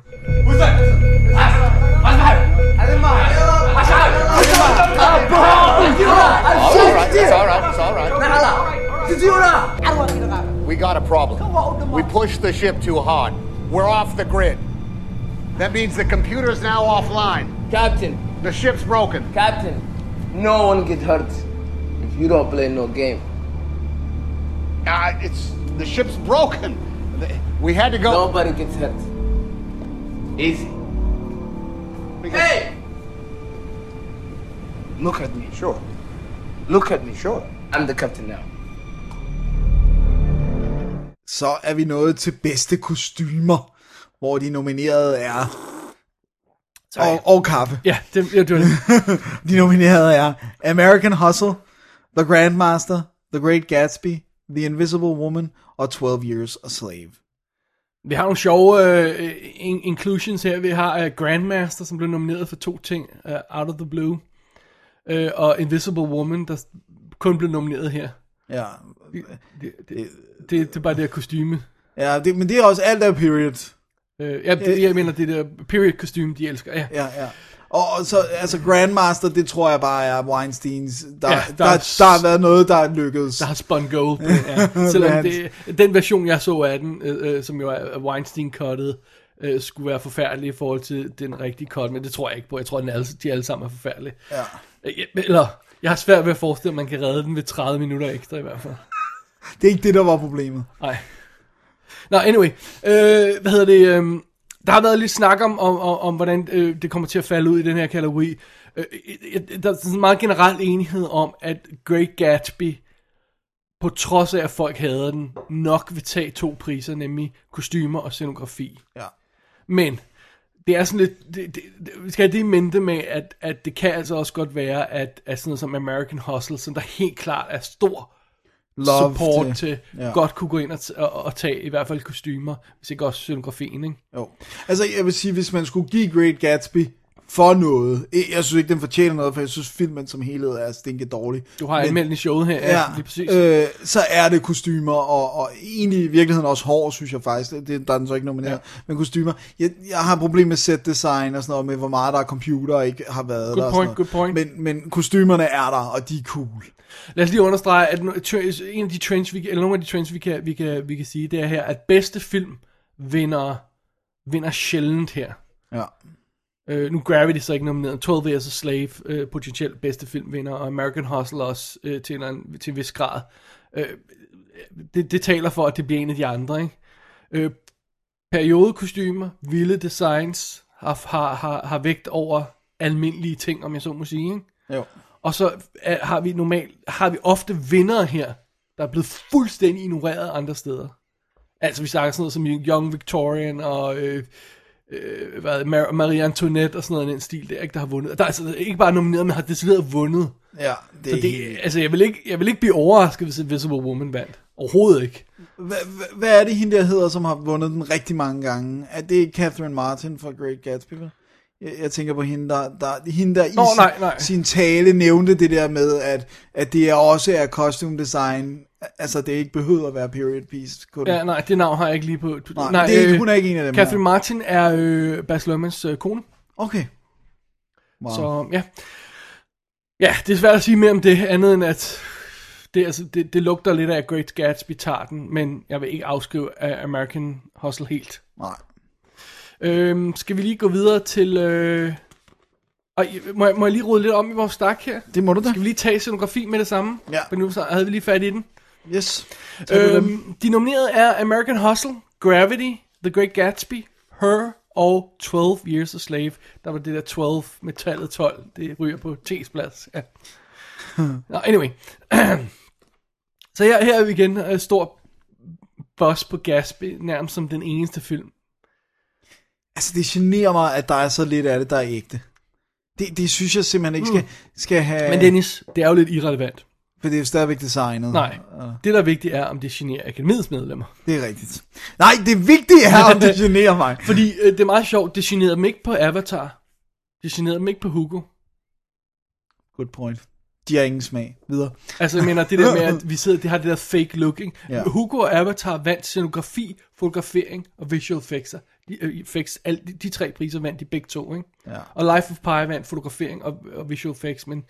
Speaker 11: We got a problem. We pushed the ship too hard. We're off the grid. That means the computer's now offline.
Speaker 12: Captain,
Speaker 11: The ship's broken.
Speaker 12: Captain, no one get hurt if you don't play no game. Ah,
Speaker 11: Uh, it's the ship's broken. We had to go.
Speaker 12: Nobody gets hurt. Easy. Hey! Look at me. Sure. Look at me. Sure. I'm the captain now.
Speaker 3: Så er vi nået til bedste kostymer, hvor de nominerede er... Og, og kaffe.
Speaker 4: Ja, det, ja, det var det.
Speaker 3: De nominerede er American Hustle, The Grandmaster, The Great Gatsby, The Invisible Woman og 12 Years a Slave.
Speaker 4: Vi har nogle sjove øh, øh, in- inclusions her. Vi har øh, Grandmaster, som blev nomineret for to ting, øh, Out of the Blue, øh, og Invisible Woman, der s- kun blev nomineret her.
Speaker 3: Ja,
Speaker 4: Det, det, det, det, det er bare det her kostyme.
Speaker 3: ja det, men det er også alt af period.
Speaker 4: Øh, ja, det, jeg mener det der period kostume, de elsker. Ja.
Speaker 3: Ja, ja. Og og så, altså Grandmaster, det tror jeg bare er Weinsteins. Der,
Speaker 4: Ja,
Speaker 3: ja,
Speaker 4: der
Speaker 3: der, der,
Speaker 4: er-
Speaker 3: der har været noget, der er lykkedes.
Speaker 4: Der har spun gold på, ja. Selvom det, den version, jeg så af den, øh, øh, som jo er Weinstein-cuttet, øh, skulle være forfærdelig i forhold til den rigtige cut, men det tror jeg ikke på. Jeg tror, at alle, de alle sammen er forfærdelige.
Speaker 3: Ja.
Speaker 4: Øh, ja, Eller, jeg har svært ved at forestille, at man kan redde den ved 30 minutter ekstra i hvert fald.
Speaker 3: Det er ikke det, der var problemet.
Speaker 4: Nej. Nå, anyway. Øh, hvad hedder det? Øh, der har været lidt snak om, om, om, om hvordan øh, det kommer til at falde ud i den her kategori. Øh, øh, der er sådan meget generel enighed om, at Great Gatsby, på trods af at folk hader den, nok vil tage to priser, nemlig kostymer og scenografi.
Speaker 3: Ja.
Speaker 4: Men det er sådan lidt, det, det, det, vi skal have det i mente med, at, at det kan altså også godt være, at, at sådan noget som American Hustle, som der helt klart er stor
Speaker 3: Love
Speaker 4: support
Speaker 3: til-
Speaker 4: til, til
Speaker 3: ja.
Speaker 4: ja. godt kunne gå ind og, t- og, og tage i hvert fald kostymer, hvis ikke også scenografien, ikke?
Speaker 3: Jo. Altså, jeg vil sige, hvis man skulle give Great Gatsby for noget, jeg jeg synes ikke, den fortjener noget, for jeg synes, filmen som helhed er stinke dårlig.
Speaker 4: Du har anmeldt den i showet her, ja,
Speaker 3: Ja,
Speaker 4: lige præcis. Øh,
Speaker 3: øh, så er det kostymer, og, og egentlig i virkeligheden også hår, synes jeg faktisk. Det- Det, der er den så ikke nomineret. Ja. Men kostymer. Jeg, jeg har et problem med set design og sådan noget, med hvor meget der er computer og ikke har været
Speaker 4: Good
Speaker 3: der. og
Speaker 4: point,
Speaker 3: sådan noget.
Speaker 4: good point.
Speaker 3: Men, men kostymerne er der, og de er cool.
Speaker 4: Lad os lige understrege, at nu- tr- en af de trends, vi, kan- eller nogle af de trends, vi kan, vi kan, vi kan sige, det er her, at bedste film vinder, vinder sjældent her.
Speaker 3: Ja.
Speaker 4: Øh, nu er Gravity så ikke nomineret. 12 Years a Slave, øh, potentielt bedste filmvinder, og American Hustle også øh, til, en, eller anden- til en vis grad. Øh, det, det taler for, at det bliver en af de andre. Ikke? Øh, periodekostymer, vilde designs, har, har, har, har vægt over almindelige ting, om jeg så må sige. Ikke?
Speaker 3: Jo.
Speaker 4: Og så er, har vi normalt, har vi ofte vinder her, der er blevet fuldstændig ignoreret andre steder. Altså vi snakker sådan noget som Young Victorian og øh, øh, hvad, Mar- Marie Antoinette og sådan noget i den stil der, ikke, der har vundet. Der er altså ikke bare nomineret, men har decideret vundet.
Speaker 3: Ja, det
Speaker 4: Så
Speaker 3: er
Speaker 4: det, altså, jeg, vil ikke, jeg vil ikke blive overrasket, hvis Invisible Woman vandt Overhovedet ikke.
Speaker 3: Hva- hva- Hvad er det, hende der hedder, som har vundet den rigtig mange gange? Er det Catherine Martin fra Great Gatsby? vel? Jeg, jeg tænker på hende, der, der, hende, der
Speaker 4: Nå,
Speaker 3: i sin,
Speaker 4: nej, nej.
Speaker 3: sin tale nævnte det der med, at, at det er også er costume design. Altså, det ikke behøver at være period piece. Kun.
Speaker 4: Ja, nej, det navn har jeg ikke lige på. Du,
Speaker 3: Mm.
Speaker 4: øh,
Speaker 3: Nej, det er ikke- hun er ikke en af dem
Speaker 4: Catherine
Speaker 3: her.
Speaker 4: Martin er øh, Bas Lermans øh, kone.
Speaker 3: Okay. Wow.
Speaker 4: Wow. Så ja. Ja, det er svært at sige mere om det, andet end at det, er altså, det, det lugter lidt af Great Gatsby tager den, men jeg vil ikke afskrive af American Hustle helt.
Speaker 3: Nej.
Speaker 4: Øhm, skal vi lige gå videre til... Øh... Og, må, jeg, må jeg lige rode lidt om i vores stak her?
Speaker 3: Det må du da.
Speaker 4: Skal vi lige tage scenografi med det samme?
Speaker 3: Ja.
Speaker 4: For nu så havde vi lige fat i den.
Speaker 3: Yes. Tag du
Speaker 4: Øhm, de nominerede er American Hustle, Gravity, The Great Gatsby, Her og 12 Years a Slave. Der var det der 12 med tallet 12. Det ryger på T's plads. Ja. Nå, anyway. så her, her er vi igen øh, stor boss på Gatsby, nærmest som den eneste film.
Speaker 3: Altså, det generer mig, at der er så lidt af det, der er ægte. Det, det synes jeg simpelthen ikke skal, skal have...
Speaker 4: Mm. Men Dennis, det er jo lidt irrelevant.
Speaker 3: For det er jo stadigvæk designet.
Speaker 4: Nej, det der er vigtigt er, om det generer akademiets medlemmer.
Speaker 3: Det er rigtigt. Nej, det vigtige er, om det generer mig.
Speaker 4: Fordi øh, det er meget sjovt, det generede dem ikke på Avatar. Det generede dem ikke på Hugo.
Speaker 3: Good point. De har ingen smag. Videre.
Speaker 4: Altså, jeg mener, det der med, at vi sidder, det har det der fake look, ikke?
Speaker 3: Ja.
Speaker 4: Ja. Hugo og Avatar vandt scenografi, fotografering og visual effects. De, øh, effects alt, de, de tre priser vandt de begge to, ikke?
Speaker 3: Ja.
Speaker 4: Og Life of Pi vandt fotografering og, og visual effects, men,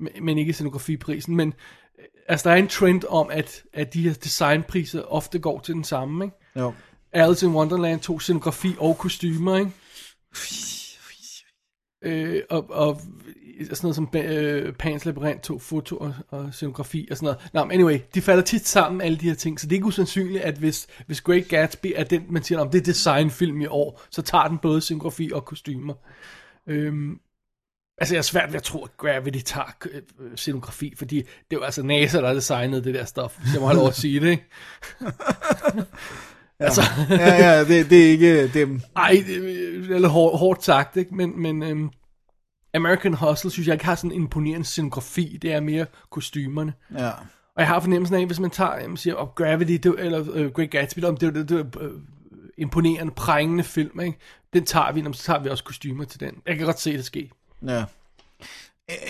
Speaker 4: men, men ikke scenografiprisen. Men øh, altså, der er en trend om, at, at de her designpriser ofte går til den samme, ikke?
Speaker 3: Jo.
Speaker 4: Alice in Wonderland tog scenografi og kostymer, ikke? Øh, og, og sådan noget som øh, Pans Labyrinth tog foto og, og scenografi og sådan noget. Nå, men anyway, de falder tit sammen, alle de her ting, så det er ikke usandsynligt, at hvis, hvis Great Gatsby er den, man siger, om det er designfilm i år, så tager den både scenografi og kostymer. Øhm, altså, jeg er svært ved at tro, at Gravity tager øh, øh, scenografi, fordi det er jo altså NASA, der har designet det der stof, hvis jeg må have lov at sige det, ikke? altså,
Speaker 3: Ja, ja, det, det er ikke dem.
Speaker 4: Ej, det er lidt hår, hårdt sagt, ikke? men, men øhm, American Hustle synes jeg ikke har sådan en imponerende scenografi, det er mere kostymerne.
Speaker 3: Ja.
Speaker 4: Og jeg har fornemmelsen af, hvis man tager, jamen, siger, op Gravity, det, var- eller øh, Great Gatsby, om det var det, det var, øh, imponerende, prængende film, ikke? den tager vi, jamen, så tager vi også kostymer til den. Jeg kan godt se det ske.
Speaker 3: Ja.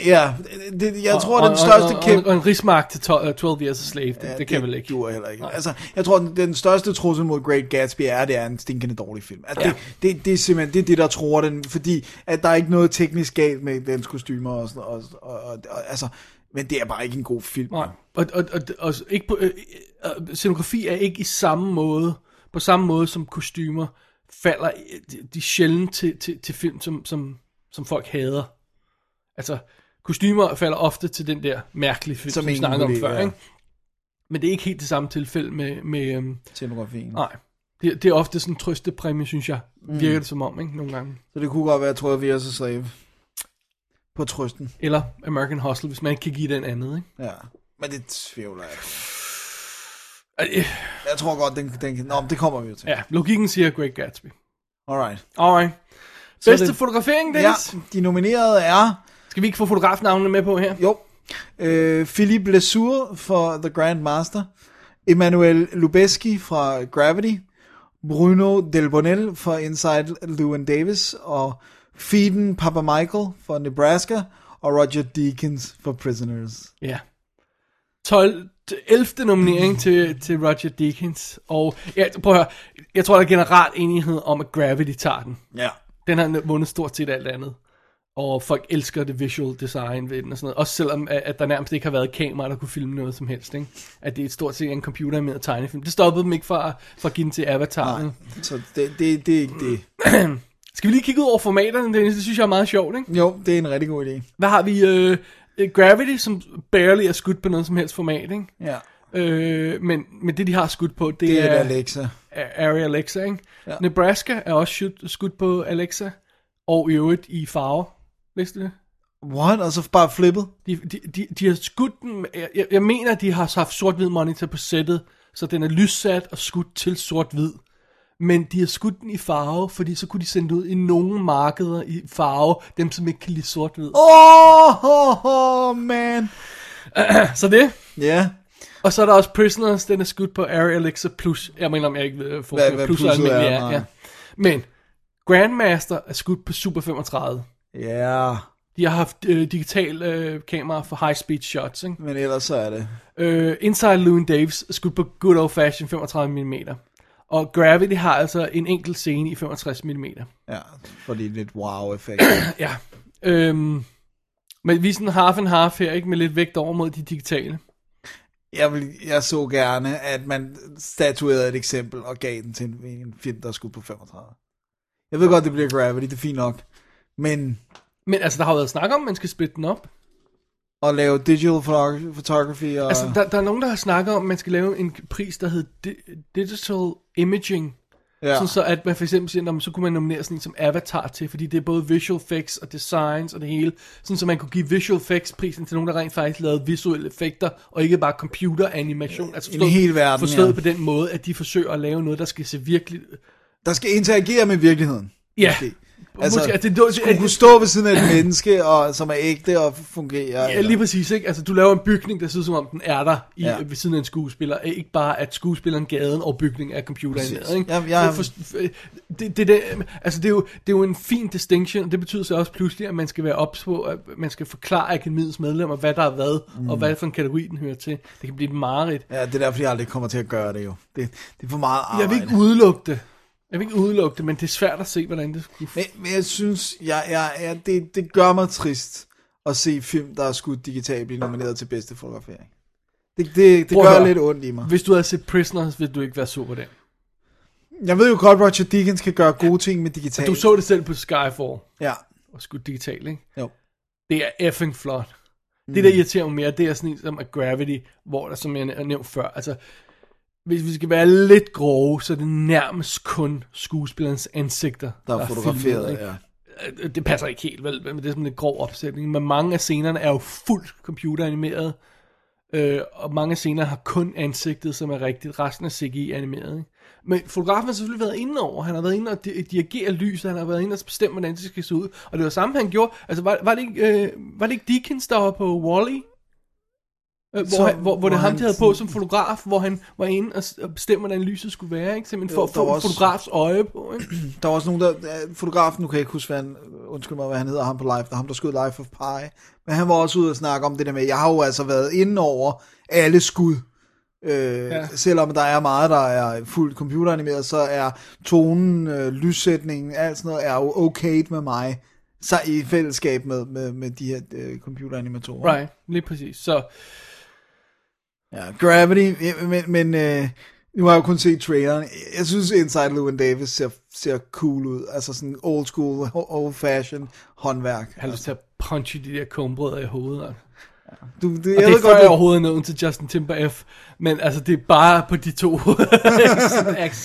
Speaker 3: Ja, det, jeg tror,
Speaker 4: og,
Speaker 3: den største
Speaker 4: og, og,
Speaker 3: kæmpe...
Speaker 4: og, og en rismark til 12, 12 Years a Slave, det, ja, det, det kan
Speaker 3: det
Speaker 4: vel ikke.
Speaker 3: duer heller ikke. Altså, jeg tror, den- den største trussel mod Great Gatsby er, at det er en stinkende dårlig film. At det, ja. det, det, er simpelthen det, er det, der tror den, fordi at der er ikke noget teknisk galt med dens kostymer og sådan og, og, og, og, altså, men det er bare ikke en god film.
Speaker 4: Nej. Og, og, og, og ikke på, øh, øh, scenografi er ikke i samme måde, på samme måde som kostymer falder øh, de, de er sjældent til, til, til film, som, som, som folk hader. Altså, kostymer falder ofte til den der mærkelige film,
Speaker 3: Som
Speaker 4: som, som vi
Speaker 3: ingen
Speaker 4: snakkede om
Speaker 3: kunne lide,
Speaker 4: før,
Speaker 3: ja.
Speaker 4: ja. ikke? Men det er ikke helt det samme tilfælde med... med øhm,
Speaker 3: Scenografien.
Speaker 4: nej. Det, det er ofte sådan en trøstepræmie, synes jeg. Virker det som om, ikke? Nogle gange.
Speaker 3: Så det kunne godt være, tror jeg, vi er så slave. På trøsten.
Speaker 4: Eller American Hustle, hvis man ikke kan give den andet, ikke?
Speaker 3: Ja. Men det tvivler jeg. på.
Speaker 4: Øh,
Speaker 3: Jeg tror godt, den, den kan... Nå, men det kommer vi jo til.
Speaker 4: Ja, logikken siger Great Gatsby.
Speaker 3: Alright.
Speaker 4: Alright.
Speaker 3: Så
Speaker 4: Bedste
Speaker 3: det-
Speaker 4: det... fotografering,
Speaker 3: Ja,
Speaker 4: Dennis? Ja.
Speaker 3: de nominerede er...
Speaker 4: Skal vi ikke få fotografnavnene med på her?
Speaker 3: Jo. Øh, Philippe Lesour for The Grand Master. Emmanuel Lubeski fra Gravity. Bruno Delbonnel for Inside Llewyn Davis. Og Feeden Papa Michael for Nebraska. Og Roger Deakins for Prisoners.
Speaker 4: Ja. 12, 11. nominering til, til Roger Deakins. Og ja, prøv at høre, jeg tror, der er generelt enighed om, at Gravity tager den.
Speaker 3: Ja.
Speaker 4: Den har vundet stort set alt andet. Og folk elsker det visual design ved den og sådan noget. Også selvom, at at der nærmest ikke har været kameraer, der kunne filme noget som helst. Ikke? At det er stort set en computer med tegnefilm. Det stoppede dem ikke fra, fra at give den til Avatar.
Speaker 3: Nej, så det, det, det er ikke det.
Speaker 4: Skal vi lige kigge ud over formaterne, Dennis? Det synes jeg er meget sjovt, ikke?
Speaker 3: Jo, det er en rigtig god idé.
Speaker 4: Hvad har vi? Øh, Gravity, som barely er skudt på noget som helst format, ikke?
Speaker 3: Ja.
Speaker 4: Øh, men, men det, de har skudt på, det,
Speaker 3: Det er
Speaker 4: er
Speaker 3: et Alexa.
Speaker 4: er Arri Alexa, ikke?
Speaker 3: Ja.
Speaker 4: Ja. Nebraska er også skudt, skudt på Alexa, og i øvrigt i farver. Læste du det?
Speaker 3: What? Og så bare flippet?
Speaker 4: De, de, de, de har skudt den, med- jeg, jeg- jeg mener, de har så haft sort-hvid monitor på sættet, så den er lyssat og skudt til sort-hvid. Men de har skudt den i farve, fordi så kunne de sende det ud i nogle markeder i farve, dem som ikke kan lide sort-hvid.
Speaker 3: Åh, oh, man.
Speaker 4: Så det.
Speaker 3: Ja.
Speaker 4: Og så er der også Prisoners, den er skudt på Ari Alexa Plus. Jeg mener, om jeg ikke ved, for
Speaker 3: Hvad- hvad
Speaker 4: Plus er
Speaker 3: plusset er,
Speaker 4: almindelig, ja,
Speaker 3: nej.
Speaker 4: ja. Men Grandmaster er skudt på Super 35.
Speaker 3: Ja.
Speaker 4: De har haft øh, digital øh, kamera for high speed shots, ikke?
Speaker 3: Men ellers så er det.
Speaker 4: Øh, Inside Llewyn Davis er skudt på good old fashion 35 mm. Og Gravity har altså en enkelt scene i 65 mm.
Speaker 3: Ja, fordi lidt wow-effekt.
Speaker 4: ja. Øhm, men vi er sådan half and half her, ikke? Med lidt vægt over mod de digitale.
Speaker 3: Jeg, vil, jeg så gerne, at man statuerede et eksempel og gav den til en, en film, der skulle på 35. Jeg ved godt, det bliver Gravity, det er fint nok. Men
Speaker 4: Men altså, der har jo været snak om, at man skal splitte den op.
Speaker 3: at lave digital photog- photography og...
Speaker 4: Altså, der, der er nogen, der har snakket om, at man skal lave en pris, der hedder di- Digital Imaging.
Speaker 3: Ja.
Speaker 4: Ja. Sådan så, at man for eksempel siger, "Nå, men så kunne man nominere sådan en som Avatar til, fordi det er både visual effects og designs og det hele. Sådan så man kunne give visual effects prisen til nogen, der rent faktisk lavede visuelle effekter, og ikke bare computeranimation. Altså
Speaker 3: En hel verden,
Speaker 4: Forstået
Speaker 3: ja.
Speaker 4: på den måde, at de forsøger at lave noget, der skal se virkelig...
Speaker 3: der skal interagere med virkeligheden.
Speaker 4: Ja.
Speaker 3: Måske. Altså,
Speaker 4: Måske, at
Speaker 3: det,
Speaker 4: det-
Speaker 3: det,
Speaker 4: det-
Speaker 3: skulle
Speaker 4: at-
Speaker 3: kunne stå ved siden af et menneske, og, som er ægte og fungerer.
Speaker 4: Ja, lige præcis, ikke? Altså, du laver en bygning, der ser ud som om, den er der i,
Speaker 3: Ja.
Speaker 4: ja. ved siden af en skuespiller. Eh, Ikke bare, at skuespilleren gaden og bygningen er
Speaker 3: Præcis.
Speaker 4: computeren. Ikke?
Speaker 3: Ja, ja.
Speaker 4: For, for, det, det, det, altså, det, er jo, det er jo en fin distinction, og det betyder så også pludselig, at man skal være ops på, at man skal forklare akademiets medlemmer, hvad der er hvad, mm. og hvad for en kategori, den hører til. Det kan blive et mareridt.
Speaker 3: Ja, det er derfor, jeg aldrig kommer til at gøre det jo. Det, det er for meget arbejde.
Speaker 4: Jeg vil ikke udelukke det. Jeg vil ikke udelukke det, men det er svært at se, hvordan det skulle...
Speaker 3: Men, men jeg synes, jeg, jeg, jeg, det, det gør mig trist at se film, der er skudt digitalt, blive nomineret til bedste fotografering. Det, det, det
Speaker 4: Prøv at
Speaker 3: gør
Speaker 4: høre.
Speaker 3: lidt ondt i mig.
Speaker 4: Hvis du havde set Prisoners, ville du ikke være sur på det.
Speaker 3: Jeg ved jo godt, Roger Deakins kan gøre gode ting med digitalt.
Speaker 4: Du så det selv på Skyfall.
Speaker 3: Ja.
Speaker 4: og skudt digitalt, ikke?
Speaker 3: Jo. Mm.
Speaker 4: Det er effing flot. Det, der irriterer mig mere, det er sådan en som at Gravity, hvor der, som jeg har nævnt før, altså, hvis vi skal være lidt grove, så er det nærmest kun skuespillerens ansigter,
Speaker 3: Der er fotograferet,
Speaker 4: ikke? Øh, Det passer ikke helt, vel? Men det er sådan en grov opsætning. Men mange af scenerne er jo fuldt computeranimeret, øh, og mange af scenerne har kun ansigtet, som er rigtigt. Resten er CGI-animeret, ikke? Men fotografen har selvfølgelig været inde over. Han har været inde og di- dirigere lyset, han har været inde og bestemme, hvordan det skal se ud. Og det var samme, han gjorde. Altså, var, var, det, ikke, øh, var det ikke Deakins, der var på Wall-E? Øh,
Speaker 3: Så-
Speaker 4: hvor, han, hvor,
Speaker 3: hvor
Speaker 4: hvor det er
Speaker 3: han
Speaker 4: ham, de havde på
Speaker 3: sådan-
Speaker 4: som fotograf, hvor han var inde og s- og bestemte, hvordan lyset skulle være, ikke? Simpelthen for
Speaker 3: Jo,
Speaker 4: at
Speaker 3: der var
Speaker 4: få en
Speaker 3: også-
Speaker 4: fotografs øje på, ikke?
Speaker 3: Der var også nogen, der... ja, Fotografen, nu kan jeg ikke huske, hvad han, undskyld mig, hvad han hedder, ham på Life, der ham, der skød Life of Pi. Men han var også ude og snakke om det der med, jeg har jo altså været inde over alle skud. Øh, ja.
Speaker 4: Ja.
Speaker 3: Selvom der er meget, der er fuldt computeranimeret, så er tonen, øh, lyssætningen, alt sådan noget, er jo okay med mig. Så i fællesskab med, med, med de her øh, computeranimatorer.
Speaker 4: Right, lige præcis. Så
Speaker 3: Ja, Gravity, ja, men, men øh, nu har jeg jo kun set traileren. Jeg synes, Inside Llewyn Davis ser, ser cool ud. Altså sådan old school, old fashion håndværk.
Speaker 4: jeg har lyst til at punche de der kumbrødder i hovedet. altså.
Speaker 3: Du, du,
Speaker 4: Og
Speaker 3: jeg
Speaker 4: jeg det
Speaker 3: ved
Speaker 4: er før
Speaker 3: godt,
Speaker 4: jeg
Speaker 3: du,
Speaker 4: overhovedet nåede til Justin Timber F. Men altså, det er bare på de to.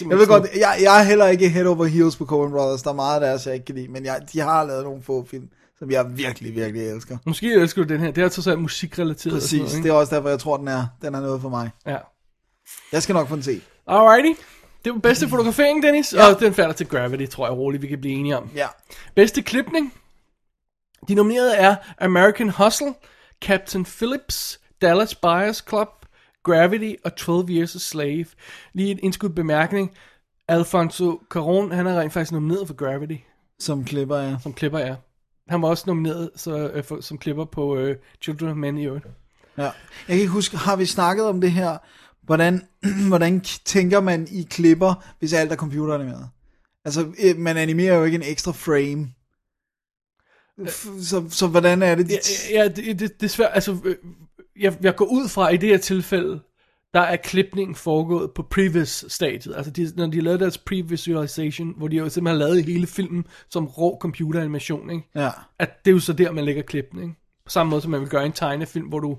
Speaker 3: jeg ved godt, jeg, jeg er heller ikke head over heels på Coen Brothers. Der er meget af deres, jeg ikke kan lide, men jeg, de har lavet nogle få film, som jeg virkelig, virkelig elsker.
Speaker 4: Måske elsker du den her. Det er trods alt musikrelateret. og sådan
Speaker 3: Præcis, det
Speaker 4: Noget,
Speaker 3: er også derfor, jeg tror, den er, den er noget for mig.
Speaker 4: ikke? Ja.
Speaker 3: Jeg skal nok få den set.
Speaker 4: Alrighty. Det var bedste fotografering, Dennis. Ja. Og den falder til Gravity, tror jeg roligt, vi kan blive enige om.
Speaker 3: Ja.
Speaker 4: Bedste klipning. De nominerede er American Hustle, Captain Phillips, Dallas Buyers Club, Gravity og 12 Years a Slave. Lige et indskudt bemærkning. Alfonso Caron, han er rent faktisk nomineret for Gravity,
Speaker 3: Som klipper, ja.
Speaker 4: som klipper er. Han var også nomineret så, øh, for, som klipper på øh, Children of Men i øvrigt.
Speaker 3: Ja. Jeg kan ikke huske, har vi snakket om det her, hvordan, hvordan k- tænker man i klipper, hvis alt er computeranimeret? Altså, øh, man animerer jo ikke en ekstra frame. F- Så, så hvordan er det? De
Speaker 4: Øh.
Speaker 3: t-
Speaker 4: Ja, ja det, det, det er svært. Altså, øh, jeg, jeg går ud fra, i det her tilfælde, der er klipningen foregået på previous-stadiet. Altså, de, når de lavede deres pre-visualization, hvor de jo simpelthen har lavet hele filmen som rå computeranimation, ikke?
Speaker 3: ja.
Speaker 4: At det er jo så der, man lægger klipningen. ikke? På samme måde, som man vil gøre i en tegnefilm, hvor du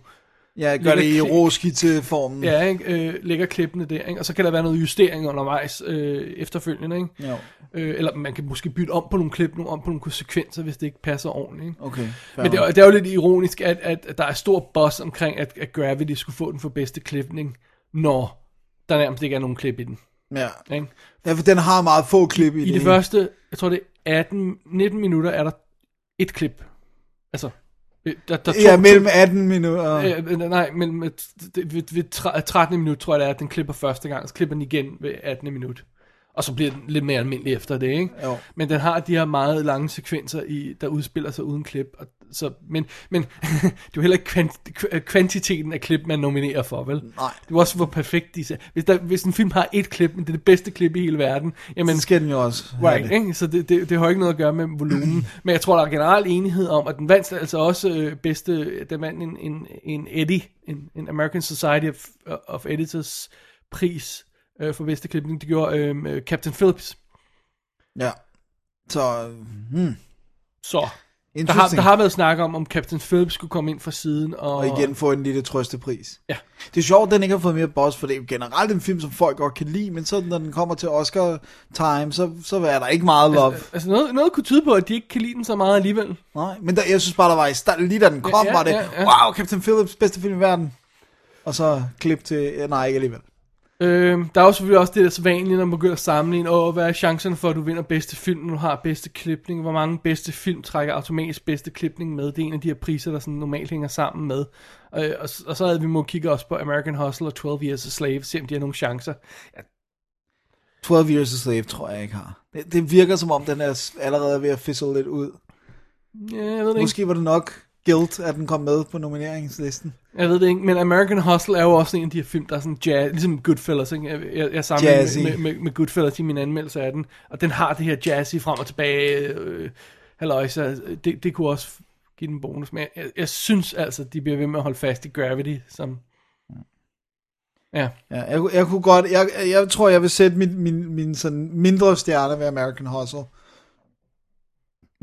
Speaker 3: Jeg gør det i
Speaker 4: Lille klik.
Speaker 3: råskitteformen.
Speaker 4: ja, ikke, øh, lægger klippene der, ikke? og så kan der være noget justering undervejs øh, efterfølgende. Ikke?
Speaker 3: Jo.
Speaker 4: Øh, eller man kan måske bytte om på nogle klip, nogle om på nogle konsekvenser, hvis det ikke passer ordentligt. Ikke?
Speaker 3: Okay. fair
Speaker 4: Men det, er-
Speaker 3: nok.
Speaker 4: det er jo lidt ironisk, at, at, at der er stor boss omkring, at, at Gravity skulle få den for bedste klipning, når der nærmest ikke er nogen klip i den.
Speaker 3: ja.
Speaker 4: Ikke?
Speaker 3: ja, for den har meget få klip i,
Speaker 4: I det
Speaker 3: hele.
Speaker 4: første, jeg tror det er 18, 19 minutter, er der et klip. Altså, Der, der
Speaker 3: Ja, mellem 18 minutter.
Speaker 4: Øh, nej, mellem et- det- ved, ved tre- 13. minut tror jeg det er, at den klipper første gang, så klipper den igen ved 18. minut. Og så bliver den lidt mere almindelig efter det, ikke?
Speaker 3: Jo.
Speaker 4: Men den har de her meget lange sekvenser, i, der udspiller sig uden klip. Og, så, men, men det er jo heller ikke kvant, kv- øh, kvantiteten af klip, man nominerer for, vel? Nej. Det er jo også, hvor perfekt de ser. Hvis, der, hvis en film har et klip, men det er det bedste klip i hele verden, jamen...
Speaker 3: Så skal den jo også have
Speaker 4: Right,
Speaker 3: det.
Speaker 4: ikke? Så det, det, det har jo ikke noget at gøre med volumen. Men jeg tror, der er generel enighed om, at den vandt altså også øh, bedste, den vandt en, en, en Eddie, en, en American Society of, of Editors pris øh, for bedste klipning. Det gjorde øh, øh, Captain Phillips.
Speaker 3: Ja. Så, hmm.
Speaker 4: Så. Der har,
Speaker 3: Interesting.
Speaker 4: der har været snak om, om Captain Phillips skulle komme ind fra siden. Og,
Speaker 3: Og igen få en lille trøstepris.
Speaker 4: Ja.
Speaker 3: Det er sjovt, at den ikke har fået mere boss, for det er jo generelt en film, som folk godt kan lide, men så når den kommer til Oscar-time, så, så er der ikke meget love.
Speaker 4: Altså, altså noget, noget kunne tyde på, at de ikke kan lide den så meget alligevel.
Speaker 3: Nej, men der, jeg synes bare, der var i starten, lige da den kom,
Speaker 4: Ja,
Speaker 3: ja, var det,
Speaker 4: ja,
Speaker 3: ja,
Speaker 4: ja.
Speaker 3: ja. wow, Captain Phillips, bedste film i verden. Og så klip til, ja, nej, ikke alligevel.
Speaker 4: Øhm, der er jo selvfølgelig også det der så vanlige, når man begynder at sammenligne, og hvad er chancen for, at du vinder bedste film, når du har bedste klipning? Hvor mange bedste film trækker automatisk bedste klipning med? Det er en af de her priser, der sådan normalt hænger sammen med. Øh, og, s- og, så havde vi må kigge også på American Hustle og 12 Years a Slave, se om de har nogle chancer.
Speaker 3: 12 Years a Slave tror jeg ikke har. Det, det virker som om, den er s- allerede ved at fizzle lidt ud.
Speaker 4: Ja, jeg ved det
Speaker 3: Måske var det nok guilt, at den kom med på nomineringslisten.
Speaker 4: Jeg ved det ikke, men American Hustle er jo også en af de her film, der er sådan jazz, ligesom Goodfellas, ikke? Jeg, jeg, jeg
Speaker 3: Jazzy.
Speaker 4: sammenligner med, med, med Goodfellas i min anmeldelse af den, og den har det her jazzy frem og tilbage, øh, halløj, så det, det kunne også give den en bonus, men jeg, jeg synes altså, de bliver ved med at holde fast i Gravity, som...
Speaker 3: Mm.
Speaker 4: Ja.
Speaker 3: Ja, jeg, kunne- jeg kunne godt, jeg, jeg tror, jeg vil sætte min, min, min sådan mindre stjerne ved American Hustle.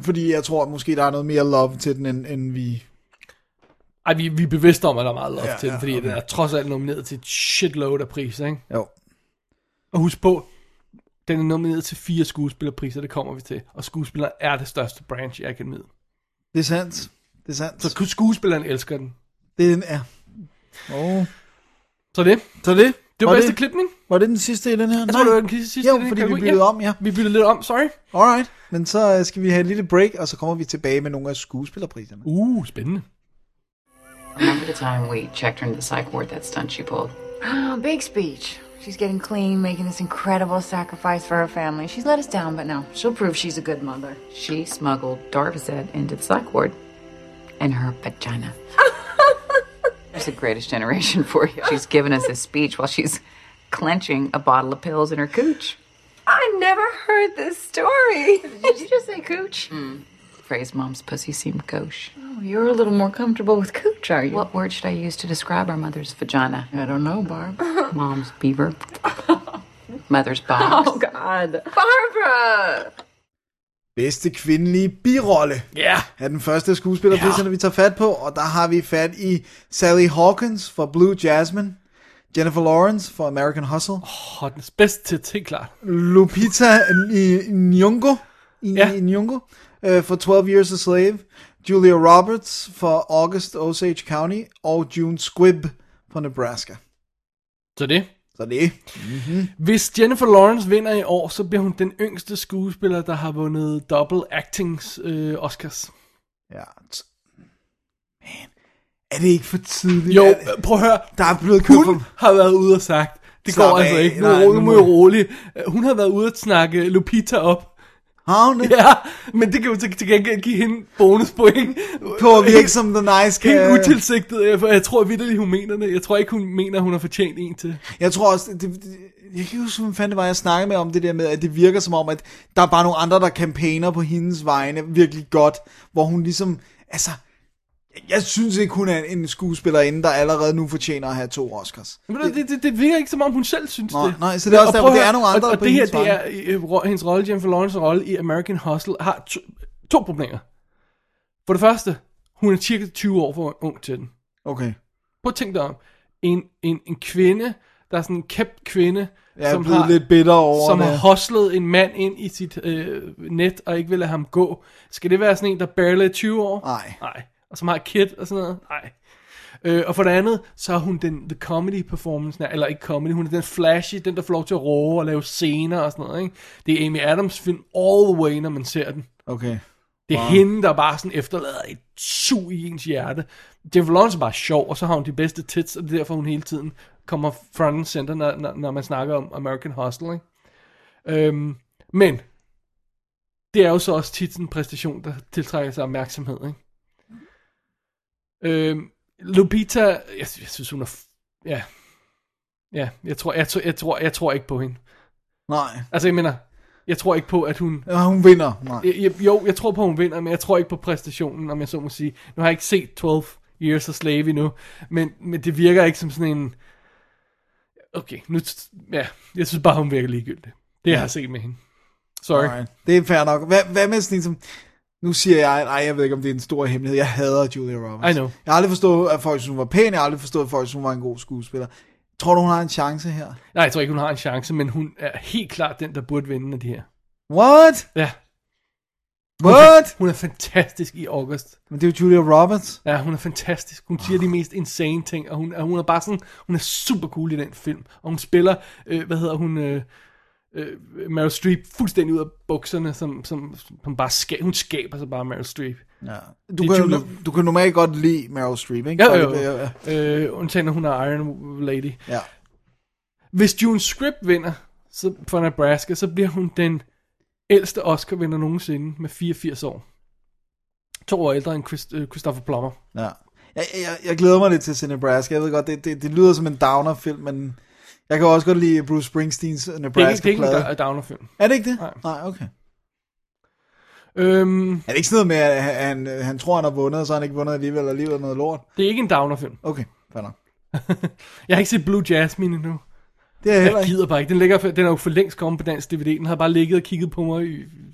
Speaker 3: Fordi jeg tror, måske der er noget mere love til den, end, end vi...
Speaker 4: Ej, vi, vi er bevidste om, at der er meget love ja,
Speaker 3: Ja,
Speaker 4: til den,
Speaker 3: ja,
Speaker 4: fordi den er trods alt nomineret til et shitload af priser, ikke?
Speaker 3: Jo.
Speaker 4: Og husk på, den er nomineret til fire skuespillerpriser, det kommer vi til, og skuespiller er det største branch i akademiet.
Speaker 3: Det er sandt. Det er sandt.
Speaker 4: Så skuespilleren elsker den.
Speaker 3: Det er den, ja. Oh.
Speaker 4: Så det.
Speaker 3: Så det.
Speaker 4: Det
Speaker 3: Var
Speaker 4: var, var bedste
Speaker 3: det-
Speaker 4: klipning.
Speaker 3: Var det den sidste i den her?
Speaker 4: Jeg tror, det var den sidste i
Speaker 3: Jo,
Speaker 4: den her
Speaker 3: fordi vi
Speaker 4: kategori,
Speaker 3: byttede
Speaker 4: ja.
Speaker 3: om, ja.
Speaker 4: Vi byttede lidt om, sorry.
Speaker 3: Alright. Men så øh, skal vi have et lille break, og så kommer vi tilbage med nogle af skuespillerpriserne.
Speaker 4: Uh, spændende.
Speaker 13: Remember the time we checked her into the psych ward, that stunt she pulled?
Speaker 14: Big speech. She's getting clean, making this incredible sacrifice for her family. She's let us down, but no, she'll prove she's a good mother.
Speaker 13: She smuggled Darvazet into the psych ward in her vagina. She's the greatest generation for you. She's giving us this speech while she's clenching a bottle of pills in her cooch.
Speaker 14: I never heard this story. Did you just say cooch?
Speaker 13: Hmm. Phrase mom's pussy seemed gauche.
Speaker 14: Oh, you're a little more comfortable with cooch, are you?
Speaker 13: What word should I use to describe our mother's vagina? I don't know, Barb. mom's beaver. mother's box.
Speaker 14: Oh, God. Barbara!
Speaker 3: Bedste kvindelige birolle.
Speaker 4: Ja. Yeah.
Speaker 3: Er den første skuespillerpriserne, yeah. vi tager fat på, og der har vi fat i Sally Hawkins for Blue Jasmine, Jennifer Lawrence for American Hustle,
Speaker 4: Og den bedste til ting, klart.
Speaker 3: Lupita Ny- Nyong'o, I-
Speaker 4: Ja.
Speaker 3: Nyong'o øh, for 12 Years a Slave, Julia Roberts for August Osage County, og June Squibb for Nebraska.
Speaker 4: Så det.
Speaker 3: Så det.
Speaker 4: Mm-hmm. Hvis Jennifer Lawrence vinder i år, så bliver hun den yngste skuespiller, der har vundet double actings øh, Oscars.
Speaker 3: Ja. Er det ikke for tidligt?
Speaker 4: Jo,
Speaker 3: Er-
Speaker 4: prøv at høre.
Speaker 3: Der er blevet købt
Speaker 4: Hun har været ude og sagt, det
Speaker 3: Slap
Speaker 4: går altså
Speaker 3: af,
Speaker 4: ikke. Nu,
Speaker 3: nej,
Speaker 4: nej, nu
Speaker 3: nu
Speaker 4: må
Speaker 3: må
Speaker 4: I
Speaker 3: jeg-
Speaker 4: rolig. Øh, Hun har været ude at snakke Lupita op.
Speaker 3: Har hun det?
Speaker 4: Ja, men det kan jo til til gengæld give hende bonuspoint.
Speaker 3: På at virke som The Nice Guy.
Speaker 4: Helt utilsigtet, jeg- for jeg tror virkelig, hun mener det. Jeg tror ikke, hun mener, hun har fortjent en til.
Speaker 3: Jeg tror også, det, det, jeg kan ikke huske, hvem fanden det var, jeg snakkede med om det der med, at det virker som om, at der er bare nogle andre, der campaigner på hendes vegne virkelig godt, hvor hun ligesom, altså, jeg synes ikke, hun er en skuespillerinde, der allerede nu fortjener at have to Oscars.
Speaker 4: Men det, det, det, det virker ikke som om, hun selv synes
Speaker 3: Nej,
Speaker 4: det.
Speaker 3: nej, så det er også
Speaker 4: Og
Speaker 3: derfor,
Speaker 4: prøv at
Speaker 3: det er
Speaker 4: høre,
Speaker 3: nogle andre
Speaker 4: Og, og
Speaker 3: på
Speaker 4: det her,
Speaker 3: hendes
Speaker 4: det er øh, ro- hendes rolle, Jennifer Lawrence rolle i American Hustle, har to, to problemer. For det første, hun er cirka 20 år for ung til den.
Speaker 3: Okay.
Speaker 4: Prøv at tænke dig om. En, en, en kvinde, der er sådan en kæp kvinde,
Speaker 3: Jeg er blevet lidt bitter over
Speaker 4: Som
Speaker 3: det.
Speaker 4: har hostlet en mand ind i sit øh, net, og ikke vil lade ham gå. Skal det være sådan en, der barely er 20 år?
Speaker 3: Nej.
Speaker 4: Nej. Og som har et kid og sådan noget? Nej. Øh, og for det andet, så er hun den the comedy performance, eller ikke comedy, hun er den flashy, den der får lov til at råbe og lave scener og sådan noget. Ikke? Det er Amy Adams film all the way, når man ser den.
Speaker 3: Okay.
Speaker 4: Det er wow. hende, der bare sådan efterlader et sug i ens hjerte. Jennifer Lawrence er bare sjov, og så har hun de bedste tits, og det er derfor, hun hele tiden kommer front and center, når, når, når man snakker om American Hustle. Ikke? Øhm, men det er jo så også tit en præstation, der tiltrækker sig opmærksomhed. Ikke? Øhm, Lupita, jeg, jeg synes, hun er... f- Ja, ja jeg, tror, jeg, tror- jeg, tror, jeg tror ikke på hende.
Speaker 3: Nej.
Speaker 4: Altså, jeg mener, jeg tror ikke på, at hun...
Speaker 3: Ja, hun vinder. Nej.
Speaker 4: Jeg, jeg, jo, jeg tror på, hun vinder, men jeg tror ikke på præstationen, om jeg så må sige. Nu har jeg ikke set 12 Years a Slave endnu, men, men det virker ikke som sådan en... Okay, nu... Ja, jeg synes bare, hun virker ligegyldig. Det jeg har set med hende. Sorry.
Speaker 3: Alright. Det er fair nok. Hvad, hvad med sådan en som... Nu siger jeg, nej, jeg ved ikke, om det er en stor hemmelighed. Jeg hader Julia Roberts.
Speaker 4: I know.
Speaker 3: Jeg har aldrig forstået, at folk synes, hun var pæn. Jeg har aldrig forstået, at folk synes, hun var en god skuespiller. Tror du, hun har en chance her?
Speaker 4: Nej, jeg tror ikke, hun har en chance, men hun er helt klart den, der burde vinde af det her.
Speaker 3: What?
Speaker 4: Ja. Hun er
Speaker 3: What?
Speaker 4: fan- Hun er fantastisk i august.
Speaker 3: Men det er jo Julia Roberts.
Speaker 4: Ja, hun er fantastisk. Hun siger de
Speaker 3: Ah.
Speaker 4: mest insane ting, og hun, og hun er bare sådan, hun er super cool i den film. Og hun spiller, øh, hvad hedder hun, øh, øh, Meryl Streep fuldstændig ud af bukserne, som, som, som bare ska- hun skaber sig bare Meryl Streep.
Speaker 3: Ja. Du,
Speaker 4: Det er
Speaker 3: kan,
Speaker 4: Julia-
Speaker 3: jo, du kan normalt godt lide Meryl Streep, ikke?
Speaker 4: Ja, jo,
Speaker 3: Folk-
Speaker 4: jo.
Speaker 3: ja.
Speaker 4: Øh, undtagen, når hun er Iron Lady.
Speaker 3: Ja.
Speaker 4: Hvis June Script vinder så, for Nebraska, så bliver hun den ældste Oscar-vinder nogensinde med 84 år. To år ældre end Christ, øh, Christopher Plummer.
Speaker 3: ja. Jeg, jeg, jeg glæder mig lidt til at se Nebraska. Jeg ved godt, det, det, det lyder som en downer-film, men jeg kan også godt lide Bruce Springsteens
Speaker 4: Det er ikke, det er ikke en
Speaker 3: Nebraska-plade.
Speaker 4: da- Downer-film.
Speaker 3: Er det ikke det?
Speaker 4: Nej.
Speaker 3: Nej, okay.
Speaker 4: Øhm,
Speaker 3: Er det ikke sådan noget med, at han, øh, han, han tror, han har vundet, og så har han ikke vundet alligevel, og alligevel er noget lort?
Speaker 4: det er ikke en Downer-film.
Speaker 3: Okay, fair nok.
Speaker 4: Jeg har ikke set Blue Jasmine endnu.
Speaker 3: Det er jeg heller
Speaker 4: Jeg
Speaker 3: ikke.
Speaker 4: gider bare ikke. Den, ligger, for- den er jo for længst kommet på dansk DVD. Den har bare ligget og kigget på mig i 100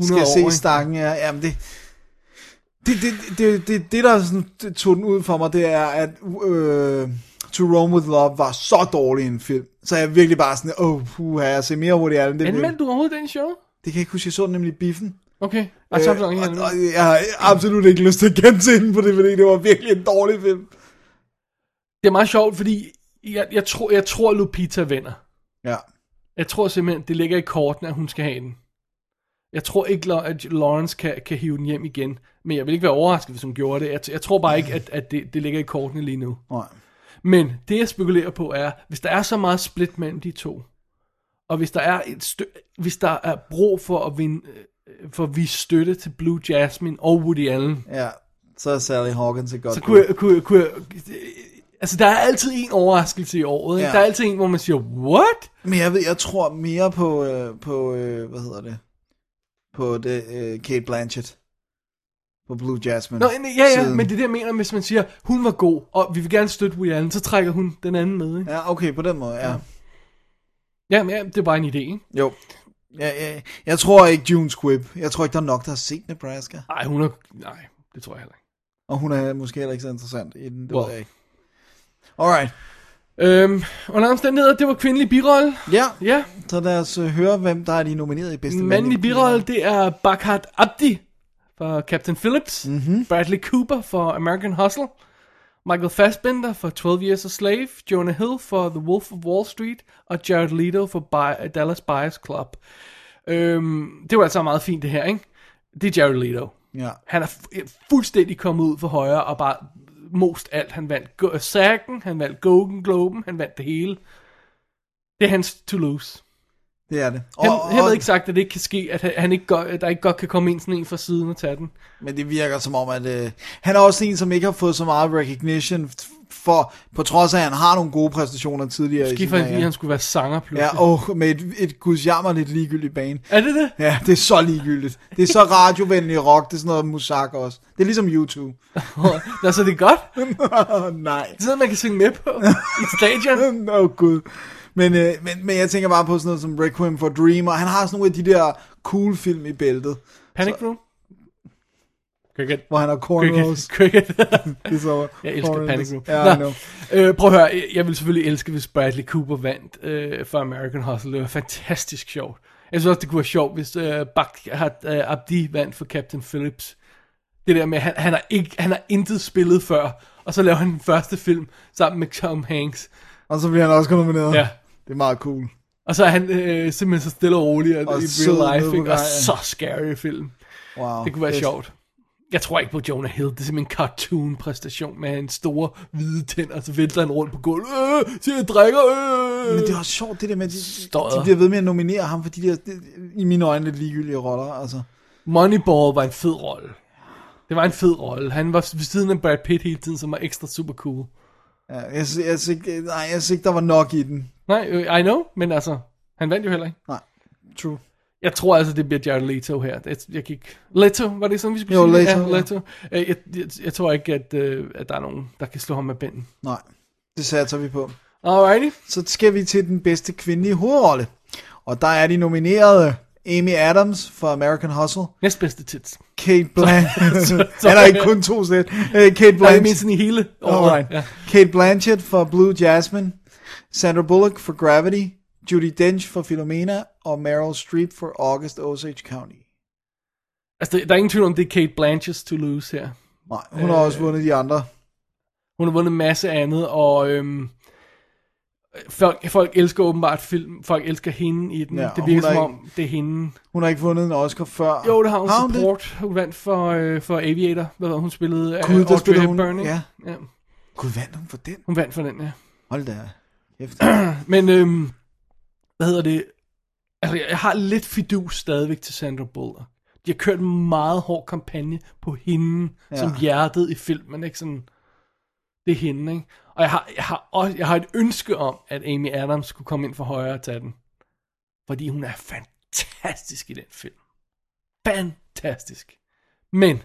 Speaker 3: Skal
Speaker 4: år.
Speaker 3: jeg se
Speaker 4: ikke?
Speaker 3: stakken? Ja, jamen det... Det, det, det, det, det der sådan, det tog den ud for mig, det er, at øh, To Rome With Love var så dårlig en film. Så jeg virkelig bare sådan, åh, oh, puha, jeg ser mere Woody Allen. Det, vil-
Speaker 4: Anmeldte du overhovedet den show?
Speaker 3: det kan jeg ikke huske, jeg så den nemlig i biffen.
Speaker 4: Okay. Ej, så er det nok ikke
Speaker 3: Øh, og, og,
Speaker 4: andet.
Speaker 3: jeg har absolut ikke lyst til at gense den på det, fordi det var virkelig en dårlig film.
Speaker 4: Det er meget sjovt, fordi jeg, jeg, tror, jeg tror, Lupita vinder.
Speaker 3: Ja.
Speaker 4: Jeg tror simpelthen, det ligger i korten, at hun skal have den. Jeg tror ikke, Lo- at Lawrence kan, kan hive den hjem igen. Men jeg vil ikke være overrasket, hvis hun gjorde det. Jeg, t- jeg tror bare ikke, at, at det, det ligger i kortene lige nu.
Speaker 3: Nej.
Speaker 4: Men det, jeg spekulerer på, er, hvis der er så meget split mellem de to, og hvis der er, et stø- hvis der er brug for at vinde, øh, for at vise støtte til Blue Jasmine og Woody Allen,
Speaker 3: Ja, så er Sally Hawkins et godt
Speaker 4: så
Speaker 3: bud.
Speaker 4: kunne jeg, kunne, jeg, kunne jeg, altså der er altid en overraskelse i året, ikke?
Speaker 3: Ja.
Speaker 4: der er altid en, hvor man siger, what?
Speaker 3: Men jeg ved, jeg tror mere på, øh, på øh, hvad hedder det, på det, øh, Kate Blanchett. På Blue Jasmine.
Speaker 4: Nå, nej, ja, ja,
Speaker 3: siden.
Speaker 4: men det er det, jeg mener, hvis man siger, hun var god, og vi vil gerne støtte Woody Allen, så trækker hun den anden med, ikke?
Speaker 3: Ja, okay, på den måde, ja.
Speaker 4: Ja, men ja, det er bare en idé, ikke?
Speaker 3: Jo. Ja, ja, jeg tror ikke June Squibb. Jeg tror ikke, der er nok, der har set Nebraska.
Speaker 4: Nej, hun er, nej, det tror jeg heller ikke.
Speaker 3: Og hun er måske heller ikke så interessant i den, det
Speaker 4: Wow.
Speaker 3: ved jeg ikke. Alright.
Speaker 4: Øhm, under omstændigheder, det var kvindelig birolle.
Speaker 3: Ja,
Speaker 4: Ja,
Speaker 3: så lad os øh, høre, hvem der er de nomineret i bedste
Speaker 4: Den mandlige birolle, det er Bakhat Abdi for Captain Phillips, mm-hmm. Bradley Cooper for American Hustle, Michael Fassbender for 12 Years a Slave, Jonah Hill for The Wolf of Wall Street, og Jared Leto for Bi- Dallas Buyers Club. Øhm, det var altså meget fint det her, ikke? Det er Jared Leto.
Speaker 3: Ja.
Speaker 4: Han er fu- fuldstændig kommet ud for højre og bare most alt. Han vandt go- Sagen, han vandt Golden Globen, han vandt det hele. Det er hans to lose.
Speaker 3: Det er det.
Speaker 4: Han, og, han havde ikke sagt, at det ikke kan ske, at han- han ikke godt, at der ikke godt kan komme ind sådan en fra siden og tage den.
Speaker 3: Men det virker som om, at øh, han er også en, som ikke har fået så meget recognition, f- for på trods af, at han har nogle gode præstationer tidligere. i
Speaker 4: Måske
Speaker 3: sin
Speaker 4: fordi
Speaker 3: karriere.
Speaker 4: han skulle være sanger pludselig.
Speaker 3: Ja, og med et, et gudsjammerligt ligegyldigt bane.
Speaker 4: Er det det?
Speaker 3: Ja, det er så ligegyldigt. Det er så radiovenlig rock, det er sådan noget musak også. Det er ligesom YouTube.
Speaker 4: Nå, så det er godt.
Speaker 3: Nej.
Speaker 4: Det er sådan, man kan synge med på i et stadion.
Speaker 3: Åh, oh, gud. Men, øh, men, men jeg tænker bare på sådan noget som Requiem for a Dream, og han har sådan nogle af de der cool film i bæltet,
Speaker 4: Panic Room? Cricket.
Speaker 3: hvor han har cornrows.
Speaker 4: Cricket. Cricket.
Speaker 3: Det er så
Speaker 4: jeg elsker
Speaker 3: horrendous.
Speaker 4: Panic Room.
Speaker 3: Ja, I
Speaker 4: Nå,
Speaker 3: know.
Speaker 4: øh, prøv at høre, jeg- jeg ville selvfølgelig elske, hvis Bradley Cooper vandt øh, for American Hustle. Det var fantastisk sjovt. Jeg synes også, det kunne være sjovt, hvis øh, Bakhat øh, Abdi vandt for Captain Phillips. Det der med, at han, han, har ikke, han har intet spillet før, og så laver han den første film sammen med Tom Hanks.
Speaker 3: Og så bliver han også nomineret.
Speaker 4: Ja.
Speaker 3: Det er meget cool.
Speaker 4: Og så er han øh, simpelthen så stille og rolig og,
Speaker 3: Og
Speaker 4: i
Speaker 3: sød
Speaker 4: real life,
Speaker 3: nede på
Speaker 4: ikke? og
Speaker 3: vejen.
Speaker 4: så scary film.
Speaker 3: Wow.
Speaker 4: Det kunne være
Speaker 3: fedt.
Speaker 4: sjovt. Jeg tror ikke på Jonah Hill. Det er simpelthen en cartoon-præstation med en store hvide tænder, så vælter han rundt på gulvet. Øh, siger jeg drikker, øh.
Speaker 3: Men det er også sjovt, det der med, at de, de
Speaker 4: Stodder.
Speaker 3: bliver ved med at nominere ham for de der, i mine øjne, lidt ligegyldige roller. Altså.
Speaker 4: Moneyball var en fed rolle. Det var en fed rolle. Han var ved siden af Brad Pitt hele tiden, som var ekstra super cool.
Speaker 3: Ja, jeg, sy- jeg, synes ikke- nej, jeg synes ikke, der var nok i den.
Speaker 4: Nej, øh, I know, men altså, han vandt jo heller ikke.
Speaker 3: Nej, true.
Speaker 4: Jeg tror altså, det bliver Jared Leto her. Jeg, jeg gik... Leto, var det sådan, vi skulle
Speaker 3: Jo,
Speaker 4: sige?
Speaker 3: Leto, ja.
Speaker 4: ja, Leto. Øh, Jeg, jeg, jeg, tror ikke, at, øh, at der er nogen, der kan slå ham med pinden.
Speaker 3: Nej, det satser vi på.
Speaker 4: Alrighty.
Speaker 3: Så skal vi til den bedste kvindelige hovedrolle. Og der er de nominerede Amy Adams for American Hustle.
Speaker 4: Næstbedste tits.
Speaker 3: Kate
Speaker 4: Så-
Speaker 3: Blanchett.
Speaker 4: så-
Speaker 3: Han har ikke kun to sæt. Øh, Kate
Speaker 4: Nej, jeg
Speaker 3: Blanchett.
Speaker 4: mener sådan i hele året,
Speaker 3: Alright.
Speaker 4: ja.
Speaker 3: Kate Blanchett for Blue Jasmine. Sandra Bullock for Gravity. Judy Dench for Philomena. Og Meryl Streep for August Osage County.
Speaker 4: Altså, der, der er ingen tvivl om, det er Kate Blanchett to lose her.
Speaker 3: Nej, Hun har
Speaker 4: Øh.
Speaker 3: også vundet de andre.
Speaker 4: Hun har vundet en masse andet, og øhm, folk, folk elsker åbenbart film. Folk elsker hende i den.
Speaker 3: Ja,
Speaker 4: Ja,
Speaker 3: og
Speaker 4: det virker
Speaker 3: hun
Speaker 4: som
Speaker 3: er
Speaker 4: om, det er hende.
Speaker 3: Hun har ikke vundet en Oscar før.
Speaker 4: Jo, det har hun
Speaker 3: Har hun
Speaker 4: support. Hun vandt for, øh, for Aviator. Hvad var hun spillede? øh,
Speaker 3: Gud, der
Speaker 4: Audrey
Speaker 3: spiller hun.
Speaker 4: Hepburn, ikke?
Speaker 3: Ja.
Speaker 4: ja.
Speaker 3: Gud, vandt hun for den?
Speaker 4: Hun vandt for den, ja.
Speaker 3: Hold da. Kæft.
Speaker 4: Men, øhm, hvad hedder det? Altså, jeg jeg har lidt fidus stadigvæk til Sandra Bullock. De har kørt en meget hård kampagne på hende,
Speaker 3: Ja.
Speaker 4: ja. som hjertet i filmen, ikke? Sådan, det er hende, ikke? Og jeg har, jeg, har også, jeg har et ønske om, at Amy Adams skulle komme ind for højre og tage den. Fordi hun er fantastisk i den film. Fantastisk. Men,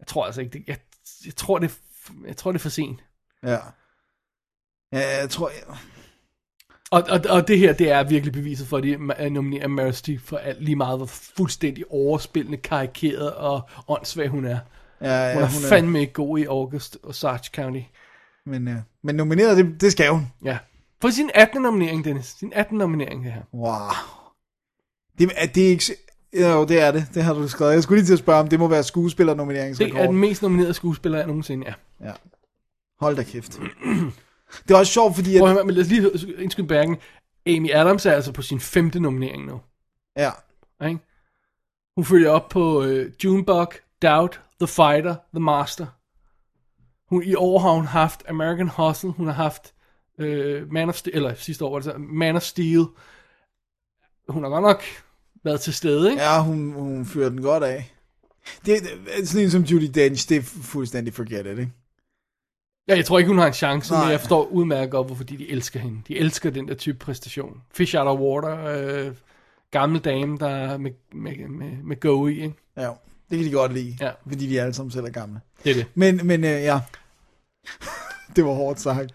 Speaker 4: jeg tror altså ikke, det, jeg, jeg, tror, det, er f- jeg tror, det er for sent.
Speaker 3: Ja. Ja, jeg tror... Jeg...
Speaker 4: Og, og, og det her, det er virkelig beviset for, at de ma- nominerer Meryl Streep for alt, lige meget, hvor fuldstændig overspillende, karikeret og åndssvag hun er.
Speaker 3: Ja, ja,
Speaker 4: hun er
Speaker 3: hun er-
Speaker 4: fandme ikke god i August og Sarge County.
Speaker 3: Men, øh, men nomineret, det, det skal hun.
Speaker 4: Ja. For sin 18. nominering, Dennis. Sin 18. nominering, det her.
Speaker 3: Wow. Det er, det er ikke... s- Jo, det er det. Det har du skrevet. Jeg skulle lige til at spørge, om det må være skuespillernomineringsrekord.
Speaker 4: Det er den mest nominerede skuespiller, jeg nogensinde er.
Speaker 3: Ja. Hold da kæft. Det er også sjovt, fordi...
Speaker 4: Prøv at høre, men lad os lige indskyde bakken. Amy Adams er altså på sin femte nominering nu.
Speaker 3: Ja.
Speaker 4: Ikke? Hun følger op på øh, Junebug, Doubt, The Fighter, The Master. Hun, I år har hun haft American Hustle, hun har haft øh, Man of Steel, eller sidste år var det så, Man of Steel. Hun har godt nok været til stede, ikke?
Speaker 3: Ja, hun, hun fyrer den godt af. Det, det, sådan en som Judy Dench, det er fu- fuldstændig forget it, ikke?
Speaker 4: Ja, jeg tror ikke, hun har en chance,
Speaker 3: Nej.
Speaker 4: men jeg forstår udmærket godt, hvorfor de, de elsker hende. De elsker den der type præstation. Fish out of water, øh, gammel dame, der er med, med, med, med go i, ikke?
Speaker 3: Ja, det kan de godt lide,
Speaker 4: Ja.
Speaker 3: fordi de alle sammen selv er gamle.
Speaker 4: Det er det.
Speaker 3: Men, men øh, ja, det var hårdt sagt.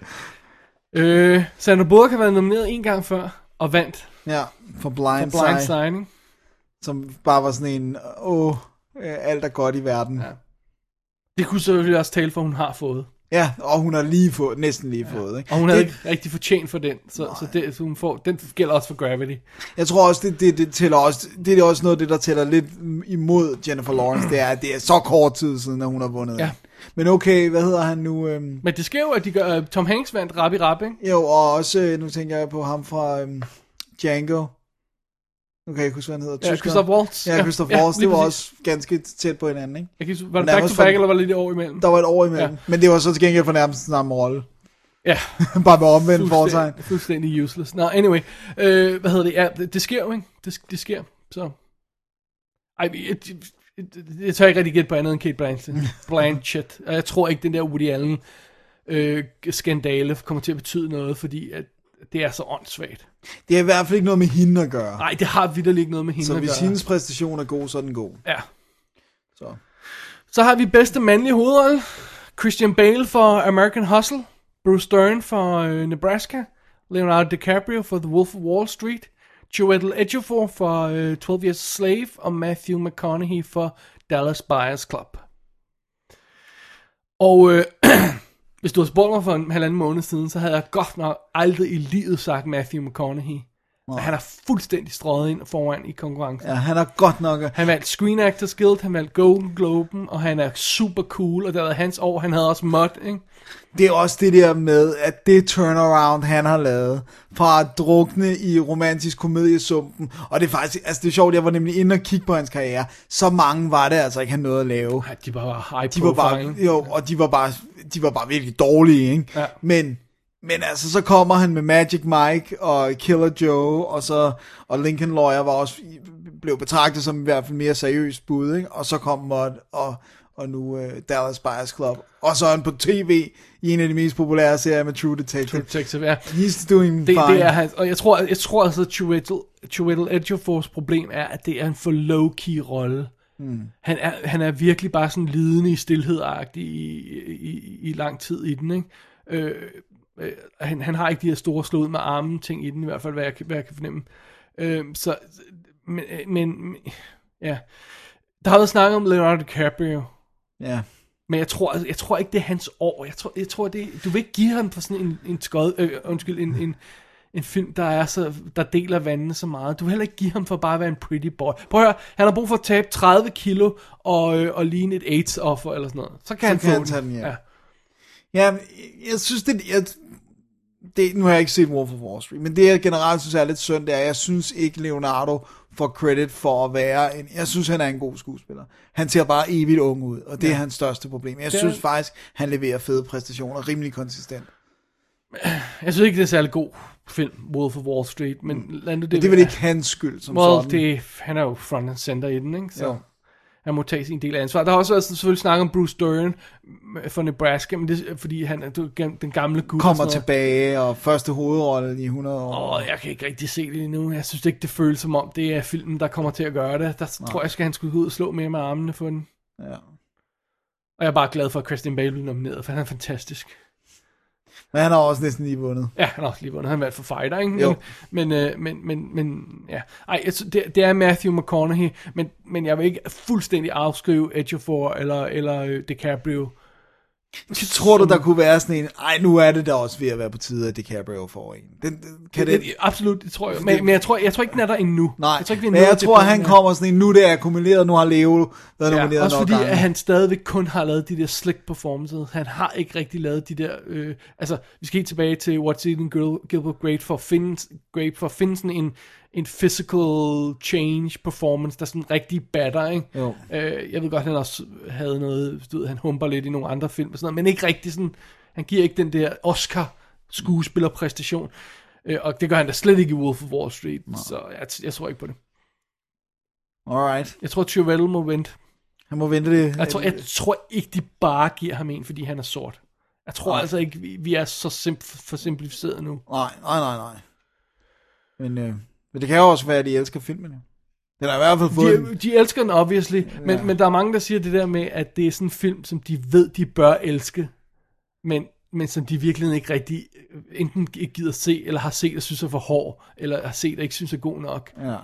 Speaker 4: Øh, Sandra Bullock har været nomineret en gang før, og vandt
Speaker 3: Ja, for Blind,
Speaker 4: for Blind
Speaker 3: Side,
Speaker 4: Signing.
Speaker 3: som bare var sådan en, åh, øh, alt er godt i verden. Ja.
Speaker 4: Det kunne selvfølgelig også tale for, at hun har fået.
Speaker 3: ja, og hun har lige fået, næsten lige ja. fået. Ikke?
Speaker 4: Og hun havde
Speaker 3: det,
Speaker 4: ikke rigtig fortjent for den, så, så, det, så hun får, den gælder også for Gravity.
Speaker 3: Jeg tror også, det, det, det tæller også, det er også noget af det, der tæller lidt imod Jennifer Lawrence, det er, at det er så kort tid siden, at hun har vundet.
Speaker 4: Ja.
Speaker 3: den. Men okay, hvad hedder han nu? Øhm,
Speaker 4: Men det sker jo, at de gør, øh, Tom Hanks vandt rap i rap, ikke?
Speaker 3: Jo, og også, øh, nu tænker jeg på ham fra øhm, Django. Nu kan jeg ikke huske, hvad han hedder.
Speaker 4: Ja,
Speaker 3: Tyskeren.
Speaker 4: Christoph Waltz.
Speaker 3: Ja,
Speaker 4: Ja,
Speaker 3: Christoph
Speaker 4: ja,
Speaker 3: Waltz.
Speaker 4: lige
Speaker 3: det var
Speaker 4: præcis.
Speaker 3: også ganske tæt på hinanden, ikke?
Speaker 4: Jeg kan, ikke huske- var det
Speaker 3: Nærmest
Speaker 4: back to
Speaker 3: for-
Speaker 4: back, eller var det lidt år imellem?
Speaker 3: Der var et år imellem. Ja. Men det var så til gengæld for nærmest samme rolle.
Speaker 4: Ja.
Speaker 3: Bare med omvendt foretegn.
Speaker 4: Fuldstændig, fuldstændig useless. Nå, anyway. Øh, hvad hedder det? Ja, det, det sker jo, ikke? Det, det sker. Så. Ej, jeg, jeg, jeg tør ikke rigtig gætte på andet end Kate Blanchett. Blanchett. Og jeg tror ikke, den der Woody Allen øh, skandale kommer til at betyde noget, fordi at det er så åndssvagt.
Speaker 3: Det er i hvert fald ikke noget med hende at gøre.
Speaker 4: Nej, det har vidderligt ikke noget med hende
Speaker 3: så
Speaker 4: at
Speaker 3: hvis
Speaker 4: gøre.
Speaker 3: hendes præstation er god, så er den god.
Speaker 4: Ja.
Speaker 3: Så.
Speaker 4: Så har vi bedste mandlige hovedrolle. Christian Bale for American Hustle. Bruce Dern for øh, Nebraska. Leonardo DiCaprio for The Wolf of Wall Street. Joel Edgefor for øh, 12 Years a Slave. Og Matthew McConaughey for Dallas Buyers Club. Og øh, hvis du havde spurgt mig for en halvanden måned siden, så havde jeg godt nok aldrig i livet sagt Matthew McConaughey. Wow. Han er fuldstændig strøget ind foran i konkurrencen.
Speaker 3: Ja, han er godt nok...
Speaker 4: Han vandt Screen Actors Guild, han vandt Golden Globen, og han er super cool, og det var hans år, han havde også mod, ikke?
Speaker 3: Det er også det der med, at det turnaround, han har lavet, fra at drukne i romantisk komediesumpen, og det er faktisk, altså det er sjovt, jeg var nemlig inde og kigge på hans karriere, så mange var det altså ikke, han nåede at lave.
Speaker 4: Ja, de var bare high
Speaker 3: de var bare,
Speaker 4: profile.
Speaker 3: jo, og de var bare, de var bare virkelig dårlige, ikke?
Speaker 4: Ja.
Speaker 3: Men, men altså, så kommer han med Magic Mike og Killer Joe, og så, og Lincoln Lawyer var også, blev betragtet som i hvert fald mere seriøst bud, ikke? Og så kom Mott og, og nu øh, Dallas Buyers Club. Og så er han på tv i en af de mest populære serier med True Detective. True
Speaker 4: Detective, ja.
Speaker 3: He's doing
Speaker 4: Det,
Speaker 3: fine.
Speaker 4: det er hans, og jeg tror, jeg tror altså, at Chiwetel- Chiwetel Ejiofor's problem er, at det er en for low-key rolle.
Speaker 3: Mm.
Speaker 4: Han er, han er virkelig bare sådan lidende i stillhed-agtig i, i, i lang tid i den, ikke? Øh, øh, han, han har ikke de her store slået med armen ting i den, i hvert fald, hvad jeg, kan- hvad jeg kan fornemme. Øh, så, men, øh, men, men, ja. Der har været snakket om Leonardo DiCaprio.
Speaker 3: Ja.
Speaker 4: Men jeg tror, jeg tror ikke, det er hans år. Jeg tror, jeg tror det, du vil ikke give ham for sådan en, en, skod, øh, undskyld, en, en, en film, der, er så, der deler vandene så meget. Du vil heller ikke give ham for bare at være en pretty boy. Prøv at høre, han har brug for at tabe 30 kilo og, øh, og ligne et AIDS-offer eller sådan noget. Så kan
Speaker 3: Så
Speaker 4: han
Speaker 3: kan
Speaker 4: få
Speaker 3: han
Speaker 4: den.
Speaker 3: tage den hjem.
Speaker 4: ja.
Speaker 3: Ja, jeg synes, det, jeg, det, nu har jeg ikke set Wolf of Wall Street, men det jeg generelt synes er lidt synd, det er, at jeg synes ikke Leonardo får credit for at være en, jeg synes han er en god skuespiller. Han ser bare evigt ung ud, og det
Speaker 4: Ja.
Speaker 3: er hans største problem. Jeg
Speaker 4: Det er-
Speaker 3: synes faktisk, han leverer fede præstationer, rimelig konsistent.
Speaker 4: Jeg synes ikke, det er særlig god film, Wolf of Wall Street, men lad nu
Speaker 3: Men
Speaker 4: det
Speaker 3: det er vel
Speaker 4: være.
Speaker 3: ikke hans skyld som
Speaker 4: well,
Speaker 3: sådan.
Speaker 4: det, han er jo front and center i den, ikke? Så
Speaker 3: Jo.
Speaker 4: han må tage sin del af ansvar. Der har også været selvfølgelig snak om Bruce Dern øh, fra Nebraska, men det er fordi han er du- den gamle gut. og sådan
Speaker 3: Kommer
Speaker 4: noget.
Speaker 3: tilbage, og første hovedrolle i 100 år.
Speaker 4: Åh, jeg kan ikke rigtig se det endnu. Jeg synes ikke, det føles som om, det er filmen, der kommer til at gøre det. Der
Speaker 3: Nej.
Speaker 4: tror jeg, skal han skulle gå ud og slå mere med armene for den.
Speaker 3: Ja.
Speaker 4: Og jeg er bare glad for, at Christian Bale blev nomineret, for han er fantastisk.
Speaker 3: Men han har også næsten lige vundet.
Speaker 4: Ja, han har også lige vundet. Han vandt for Fighter, ikke?
Speaker 3: Jo.
Speaker 4: Men, men, øh, men, men, men, ja. Ej, jeg, sy- det, det, er Matthew McConaughey, men, men jeg vil ikke fuldstændig afskrive Edgefor eller, eller øh, DiCaprio.
Speaker 3: Tror du, der kunne være sådan en, ej, nu er det da også ved at være på tide, at DiCaprio får en. Den, den- kan det,
Speaker 4: Absolut, det tror jeg. Men, men jeg, tror, jeg tror ikke, den er der endnu. Nej, jeg tror, ikke, vi er
Speaker 3: Men
Speaker 4: nået
Speaker 3: jeg
Speaker 4: til
Speaker 3: tror,
Speaker 4: punktet
Speaker 3: han
Speaker 4: her.
Speaker 3: kommer sådan en, nu det er akkumuleret, nu har Leo været nomineret
Speaker 4: Ja, også
Speaker 3: nok
Speaker 4: fordi,
Speaker 3: gange.
Speaker 4: at han stadigvæk kun har lavet de der slick performances. Han har ikke rigtig lavet de der... Øh, altså, vi skal helt tilbage til What's Eating Gil- Gilbert Grape for at finde, Grape for at finde sådan en, en physical change performance, der sådan rigtig batter, ikke?
Speaker 3: Jo.
Speaker 4: Øh, jeg ved godt, han også havde noget... Du ved, han humper lidt i nogle andre film og sådan noget, men ikke rigtig sådan... Han giver ikke den der Oscar skuespillerpræstation. Øh, og det gør han da slet ikke i Wolf of Wall Street, så jeg, jeg tror ikke på det.
Speaker 3: Alright.
Speaker 4: Jeg tror, Chiwetel må vente.
Speaker 3: Han må vente det.
Speaker 4: Jeg tror, jeg tror ikke, de bare giver ham en, fordi han er sort. Jeg tror
Speaker 3: Nej.
Speaker 4: altså ikke, vi, vi er så simp- for simplificeret nu.
Speaker 3: Nej, nej, nej, nej. Men, øh, men det kan jo også være, at de elsker filmen. jo. Den har i hvert fald fået... en-
Speaker 4: De, de elsker den, obviously, ja. men, men der er mange, der siger det der med, at det er sådan en film, som de ved, de bør elske, men, men som de virkelig ikke rigtig øh, enten ikke gider se, eller har set og synes er for hård, eller har set og ikke synes er god nok.
Speaker 3: Ja.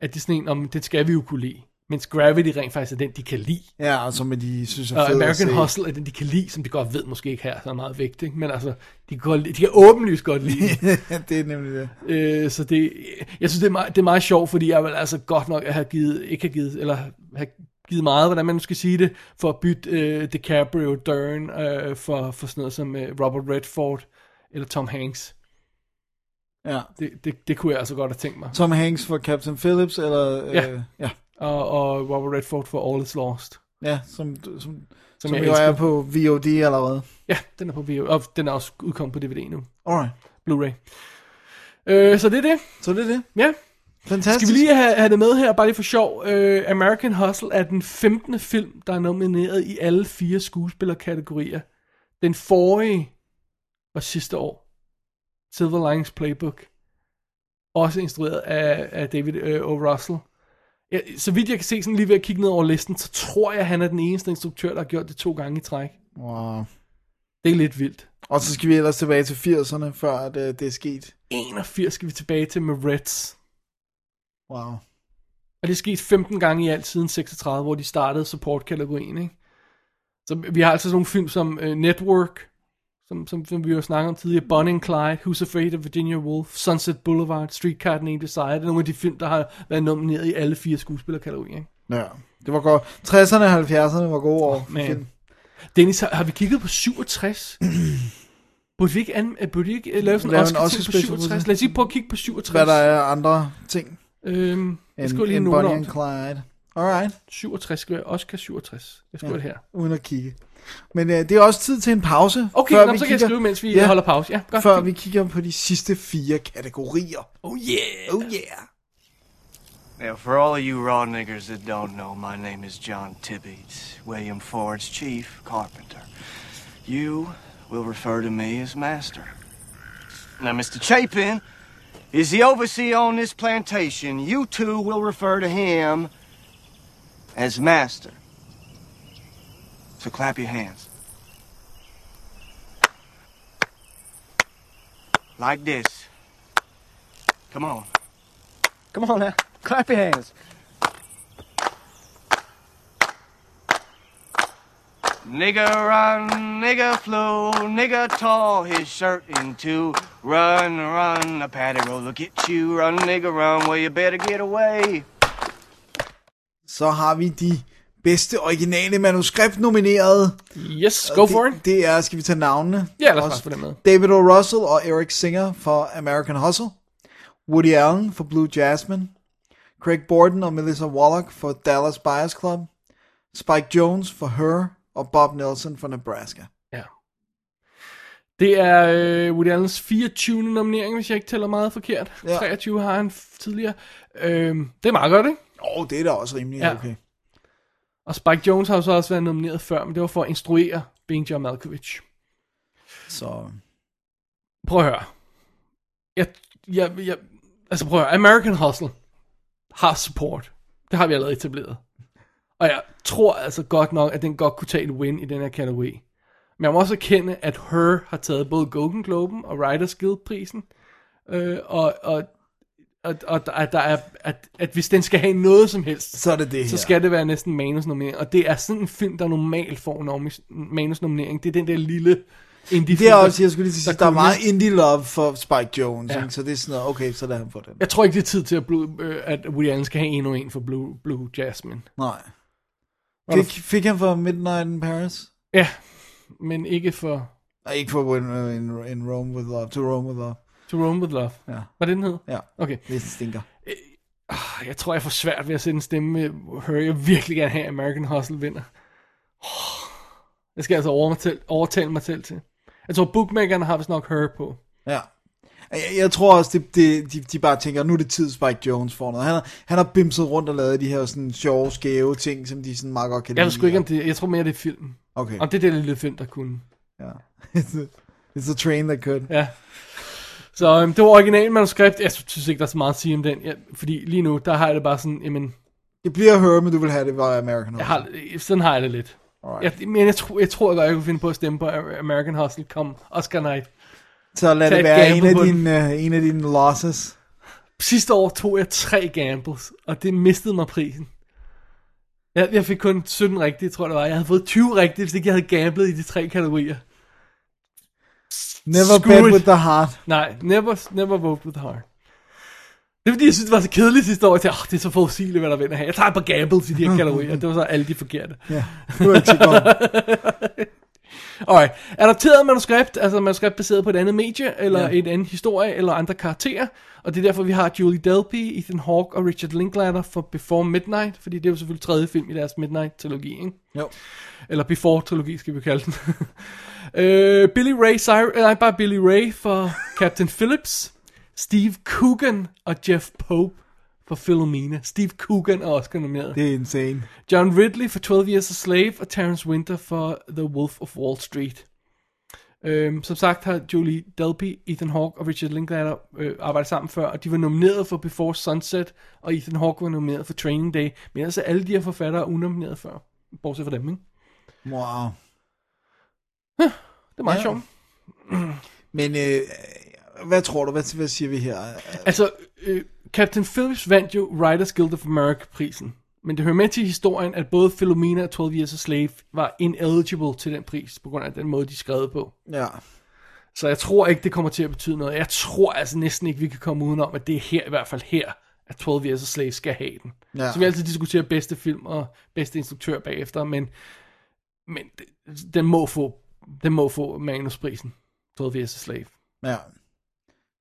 Speaker 4: At det er sådan en, om den skal vi jo kunne lide. Mens Gravity rent faktisk er den, de kan lide.
Speaker 3: Ja, og som de synes er
Speaker 4: Og
Speaker 3: fed at
Speaker 4: American
Speaker 3: se.
Speaker 4: Hustle er den, de kan lide, som de godt ved måske ikke her, så er meget vægt, ikke? men altså, de kan, godt lide, de kan åbenlyst godt lide.
Speaker 3: det er nemlig det.
Speaker 4: Øh, så det, jeg synes, det er, meget, det er meget sjovt, fordi jeg vil altså godt nok have givet, ikke have givet, eller have givet meget, hvordan man nu skal sige det, for at bytte øh, DiCaprio Dern øh, for, for sådan noget som øh, Robert Redford eller Tom Hanks.
Speaker 3: Ja.
Speaker 4: Det, det, det kunne jeg altså godt have tænkt mig.
Speaker 3: Tom Hanks for Captain Phillips, eller... Øh,
Speaker 4: ja.
Speaker 3: ja.
Speaker 4: Og, og Robert Redford for All Is Lost.
Speaker 3: ja, som, som, som, som
Speaker 4: jeg
Speaker 3: jo er
Speaker 4: elsker.
Speaker 3: på VOD allerede.
Speaker 4: Ja, den er på video, og den er også udkommet på DVD nu.
Speaker 3: Alright.
Speaker 4: Blu-ray. Øh, så det er det.
Speaker 3: Så det er det.
Speaker 4: Ja.
Speaker 3: Fantastisk.
Speaker 4: Skal vi lige have, have det med her, bare lige for sjov. Øh, American Hustle er den 15. film, der er nomineret i alle fire skuespillerkategorier. Den forrige var sidste år. Silver Linings Playbook. Også instrueret af, af David øh, O. Russell. Ja, så vidt jeg kan se, sådan lige ved at kigge ned over listen, så tror jeg, han er den eneste instruktør, der har gjort det to gange i træk.
Speaker 3: Wow.
Speaker 4: Det er lidt vildt.
Speaker 3: Og så skal vi ellers tilbage til 80'erne, før at, øh, det er sket.
Speaker 4: 81 skal vi tilbage til med Reds.
Speaker 3: Wow.
Speaker 4: Og det er sket 15 gange i alt siden 36, hvor de startede support-kategorien, ikke? Så vi har altså sådan nogle film som uh, øh, Network, Som, som, som vi jo snakkede om tidligere, Bonnie and Clyde, Who's Afraid of Virginia Woolf, Sunset Boulevard, Streetcar Named Desire, det er nogle af de film, der har været nomineret i alle fire skuespillerkategorier. ikke?
Speaker 3: Ja, det var godt. 60'erne og 70'erne var gode år. for film.
Speaker 4: Men, Dennis, har, har vi kigget på 67? burde vi ikke, an, øh, burde vi ikke øh, lave sådan
Speaker 3: Lave
Speaker 4: en
Speaker 3: en
Speaker 4: Oscar,
Speaker 3: Oscar
Speaker 4: Oscar på
Speaker 3: special på
Speaker 4: 67?
Speaker 3: det.
Speaker 4: Lad os lige prøve at kigge på 67.
Speaker 3: Hvad der er af andre ting.
Speaker 4: Øhm, jeg
Speaker 3: end-
Speaker 4: skriver lige
Speaker 3: end
Speaker 4: nogle
Speaker 3: Bonnie
Speaker 4: om
Speaker 3: and
Speaker 4: det.
Speaker 3: Clyde. Alright.
Speaker 4: 67 skriver jeg. Oscar 67. Jeg skriver ja. det her.
Speaker 3: Uden at kigge. Men øh, det er også tid til en pause.
Speaker 4: Okay,
Speaker 3: før
Speaker 4: nå,
Speaker 3: vi
Speaker 4: så kan jeg
Speaker 3: kigger-
Speaker 4: skrive, mens vi, øh, holder pause. Ja, godt.
Speaker 3: før vi kigger på de sidste fire kategorier. Oh yeah! Oh yeah!
Speaker 15: Now, for all of you raw niggers that don't know, my name is John Tibbetts, William Ford's chief carpenter. You will refer to me as master. Now, Mr. Chapin is the overseer on this plantation. You two will refer to him as master. So clap your hands. Like this. Come on. Come on now. Clap your hands. Nigger run, nigger flew, nigger tore his shirt in two. Run, run, a paddy roller get you. Run, nigger, run, well, you better get away.
Speaker 3: Så har vi de bedste originale manuskript nomineret.
Speaker 4: Yes, go for
Speaker 3: it. Det er, skal vi tage navnene?
Speaker 4: Ja, lad os
Speaker 3: Også
Speaker 4: bare få dem med.
Speaker 3: David O. Russell og Eric Singer for American Hustle. Woody Allen for Blue Jasmine. Craig Borden og Melissa Wallach for Dallas Buyers Club. Spike Jones for Her og Bob Nelson for Nebraska.
Speaker 4: Ja. Det er øh, Woody Allen's 24. nominering, hvis jeg ikke tæller meget forkert. Ja. 23 har han f- tidligere. Øhm, det er meget godt, ikke?
Speaker 3: Åh, oh, det er da også rimelig
Speaker 4: Ja.
Speaker 3: okay.
Speaker 4: Og Spike Jones har jo så også været nomineret før, men det var for at instruere Bing John Malkovich.
Speaker 3: Så...
Speaker 4: Prøv at høre. Jeg, jeg, jeg, altså prøv at høre. American Hustle har support. Det har vi allerede etableret. Og jeg tror altså godt nok, at den godt kunne tage et win i den her kategori. Men jeg må også erkende, at Her har taget både Golden Globen og Writers Guild-prisen. Øh, og, og, og, og at, der er, at, at hvis den skal have noget som helst,
Speaker 3: så, er det det
Speaker 4: så
Speaker 3: her.
Speaker 4: skal det være næsten manusnominering. Og det er sådan en film, der normalt får nomi- manusnominering. Det er den der lille indie
Speaker 3: Det er også, jeg skulle lige til at sige, der, er
Speaker 4: kunne
Speaker 3: meget
Speaker 4: næsten-
Speaker 3: indie love for Spike Jones,
Speaker 4: Ja.
Speaker 3: ja. ikke? så det er sådan noget, okay, så lad ham få den.
Speaker 4: Jeg tror ikke, det er tid til, at, Blue, øh, at Woody Allen skal have endnu en for Blue, Blue Jasmine.
Speaker 3: Nej.
Speaker 4: Var
Speaker 3: Fik,
Speaker 4: der-
Speaker 3: fik han for Midnight in Paris?
Speaker 4: Ja, men ikke for
Speaker 3: Nej, ikke for when, uh, in, in Rome with Love, To Rome with Love.
Speaker 4: To Rome with Love.
Speaker 3: Ja.
Speaker 4: Var det den hed?
Speaker 3: Ja,
Speaker 4: Okay.
Speaker 3: det stinker.
Speaker 4: Ah, Jeg tror, jeg får svært ved at sætte en stemme med Hurry. Jeg vil virkelig gerne have at American Hustle vinder. Åh, Det skal jeg altså overtale, overtale mig selv til. Jeg tror, bookmakerne har vist nok Her på.
Speaker 3: Ja. Jeg, jeg tror også, det, det, de, de bare tænker, nu er det tid, Spike Jones får noget. Han har, han har bimset rundt og lavet de her sådan sjove, skæve ting, som de sådan meget godt kan
Speaker 4: Jeg ved sgu ikke, om det Jeg tror mere, det er filmen.
Speaker 3: Okay.
Speaker 4: Om det er det lille film, der kunne.
Speaker 3: Ja. It's a, it's a train that could.
Speaker 4: Ja. Så øhm, det var originalt manuskript. Jeg synes ikke, der er så meget at sige om den. Jeg, fordi lige nu, der har jeg det bare sådan, jamen,
Speaker 3: Det bliver Her, men du vil have det var American Hustle.
Speaker 4: Jeg har, sådan har jeg det lidt.
Speaker 3: Alright.
Speaker 4: Jeg, men jeg, tror, jeg tror godt, jeg kunne finde på at stemme på American Hustle. Kom, Oscar Night.
Speaker 3: Så lad
Speaker 4: Tag
Speaker 3: det
Speaker 4: et
Speaker 3: være en
Speaker 4: gamble
Speaker 3: af,
Speaker 4: på den.
Speaker 3: dine, uh, en af dine losses.
Speaker 4: Sidste år tog jeg tre gambles, og det mistede mig prisen. Jeg, jeg fik kun 17 rigtige, tror jeg det var. Jeg havde fået 20 rigtige, hvis ikke jeg havde gamblet i de tre kategorier.
Speaker 3: Never
Speaker 4: Screw
Speaker 3: bet
Speaker 4: it.
Speaker 3: with the heart.
Speaker 4: Nej, never, never vote with heart. Det er fordi, jeg synes, det var så kedeligt sidste år. Jeg tænkte, oh, det er så forudsigeligt, hvad der vinder her. Jeg tager et par gambles i de her kategorier. Det var så alle de forkerte.
Speaker 3: Ja, det var ikke så godt.
Speaker 4: Alright. Adapteret manuskript, altså manuskript baseret på et andet medie, eller ja. en anden historie, eller andre karakterer. Og det er derfor, vi har Julie Delpy, Ethan Hawke og Richard Linklater for Before Midnight, fordi det er jo selvfølgelig tredje film i deres Midnight-trilogi, ikke?
Speaker 3: Jo.
Speaker 4: Eller Before-trilogi, skal vi kalde den. øh, Billy Ray Cyrus, nej, bare Billy Ray for Captain Phillips. Steve Coogan og Jeff Pope for Philomena. Steve Coogan er også nomineret.
Speaker 3: Det er insane.
Speaker 4: John Ridley for 12 Years a Slave og Terrence Winter for The Wolf of Wall Street. Øhm, som sagt har Julie Delpy, Ethan Hawke og Richard Linklater øh, arbejdet sammen før, og de var nomineret for Before Sunset, og Ethan Hawke var nomineret for Training Day, men ellers er alle de her forfattere unomineret før, bortset fra dem, ikke?
Speaker 3: Wow.
Speaker 4: Det er meget
Speaker 3: Ja.
Speaker 4: ja. sjovt.
Speaker 3: Men øh, hvad tror du, hvad, hvad siger vi her?
Speaker 4: Altså, øh, Captain Phillips vandt jo Writers Guild of America-prisen. Men det hører med til historien, at både Philomena og 12 Years a Slave var ineligible til den pris, på grund af den måde, de skrev på.
Speaker 3: Ja.
Speaker 4: Så jeg tror ikke, det kommer til at betyde noget. Jeg tror altså næsten ikke, vi kan komme udenom, at det er her, i hvert fald her, at 12 Years a Slave skal have den.
Speaker 3: Ja.
Speaker 4: Ja. Så vi altid diskuterer bedste film og bedste instruktør bagefter, men, men det- den, må få, den må få manusprisen. 12 Years a Slave.
Speaker 3: Ja.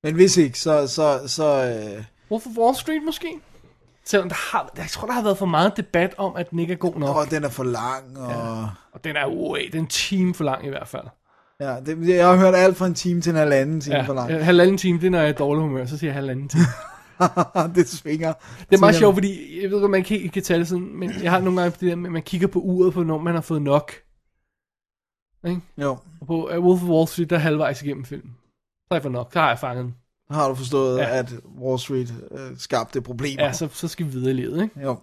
Speaker 3: Men hvis ikke, så... så, så øh,
Speaker 4: Wolf of Wall Street måske? Selvom der har, jeg tror, der har været for meget debat om, at den ikke er god nok.
Speaker 3: Og den er for lang, og... Ja.
Speaker 4: Og den er, uæ, den er en time for lang i hvert fald.
Speaker 3: ja det, jeg har hørt alt fra en time til en halvanden time
Speaker 4: Ja,
Speaker 3: for langt.
Speaker 4: ja, halvanden time, det er, når jeg er i dårlig humør, så siger jeg halvanden time.
Speaker 3: det svinger.
Speaker 4: Det er meget
Speaker 3: Så-
Speaker 4: sjovt, fordi jeg ved godt, man kan ikke kan tale sådan, men jeg har nogle gange det der med, at man kigger på uret på, når man har fået nok. Ikke?
Speaker 3: Jo.
Speaker 4: Og på øh, Wolf of Wall Street, der er halvvejs igennem filmen. Så har jeg fået nok, så har jeg fanget den.
Speaker 3: Har du forstået,
Speaker 4: Ja.
Speaker 3: ja. at Wall Street øh, skabte problemer?
Speaker 4: Ja, så, så skal vi videre i livet, ikke?
Speaker 3: Jo.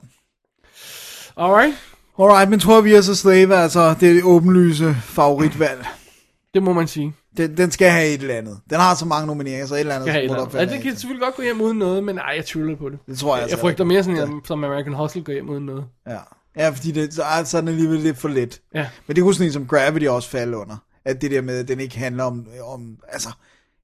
Speaker 4: Alright.
Speaker 3: Alright, men tror vi er så slave, altså, det er det åbenlyse favoritvalg.
Speaker 4: Det må man sige.
Speaker 3: Den, den skal have et eller andet. Den har så mange nomineringer, så et eller andet.
Speaker 4: Skal have et
Speaker 3: må
Speaker 4: eller
Speaker 3: der
Speaker 4: andet.
Speaker 3: falde
Speaker 4: Ja, det
Speaker 3: af.
Speaker 4: kan selvfølgelig godt gå hjem uden noget, men nej, jeg tvivler lidt på det.
Speaker 3: Det tror jeg altså
Speaker 4: Jeg frygter mere sådan, at, som American Hustle går hjem uden noget.
Speaker 3: Ja. Ja, fordi det, så, altså, er- så er den alligevel lidt for let.
Speaker 4: Ja.
Speaker 3: Men det kunne sådan en som Gravity også falde under. At det der med, at den ikke handler om, om altså,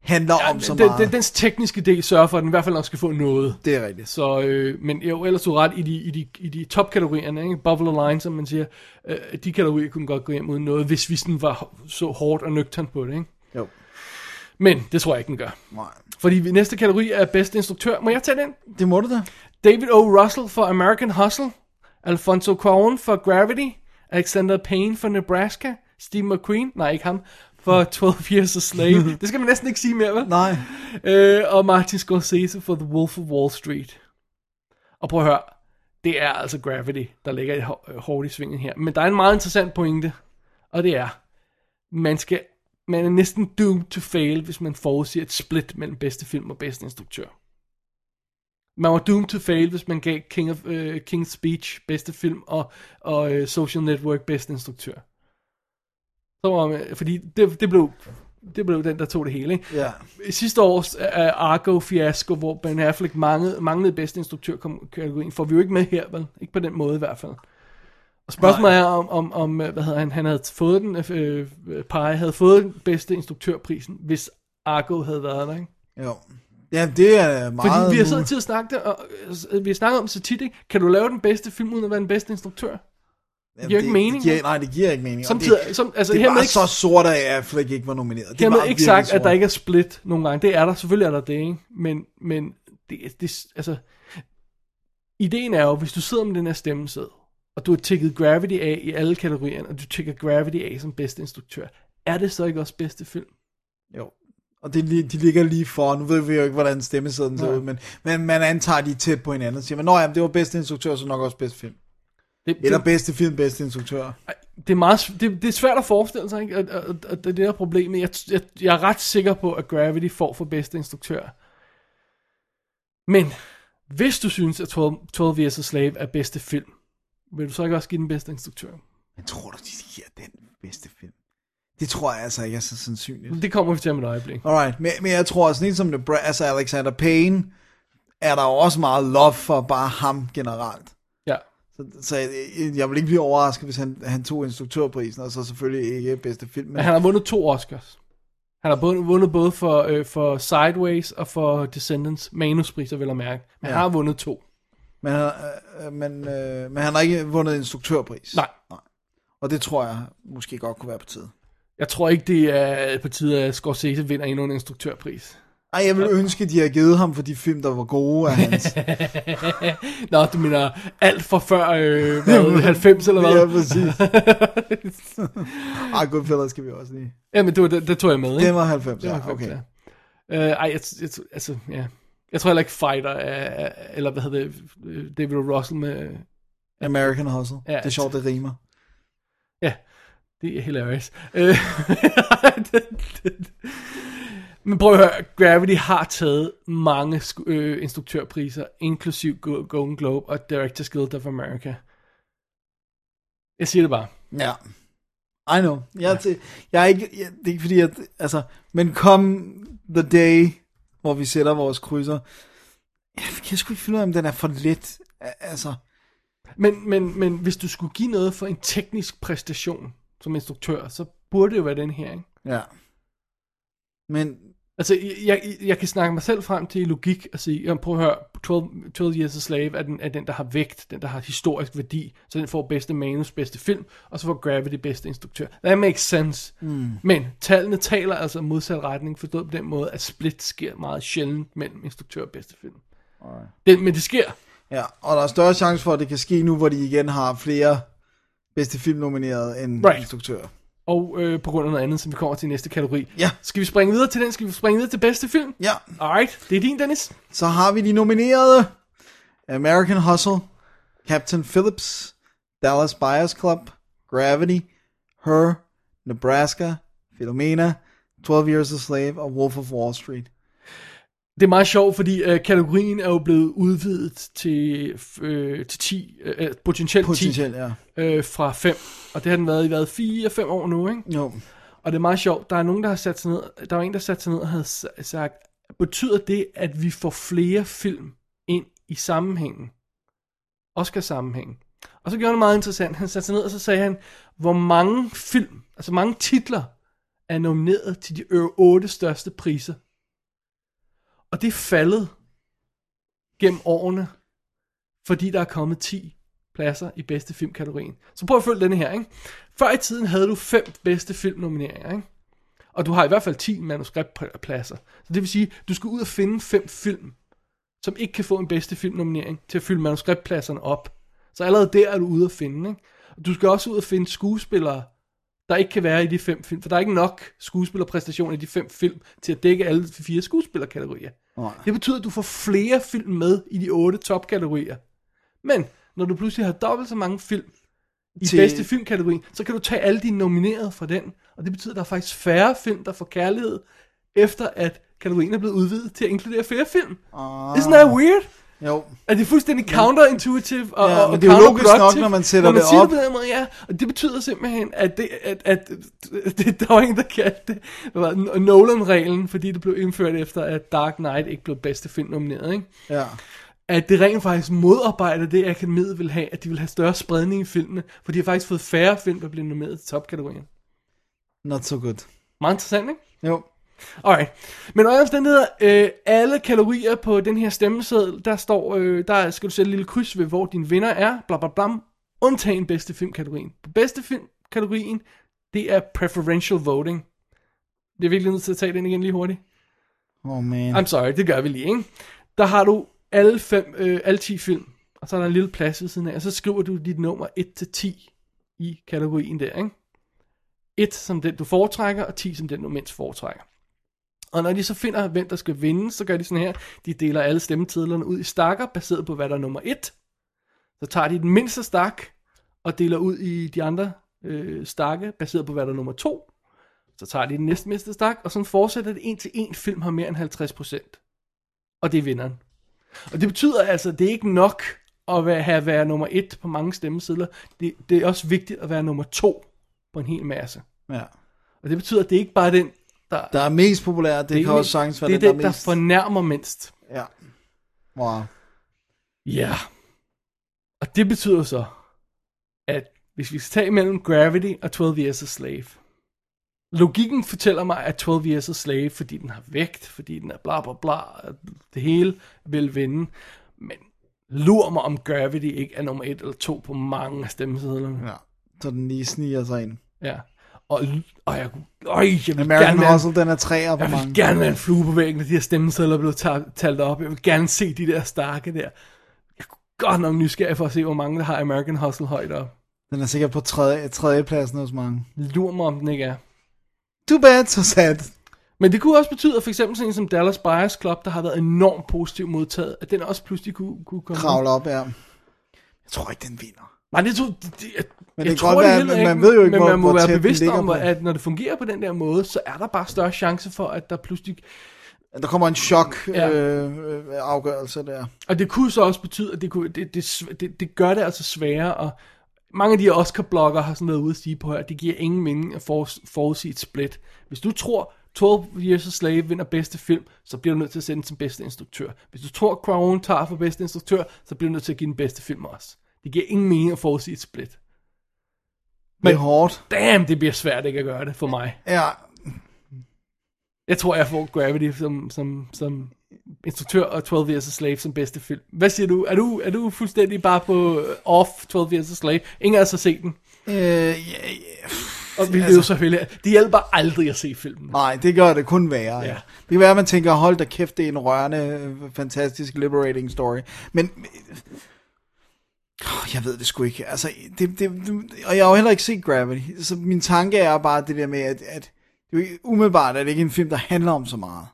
Speaker 3: handler ja, om så
Speaker 4: den,
Speaker 3: meget.
Speaker 4: den, dens tekniske del sørger for, at den i hvert fald nok skal få noget.
Speaker 3: Det er rigtigt.
Speaker 4: Så, øh, men jo, ellers du har ret i de, i de, i de topkategorierne, ikke? Buffalo Line, som man siger, øh, de kategorier kunne godt gå hjem uden noget, hvis vi sådan var så hårdt og nøgternt på det, ikke?
Speaker 3: Jo.
Speaker 4: Men det tror jeg ikke, den gør.
Speaker 3: Nej.
Speaker 4: Fordi vi- næste kategori er bedste instruktør. Må jeg tage den?
Speaker 3: Det må du da.
Speaker 4: David O. Russell for American Hustle, Alfonso Cuarón for Gravity, Alexander Payne for Nebraska, Steve McQueen, nej ikke ham, for 12 Years a Slave. det skal man næsten ikke sige mere, vel?
Speaker 3: Nej.
Speaker 4: Øh, og Martin Scorsese for The Wolf of Wall Street. Og prøv at høre, det er altså Gravity, der ligger i hår- øh, hårdt i svingen her. Men der er en meget interessant pointe, og det er, man skal man er næsten doomed to fail, hvis man forudsiger et split mellem bedste film og bedste instruktør. Man var doomed to fail, hvis man gav King of, uh, King's Speech bedste film og, og uh, Social Network bedste instruktør. Så var man, fordi det, det, blev, det blev den, der tog det hele. Ikke?
Speaker 3: Ja.
Speaker 4: Sidste års uh, Argo-fiasko, hvor Ben Affleck manglede, manglede bedste instruktør kom, kategorien, får vi jo ikke med her, vel? Ikke på den måde i hvert fald. Og spørgsmålet er, om, om, om øh, hvad hedder han, han havde fået den, øh, øh, Pai havde fået den bedste instruktørprisen, hvis Argo havde været der, ikke?
Speaker 3: Jo. Ja, det er meget...
Speaker 4: Fordi vi har siddet
Speaker 3: muligt.
Speaker 4: til at snakke det, og øh, vi har snakket om det så tit, ikke? Kan du lave den bedste film, uden at være den bedste instruktør? Det giver
Speaker 3: Jamen,
Speaker 4: ikke mening.
Speaker 3: Det giver, nej, det giver ikke mening. Og
Speaker 4: Samtidig- som- altså,
Speaker 3: det
Speaker 4: hermed
Speaker 3: var
Speaker 4: ikke-
Speaker 3: så sort, at Affleck ikke var nomineret.
Speaker 4: Det Dermed
Speaker 3: var
Speaker 4: ikke
Speaker 3: virkelig
Speaker 4: sagt, at
Speaker 3: sort.
Speaker 4: der ikke er split nogle gange. Det er der, selvfølgelig er der det, ikke? Men, men det, det, altså, ideen er jo, hvis du sidder med den her stemmesæde, og du har tækket Gravity af i alle kategorierne, og du tækker Gravity af som bedste instruktør, er det så ikke også bedste film?
Speaker 3: Jo. Og det, li- de ligger lige for, nu ved vi jo ikke, hvordan stemmesedlen ser
Speaker 4: Nej.
Speaker 3: ud, men, men man antager, de er tæt på hinanden, og siger man, nå ja, men det var bedste instruktør, så nok også bedste film.
Speaker 4: Det,
Speaker 3: Eller
Speaker 4: det-
Speaker 3: bedste film, bedste instruktør.
Speaker 4: det er, meget, sv- det, det er svært at forestille sig, ikke? Og, og, og det er det der problem. Jeg, jeg, jeg er ret sikker på, at Gravity får for bedste instruktør. Men hvis du synes, at 12, 12 Years a Slave er bedste film, vil du så ikke også give den bedste instruktør?
Speaker 3: Jeg tror du, de giver den bedste film? Det tror jeg altså ikke er så sandsynligt.
Speaker 4: Det kommer vi til om et øjeblik.
Speaker 3: Alright, men, men jeg tror sådan en som Nebra- altså Alexander Payne, er der jo også meget love for bare ham generelt.
Speaker 4: Ja.
Speaker 3: Så, så jeg, jeg vil ikke blive overrasket, hvis han, han tog instruktørprisen, og så selvfølgelig ikke bedste film.
Speaker 4: Men han har vundet to Oscars. Han har både- vundet både for, øh, for Sideways og for Descendants manuspriser, vil jeg mærke. Men ja. han
Speaker 3: Ja.
Speaker 4: har vundet to.
Speaker 3: Men, han, øh, men, øh, men han har ikke vundet instruktørpris.
Speaker 4: Nej.
Speaker 3: Nej. Og det tror jeg måske godt kunne være på tide.
Speaker 4: Jeg tror ikke, det er på tide, at Scorsese vinder endnu en instruktørpris.
Speaker 3: Ej, jeg ville ønske, de havde givet ham for de film, der var gode af hans.
Speaker 4: Nå, du mener alt fra før øh, hvad, 90 eller hvad?
Speaker 3: Ja, præcis. Ej, Goodfellas skal vi også lige.
Speaker 4: Ja, men det, var, det, det tog jeg med, ikke?
Speaker 3: Den var 90,
Speaker 4: Den
Speaker 3: ja,
Speaker 4: var
Speaker 3: okay.
Speaker 4: ja. Øh, ej, jeg, jeg, altså, ja. Jeg tror heller ikke Fighter, er, er- eller hvad hedder det, øh, David O. Russell med...
Speaker 3: American Hustle.
Speaker 4: Ja,
Speaker 3: det er sjovt, det rimer.
Speaker 4: Ja, det er hilarious. Øh, Men prøv at høre, Gravity har taget mange sku- øh, instruktørpriser, inklusiv Go- Golden Globe og Directors Guild of America. Jeg siger det bare.
Speaker 3: Ja. I know. Jeg, er til, jeg er ikke, jeg, det er ikke fordi, jeg, altså, men kom the day, hvor vi sætter vores krydser, jeg kan sgu ikke finde ud af, om den er for let. Altså,
Speaker 4: Men, men, men hvis du skulle give noget for en teknisk præstation som instruktør, så burde det jo være den her, ikke?
Speaker 3: ja. Men...
Speaker 4: Altså, jeg- jeg, jeg kan snakke mig selv frem til logik og sige, jamen, prøv at høre, 12, 12 Years a Slave er den, er den, der har vægt, den, der har historisk værdi, så den får bedste manus, bedste film, og så får Gravity bedste instruktør. That makes sense.
Speaker 3: Mm.
Speaker 4: Men tallene taler altså i modsat retning, forstået på den måde, at split sker meget sjældent mellem instruktør og bedste film.
Speaker 3: Alright.
Speaker 4: Det, men det sker.
Speaker 3: Ja, og der er større chance for, at det kan ske nu, hvor de igen har flere bedste film nomineret end right. instruktører.
Speaker 4: Og øh, på grund af noget andet, som vi kommer til i næste kategori. Ja. Skal vi springe videre til den? Skal vi springe videre til bedste film?
Speaker 3: Ja.
Speaker 4: Alright, det er din, Dennis.
Speaker 3: Så har vi de nominerede. American Hustle, Captain Phillips, Dallas Buyers Club, Gravity, Her, Nebraska, Philomena, 12 Years a Slave og Wolf of Wall Street.
Speaker 4: Det er meget sjovt, fordi øh, kategorien er jo blevet udvidet til, øh, til 10, øh, potentielt 10,
Speaker 3: Potentielt, ja.
Speaker 4: øh, fra 5. Og det har den været i været 4-5 år nu, ikke?
Speaker 3: Jo.
Speaker 4: Og det er meget sjovt, der er nogen, der har sat sig ned, der var en, der satte sig ned og havde s- sagt, betyder det, at vi får flere film ind i sammenhængen? Oscar-sammenhængen. Og så gjorde han noget meget interessant. Han satte sig ned, og så sagde han, hvor mange film, altså mange titler, er nomineret til de ø- otte største priser. Og det er faldet gennem årene, fordi der er kommet 10 pladser i bedste filmkategorien. Så prøv at følge denne her, ikke? Før i tiden havde du fem bedste filmnomineringer, ikke? Og du har i hvert fald 10 manuskriptpladser. Så det vil sige, du skal ud og finde fem film, som ikke kan få en bedste filmnominering til at fylde manuskriptpladserne op. Så allerede der er du ude at finde, ikke? Og Du skal også ud og finde skuespillere, der ikke kan være i de fem film, for der er ikke nok skuespillerpræstationer i de fem film til at dække alle fire skuespillerkategorier.
Speaker 3: Nej.
Speaker 4: Det betyder, at du får flere film med i de otte topkategorier. Men når du pludselig har dobbelt så mange film i
Speaker 3: Til-
Speaker 4: til... bedste filmkategorien, så kan du tage alle de nominerede fra den, og det betyder, at der er faktisk færre film, der får kærlighed, efter at kategorien er blevet udvidet til at inkludere flere film.
Speaker 3: Uh...
Speaker 4: Isn't that weird?
Speaker 3: Jo.
Speaker 4: Er det fuldstændig counterintuitive og,
Speaker 3: Ja,
Speaker 4: og,
Speaker 3: men
Speaker 4: og
Speaker 3: det er jo logisk nok,
Speaker 4: counterproductive,
Speaker 3: når man sætter
Speaker 4: når man
Speaker 3: det
Speaker 4: siger
Speaker 3: op.
Speaker 4: Det på den måde, ja. Og det betyder simpelthen, at, det, at, at, at det, der var en, der kaldte det, hvad var det, Nolan-reglen, fordi det blev indført efter, at Dark Knight ikke blev bedste film nomineret. Ikke?
Speaker 3: Ja.
Speaker 4: At det rent faktisk modarbejder det, akademiet vil have, at de vil have større spredning i filmene, for de har faktisk fået færre film, der bliver nomineret til topkategorien.
Speaker 3: Not so good.
Speaker 4: Meget interessant, ikke?
Speaker 3: Jo.
Speaker 4: Alright. Men under alle omstændigheder, øh, alle kalorier på den her stemmeseddel, der står, øh, der skal du sætte et lille kryds ved, hvor din vinder er, bla bla bla, undtagen bedste filmkategorien. På bedste filmkategorien, det er preferential voting. Det er virkelig nødt til at tage den igen lige hurtigt.
Speaker 3: Oh man.
Speaker 4: I'm sorry, det gør vi lige, ikke? Der har du alle, fem, øh, alle 10 film, og så er der en lille plads ved siden af, og så skriver du dit nummer 1-10 i kategorien der, ikke? 1 som den, du foretrækker, og 10 som den, du mindst foretrækker. Og når de så finder, hvem der skal vinde, så gør de sådan her. De deler alle stemmetidlerne ud i stakker, baseret på, hvad der er nummer 1. Så tager de den mindste stak, og deler ud i de andre øh, stakke, baseret på, hvad der er nummer 2. Så tager de den næste mindste stak, og sådan fortsætter det indtil en film har mere end 50%. Og det er vinderen. Og det betyder altså, at det er ikke nok at være, have være nummer et på mange stemmesedler. Det, det er også vigtigt at være nummer to på en hel masse.
Speaker 3: Ja.
Speaker 4: Og det betyder, at det er ikke bare er den, der...
Speaker 3: Der er mest populær, det, det kan
Speaker 4: ikke-
Speaker 3: også sagtens være
Speaker 4: det er
Speaker 3: den, der
Speaker 4: den,
Speaker 3: er
Speaker 4: der
Speaker 3: mest.
Speaker 4: fornærmer mindst.
Speaker 3: Ja. Wow.
Speaker 4: Ja. Og det betyder så, at hvis vi skal tage mellem Gravity og 12 Years a Slave, logikken fortæller mig, at 12 Years a Slave, fordi den har vægt, fordi den er bla bla bla, og det hele vil vinde, men lur mig om Gravity ikke er nummer et eller to på mange af stemmesedlerne.
Speaker 3: Ja. Så den lige sniger sig ind.
Speaker 4: Ja. Og, og jeg, kunne- øj, jeg vil
Speaker 3: American
Speaker 4: gerne være-
Speaker 3: Hustle, den er træer på
Speaker 4: jeg vil
Speaker 3: mange.
Speaker 4: gerne være en flue på væggen, når de her stemmesedler er blevet ta- talt op. Jeg vil gerne se de der stakke der. Jeg kunne godt nok nysgerrig for at se, hvor mange der har American Hustle højt op.
Speaker 3: Den er sikkert på tredje, tredjepladsen hos mange.
Speaker 4: Lur mig, om den ikke er.
Speaker 3: Too bad, so sad.
Speaker 4: Men det kunne også betyde, at for eksempel sådan en som Dallas Buyers Club, der har været enormt positivt modtaget, at den også pludselig kunne, kunne komme.
Speaker 3: Kravle op, ja. Mm-hmm. Jeg tror ikke, den vinder.
Speaker 4: Nej, det tror det, det, jeg,
Speaker 3: Men det
Speaker 4: jeg
Speaker 3: kan
Speaker 4: tror
Speaker 3: godt være,
Speaker 4: heller
Speaker 3: men man ved jo ikke,
Speaker 4: men
Speaker 3: hvor-
Speaker 4: man må
Speaker 3: hvor tæt
Speaker 4: være
Speaker 3: den
Speaker 4: bevidst
Speaker 3: ligger
Speaker 4: om,
Speaker 3: på.
Speaker 4: at når det fungerer på den der måde, så er der bare større chance for, at der pludselig
Speaker 3: Der kommer en chok
Speaker 4: Ja.
Speaker 3: øh, øh, afgørelse der.
Speaker 4: Og det kunne så også betyde, at det, kunne, det, det, sv- det, det gør det altså sværere, og mange af de Oscar-bloggere har sådan været ude at sige på her, at det giver ingen mening at for, forudsige et split. Hvis du tror, 12 Years a Slave vinder bedste film, så bliver du nødt til at sende den som bedste instruktør. Hvis du tror, Crown tager for bedste instruktør, så bliver du nødt til at give den bedste film også. Det giver ingen mening at forudsige et split.
Speaker 3: Men det er hårdt.
Speaker 4: Damn, det bliver svært ikke at gøre det for mig.
Speaker 3: Ja.
Speaker 4: Jeg tror, jeg får Gravity som, som, som instruktør og 12 Years a Slave som bedste film. Hvad siger du? Er du, er du fuldstændig bare på øh, off 12 Years a Slave? Ingen af os har set den.
Speaker 3: Øh, ja, ja.
Speaker 4: Og vi altså, jo selvfølgelig. Det hjælper aldrig at se filmen.
Speaker 3: Nej, det gør det kun værre. Ja.
Speaker 4: Ja.
Speaker 3: Det kan være, at man tænker, hold da kæft, det er en rørende, øh, fantastisk, liberating story. Men øh, Åh, jeg ved det sgu ikke. Altså, det, det, det, og jeg har jo heller ikke set Gravity, så min tanke er bare det der med, at, at det er jo ikke- umiddelbart er det ikke en film, der handler om så meget,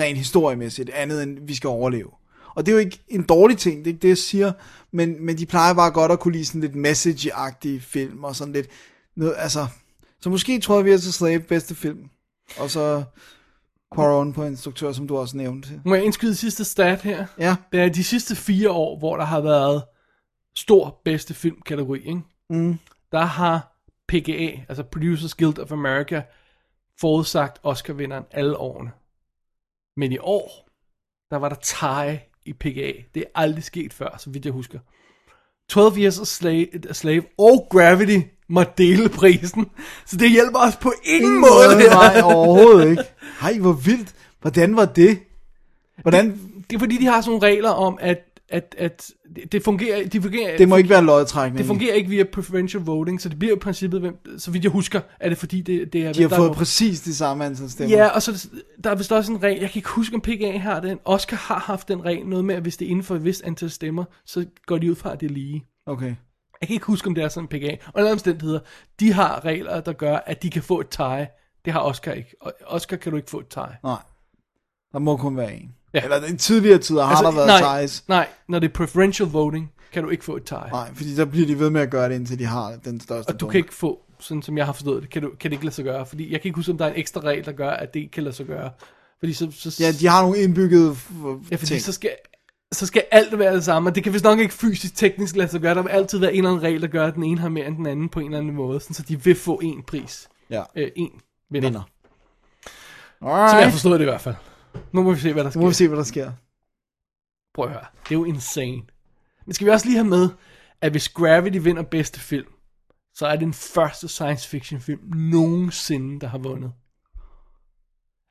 Speaker 3: rent historiemæssigt, andet end vi skal overleve. Og det er jo ikke en dårlig ting, det er ikke det, jeg siger, men, men de plejer bare godt at kunne lide sådan lidt message-agtige film, og sådan lidt, noget, altså, så måske tror jeg, vi er til Slave bedste film, og så pour on på en instruktør, som du også nævnte.
Speaker 4: Må jeg indskyde sidste stat her?
Speaker 3: Ja.
Speaker 4: Det er de sidste fire år, hvor der har været stor bedste filmkategori, ikke?
Speaker 3: Mm.
Speaker 4: Der har PGA, altså Producers Guild of America, forudsagt Oscar-vinderen alle årene. Men i år, der var der tie i PGA. Det er aldrig sket før, så vidt jeg husker. 12 Years a Slave, a Slave og Gravity må dele prisen. Så det hjælper os på ingen,
Speaker 3: Ingen
Speaker 4: måde.
Speaker 3: måde, nej, overhovedet ikke. Hej, hvor vildt. Hvordan var det? Hvordan?
Speaker 4: Det, det er fordi, de har sådan nogle regler om, at, at, at det- det fungerer... De fungerer
Speaker 3: Det må ikke være lodtrækning.
Speaker 4: Det fungerer ikke via preferential voting, så det bliver i princippet, hvem, så vidt jeg husker, er det fordi, det, det er...
Speaker 3: De har
Speaker 4: hvem der
Speaker 3: fået
Speaker 4: er nogen-
Speaker 3: præcis de samme antal stemmer.
Speaker 4: Ja, og så der er vist også en regel, jeg kan ikke huske, om PGA har den. Oscar har haft den regel, noget med, at hvis det er inden for et vist antal stemmer, så går de ud fra, at det er lige.
Speaker 3: Okay.
Speaker 4: Jeg kan ikke huske, om det er sådan PGA. Og alle omstændigheder, de har regler, der gør, at de kan få et tie. Det har Oscar ikke. Og Oscar kan du ikke få et tie.
Speaker 3: Nej. Der må kun være en.
Speaker 4: Ja. Altså,
Speaker 3: Eller i tidligere tider har der været
Speaker 4: nej,
Speaker 3: ties.
Speaker 4: nej, når det er preferential voting, kan du ikke få et tie.
Speaker 3: Nej, fordi der bliver de ved med at gøre det, indtil de har den største
Speaker 4: Og du
Speaker 3: bunke.
Speaker 4: kan ikke få, sådan som jeg har forstået det, kan, du, kan det ikke lade sig gøre. Fordi jeg kan ikke huske, om der er en ekstra regel, der gør, at det ikke kan lade sig gøre. Fordi så, så,
Speaker 3: Ja, de har nogle indbyggede f-
Speaker 4: ja, fordi
Speaker 3: ting.
Speaker 4: så skal, så skal alt være det samme. Og det kan vist nok ikke fysisk teknisk lade sig gøre. Der vil altid være en eller anden regel, der gør, at den ene har mere end den anden på en eller anden måde. Sådan, så de vil få en pris.
Speaker 3: Ja.
Speaker 4: Øh, en vinder. vinder.
Speaker 3: Alright.
Speaker 4: Som jeg forstod det i hvert fald. Nu må vi se, hvad der
Speaker 3: Nu
Speaker 4: sker.
Speaker 3: må vi se, hvad der sker.
Speaker 4: Prøv at høre. Det er jo insane. Men skal vi også lige have med, at hvis Gravity vinder bedste film, så er det den første science fiction film nogensinde, der har vundet.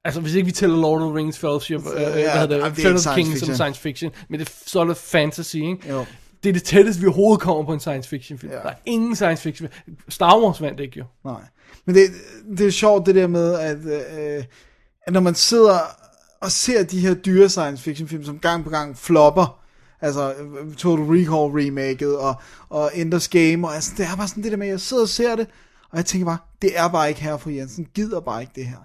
Speaker 4: Altså, hvis ikke vi tæller Lord of the Rings Fellowship, øh,
Speaker 3: Så,
Speaker 4: øh,
Speaker 3: ja,
Speaker 4: hvad hedder
Speaker 3: det er
Speaker 4: det,
Speaker 3: ikke
Speaker 4: Return of the
Speaker 3: science
Speaker 4: King som
Speaker 3: fiction.
Speaker 4: science fiction, men det er sort of fantasy, ikke?
Speaker 3: Jo.
Speaker 4: Det er det tætteste, vi overhovedet kommer på en science fiction film. Ja. Der er ingen science fiction film. Star Wars vandt ikke, jo.
Speaker 3: Nej. Men det, det er sjovt det der med, at, øh, at når man sidder og ser de her dyre science fiction film, som gang på gang flopper, altså øh, Total Recall remaket og, og Ender's Game, og altså, det er bare sådan det der med, at jeg sidder og ser det, og jeg tænker bare, det er bare ikke her for Jensen, gider bare ikke det her.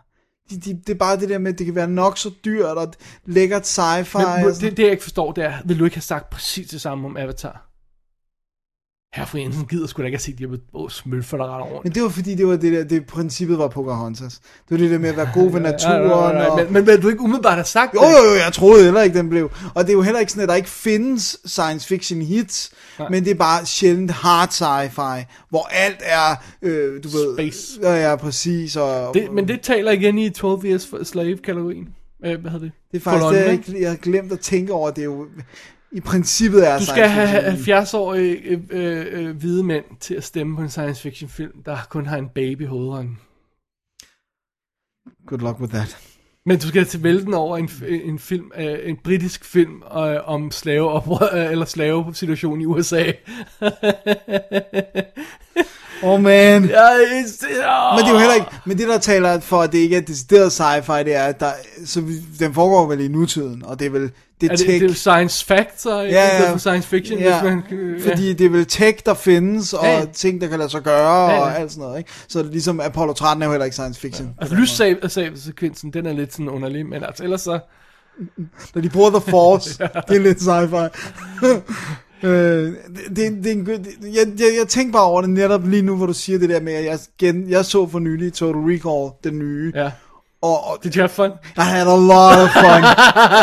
Speaker 3: De, de, det er bare det der med, at det kan være nok så dyrt og lækkert sci-fi.
Speaker 4: Men
Speaker 3: og
Speaker 4: det,
Speaker 3: sådan.
Speaker 4: det, jeg ikke forstår, det er, vil du ikke have sagt præcis det samme om Avatar? Herre fru Jensen gider sgu da ikke at se de her åh, smølfer, der render rundt.
Speaker 3: Men det var fordi, det var det der, det princippet var Pocahontas. Det var det der med at være god ved naturen.
Speaker 4: ja, ja.
Speaker 3: og...
Speaker 4: Men, men vil du ikke umiddelbart have sagt
Speaker 3: Jo, jo, jo, jeg troede heller ikke, den blev. Og det er jo heller ikke sådan, at der ikke findes science fiction hits, Nej. men det er bare sjældent hard sci-fi, hvor alt er, øh, du ved... Space. Ja, ja, præcis. Og,
Speaker 4: det, men det taler igen i 12 years for slave-kategorien. Øh, hvad hedder det?
Speaker 3: det er faktisk
Speaker 4: Kolonnen,
Speaker 3: det, jeg,
Speaker 4: ikke?
Speaker 3: ikke- jeg har glemt at tænke over. Det er jo... I princippet er
Speaker 4: Du
Speaker 3: science
Speaker 4: skal have
Speaker 3: fiction-
Speaker 4: 70-årige øh, øh, øh, hvide mænd til at stemme på en science fiction film, der kun har en baby i hovedånden.
Speaker 3: Good luck with that.
Speaker 4: Men du skal til vælten over en, en film, øh, en britisk film øh, om slaveoprør, øh, eller slavesituationen i USA.
Speaker 3: Oh man.
Speaker 4: Ja, det, oh.
Speaker 3: Men det er jo heller ikke, men det der taler for, at det ikke er decideret sci-fi, det er, at der, så vi, den foregår vel i nutiden, og det er vel, det
Speaker 4: er
Speaker 3: er
Speaker 4: det, det
Speaker 3: tech,
Speaker 4: er jo science factor, ja,
Speaker 3: Ja,
Speaker 4: ja.
Speaker 3: ja.
Speaker 4: for science fiction,
Speaker 3: Ja,
Speaker 4: hvis man... øh, ja.
Speaker 3: fordi det er vel tech, der findes, og
Speaker 4: Ja, ja.
Speaker 3: ting, der kan lade sig gøre,
Speaker 4: Ja, ja.
Speaker 3: og alt sådan noget, ikke? Så ligesom Apollo 13 er jo heller ikke science fiction.
Speaker 4: Altså, lyssabelsekvensen, den er lidt sådan underlig, men altså, ellers så...
Speaker 3: Når de bruger The Force, det er lidt sci-fi. øh, det, det, det er en god, det- jeg, jeg, jeg tænker bare over det netop lige nu, hvor du siger det der med, at jeg, gen, jeg så for nylig Total Recall, den nye.
Speaker 4: Ja.
Speaker 3: Og, og,
Speaker 4: Did you have fun?
Speaker 3: I had a lot of fun.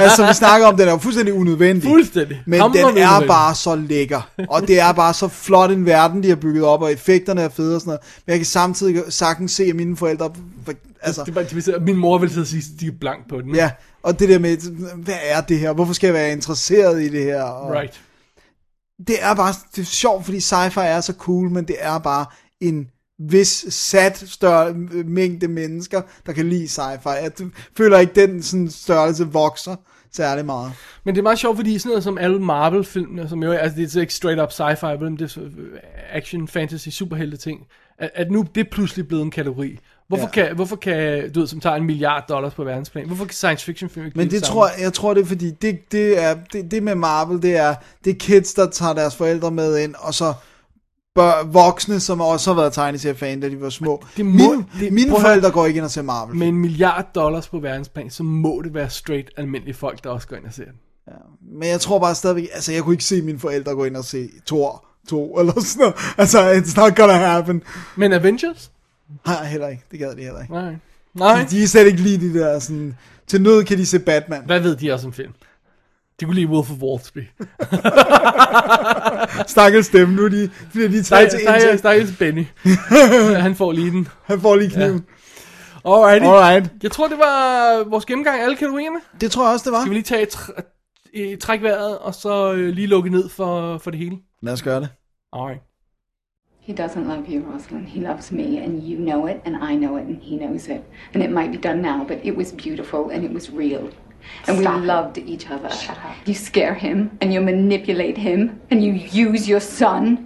Speaker 3: altså, vi snakker om, den er jo fuldstændig unødvendig.
Speaker 4: Fuldstændig.
Speaker 3: Men
Speaker 4: Hamrende
Speaker 3: den er
Speaker 4: unødvendig.
Speaker 3: bare så lækker. Og det er bare så flot en verden, de har bygget op, og effekterne er fede og sådan noget. Men jeg kan samtidig sagtens se, at mine forældre... Altså,
Speaker 4: Det er bare, det vil sige, at min mor vil sidde og sige, at de er blank på den.
Speaker 3: ja, og det der med, hvad er det her? Hvorfor skal jeg være interesseret i det her? Og
Speaker 4: Right.
Speaker 3: Det er bare det er sjovt, fordi sci-fi er så cool, men det er bare en vis sat større øh, mængde mennesker, der kan lide sci-fi. Jeg føler ikke, den sådan størrelse vokser særlig meget.
Speaker 4: Men det er meget sjovt, fordi sådan noget som alle Marvel-filmene, som jo er- altså det er så ikke straight up sci-fi, men det er så, øh, action, fantasy, superhelte ting, at, at nu det er pludselig blevet en kategori. Hvorfor, ja. kan, hvorfor kan, du ved, som tager en milliard dollars på verdensplan, hvorfor kan science fiction film ikke
Speaker 3: Men
Speaker 4: leve
Speaker 3: det
Speaker 4: sammen?
Speaker 3: tror jeg, jeg tror det er fordi, det, det, er, det, det med Marvel, det er, det er kids, der tager deres forældre med ind, og så bør, voksne, som også har været tegneseriefan, da de var små.
Speaker 4: Det må-
Speaker 3: Min,
Speaker 4: det-
Speaker 3: mine
Speaker 4: prøv at høre.
Speaker 3: forældre går ikke ind og ser Marvel.
Speaker 4: Med en milliard dollars på verdensplan, så må det være straight almindelige folk, der også går ind og ser den.
Speaker 3: Men jeg tror bare stadigvæk, altså jeg kunne ikke se mine forældre gå ind og se Thor 2 eller sådan noget. Altså, it's not gonna happen.
Speaker 4: Men Avengers?
Speaker 3: Nej, heller ikke. Det gad de heller ikke.
Speaker 4: Nej. Nej.
Speaker 3: De, de er slet ikke lige de der sådan, til nød kan de se Batman.
Speaker 4: Hvad ved de også om film? De kunne lide Wolf of Wall Street.
Speaker 3: Stakkels dem, nu er de, bliver de taget til
Speaker 4: Stakkels-
Speaker 3: indtægt.
Speaker 4: Stakkels Benny. Han får lige den.
Speaker 3: Han får lige kniven.
Speaker 4: Ja. Alrighty.
Speaker 3: Alright.
Speaker 4: Jeg tror, det var vores gennemgang af alle kategorierne.
Speaker 3: Det tror jeg også, det var.
Speaker 4: Skal vi lige tage et tr- et træk vejret, og så øh, lige lukke ned for, for det hele?
Speaker 3: Lad os gøre det.
Speaker 4: Alright.
Speaker 16: He doesn't love you, Rosalind. He loves me, and you know it, and I know it, and he knows it. And it might be done now, but it was beautiful and it was real. And
Speaker 6: Stop
Speaker 16: we
Speaker 6: it.
Speaker 16: loved each other. Shut up. You scare him, and you manipulate him, and you use your son.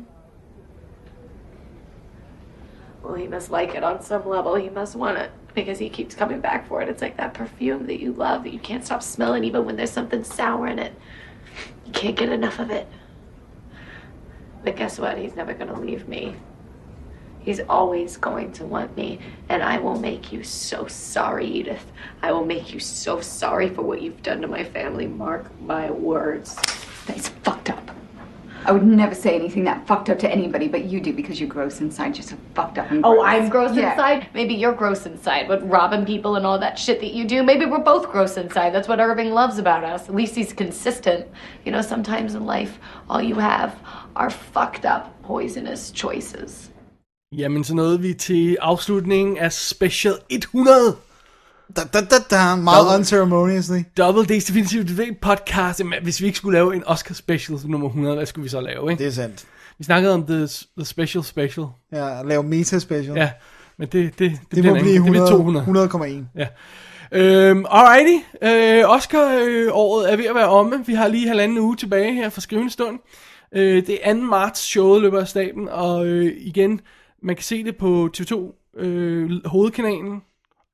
Speaker 17: Well, he must like it on some level. He must want it because he keeps coming back for it. It's like that perfume that you love that you can't stop smelling even when there's something sour in it. You can't get enough of it. But guess what? He's never going to leave me. He's always going to want me, and I will make you so sorry, Edith. I will make you so sorry for what you've done to my family. Mark my words.
Speaker 16: That's fucked up. I would never say anything that fucked up to anybody, but you do because you're gross inside. You're so fucked up and gross.
Speaker 17: Oh, I'm gross
Speaker 16: Yeah.
Speaker 17: inside. Maybe you're gross inside. But robbing people and all that shit that you do, maybe we're both gross inside. That's what Irving loves about us. At least he's consistent. You know, sometimes in life, all you have are fucked up, poisonous choices.
Speaker 4: Jamen, så nåede vi til afslutningen af Special 100.
Speaker 3: Da, da, da, da. Meget unceremoniously.
Speaker 4: Double D's Definitive Debate Podcast. Jamen, hvis vi ikke skulle lave en Oscar special nummer 100, hvad skulle vi så lave, ikke?
Speaker 3: Det er sandt.
Speaker 4: Vi snakkede om The, the Special Special.
Speaker 3: Ja, lave meta special.
Speaker 4: Ja, men det, det, det,
Speaker 3: Det,
Speaker 4: bliver
Speaker 3: må
Speaker 4: en anden-
Speaker 3: blive
Speaker 4: det bliver
Speaker 3: 100,
Speaker 4: 200.
Speaker 3: 100,1.
Speaker 4: Ja. Øhm, alrighty, øh, Oscar-året er ved at være omme. Vi har lige halvanden uge tilbage her fra skrivende stund. Øh, det er 2. marts, showet løber af staben, og øh, igen, man kan se det på TV2 øh, hovedkanalen,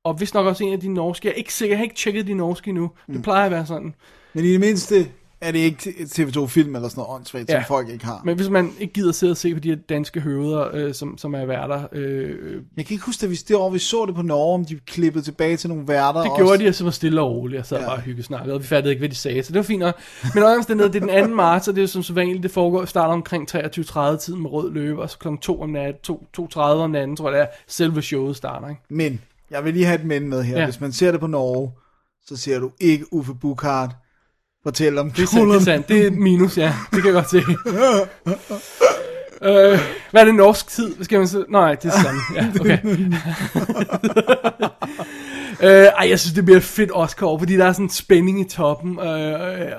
Speaker 4: og vist nok også en af de norske. Jeg er ikke sikker, jeg har ikke tjekket de norske endnu. Det plejer at være sådan.
Speaker 3: Men i det mindste er det ikke TV2 Film eller sådan noget åndssvagt, ja. som folk ikke har.
Speaker 4: Men hvis man ikke gider sidde og se på de her danske høveder, øh, som, som er værter. Øh,
Speaker 3: Jeg kan ikke huske, at vi det år, vi så det på Norge, om de klippede tilbage til nogle værter.
Speaker 4: Det
Speaker 3: også.
Speaker 4: gjorde de, og så var stille og roligt, og sad
Speaker 3: Ja.
Speaker 4: ja. bare og hyggesnakkede, og vi fattede ikke, hvad de sagde, så det var fint nok. Men under omstændighed, det er den 2. marts, og det er jo som så vanligt, det foregår, starter omkring 23.30 tiden med rød løber, og så kl. 2 om natten, 2.30 om natten, tror jeg det er, selve showet starter, ikke?
Speaker 3: Men, jeg vil lige have et men med her. Ja.
Speaker 4: Ja.
Speaker 3: Hvis man ser det på Norge, så ser du ikke Uffe Bukhardt fortælle om
Speaker 4: Det er sandt, det er, sandt. Det er et minus, ja. Det kan jeg godt se. øh, hvad er det norsk tid? Skal man så? Nej, det er sådan. Ja, okay. øh, ej, jeg synes, det bliver et fedt Oscar, fordi der er sådan en spænding i toppen. Øh,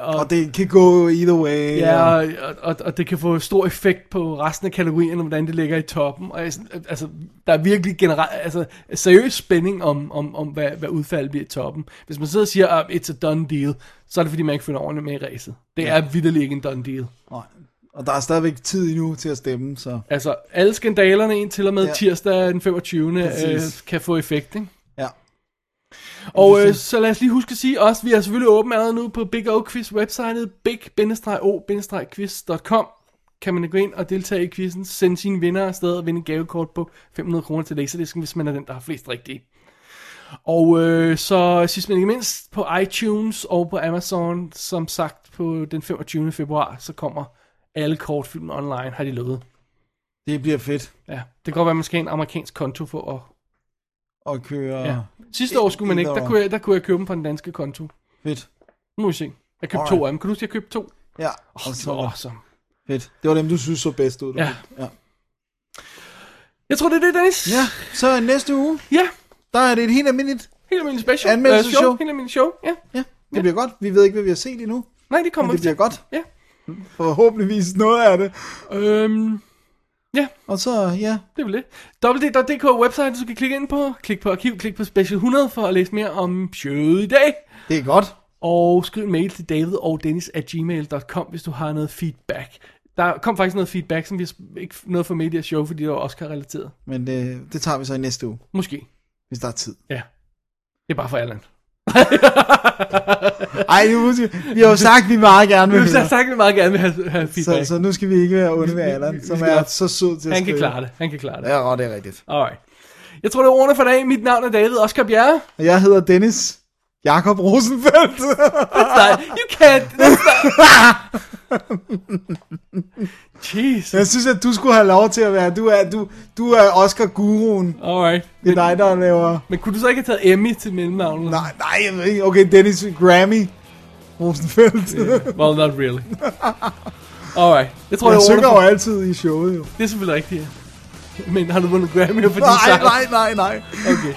Speaker 4: og,
Speaker 3: Og det kan gå either way.
Speaker 4: Ja,
Speaker 3: og-
Speaker 4: og, og, og det kan få stor effekt på resten af kategorierne, hvordan det ligger i toppen. Og jeg, altså, der er virkelig generelt, altså, seriøs spænding om, om, om hvad, hvad udfaldet bliver i toppen. Hvis man sidder og siger, at it's a done deal, så er det fordi, man ikke finder ordentligt med i ræset. Det
Speaker 3: Ja.
Speaker 4: ja. er vidderlig ikke en done deal.
Speaker 3: Nej. Og der er stadigvæk tid endnu til at stemme, så...
Speaker 4: Altså, alle skandalerne indtil og med
Speaker 3: Ja.
Speaker 4: ja. tirsdag den 25. Øh,
Speaker 3: Præcis.
Speaker 4: kan få effekt, ikke?
Speaker 3: Ja.
Speaker 4: Og øh, så lad os lige huske at sige også, vi er selvfølgelig åbne allerede nu på Big O Quiz websitet, big-o-quiz.com kan man gå ind og deltage i quizzen, sende sine vinder afsted og vinde et gavekort på 500 kroner til Laserdisken, hvis man er den, der har flest rigtige. Og øh, så sidst men ikke mindst på iTunes og på Amazon, som sagt på den 25. februar, så kommer alle kortfilm online, har de lovet.
Speaker 3: Det bliver fedt.
Speaker 4: Ja, det kan godt være, at man skal have en amerikansk konto for at...
Speaker 3: Og køre...
Speaker 4: Ja. Sidste år skulle man ikke, der kunne, jeg, der kunne jeg købe dem på den danske konto.
Speaker 3: Fedt.
Speaker 4: Nu må vi se. Jeg købte
Speaker 3: Alright.
Speaker 4: to af dem. Kan du huske, at jeg købte to?
Speaker 3: Ja.
Speaker 4: Åh, oh, det var awesome.
Speaker 3: Fedt. Det var dem, du synes så bedst ud. du.
Speaker 4: Ja.
Speaker 3: ja.
Speaker 4: Jeg tror, det er det, Dennis.
Speaker 3: Ja, så næste uge,
Speaker 4: ja.
Speaker 3: der er det et helt almindeligt
Speaker 4: Helt almindelig special.
Speaker 3: anmeldelsesshow.
Speaker 4: Øh, show. Helt almindelig show, ja.
Speaker 3: Ja, det bliver godt. Vi ved ikke, hvad vi har set endnu.
Speaker 4: Nej, det kommer
Speaker 3: Men det
Speaker 4: vi til.
Speaker 3: bliver godt.
Speaker 4: Ja.
Speaker 3: Forhåbentligvis noget af det.
Speaker 4: Øhm, Ja.
Speaker 3: Og så, ja.
Speaker 4: Det er vel det. www.dk er website, du skal klikke ind på. Klik på arkiv, klik på special 100 for at læse mere om showet i dag.
Speaker 3: Det er godt.
Speaker 4: Og skriv en mail til david og dennis at gmail.com, hvis du har noget feedback. Der kom faktisk noget feedback, som vi ikke noget for med i det her show, fordi det var Oscar-relateret.
Speaker 3: Men øh, det, det tager vi så i næste uge,
Speaker 4: Måske.
Speaker 3: hvis der er tid.
Speaker 4: Ja. Det er bare for Allan.
Speaker 3: Ej, nu må vi, vi har jo sagt, vi meget gerne vil
Speaker 4: Vi har
Speaker 3: høre.
Speaker 4: sagt, vi meget gerne vil have, have feedback.
Speaker 3: Så, så nu skal vi ikke være onde ved Allan,
Speaker 4: vi
Speaker 3: som
Speaker 4: skal
Speaker 3: er
Speaker 4: være-
Speaker 3: så sød til at
Speaker 4: Han kan
Speaker 3: skrive.
Speaker 4: klare det. Han kan klare det.
Speaker 3: Ja, og det er rigtigt.
Speaker 4: Alright. Jeg tror, det er ordene for i dag. Mit navn er David Oscar Bjerre.
Speaker 3: Og jeg hedder Dennis Jakob Rosenfeldt.
Speaker 4: That's not, you can't. That's not. Jeez.
Speaker 3: Jeg synes, at du skulle have lov til at være. Du er, du, du er Oscar-guruen.
Speaker 4: Alright.
Speaker 3: Det er dig, der laver...
Speaker 4: Men kunne du så ikke have taget Emmy til mellemnavnet?
Speaker 3: Nej, nej, jeg ved ikke. Okay, Dennis Grammy Rosenfeldt.
Speaker 4: Well, not really. Alright. Jeg tror,
Speaker 3: jeg
Speaker 4: det
Speaker 3: synger
Speaker 4: er ordene
Speaker 3: jo
Speaker 4: for...
Speaker 3: altid i showet, jo.
Speaker 4: Det er selvfølgelig rigtigt, ja. Men har du vundet Grammy for din
Speaker 3: Nej,
Speaker 4: sang?
Speaker 3: nej, nej, nej.
Speaker 4: Okay.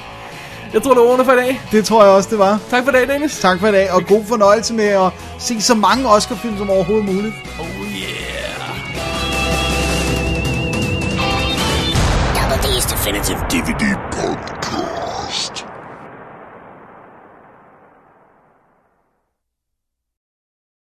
Speaker 4: Jeg tror, det er ordene for i dag.
Speaker 3: Det tror jeg også, det var.
Speaker 4: Tak for i dag, Dennis.
Speaker 3: Tak for i dag, og god fornøjelse med at se så mange Oscar-film som overhovedet muligt.
Speaker 4: Oh yeah.
Speaker 1: Double D's Definitive DVD Podcast.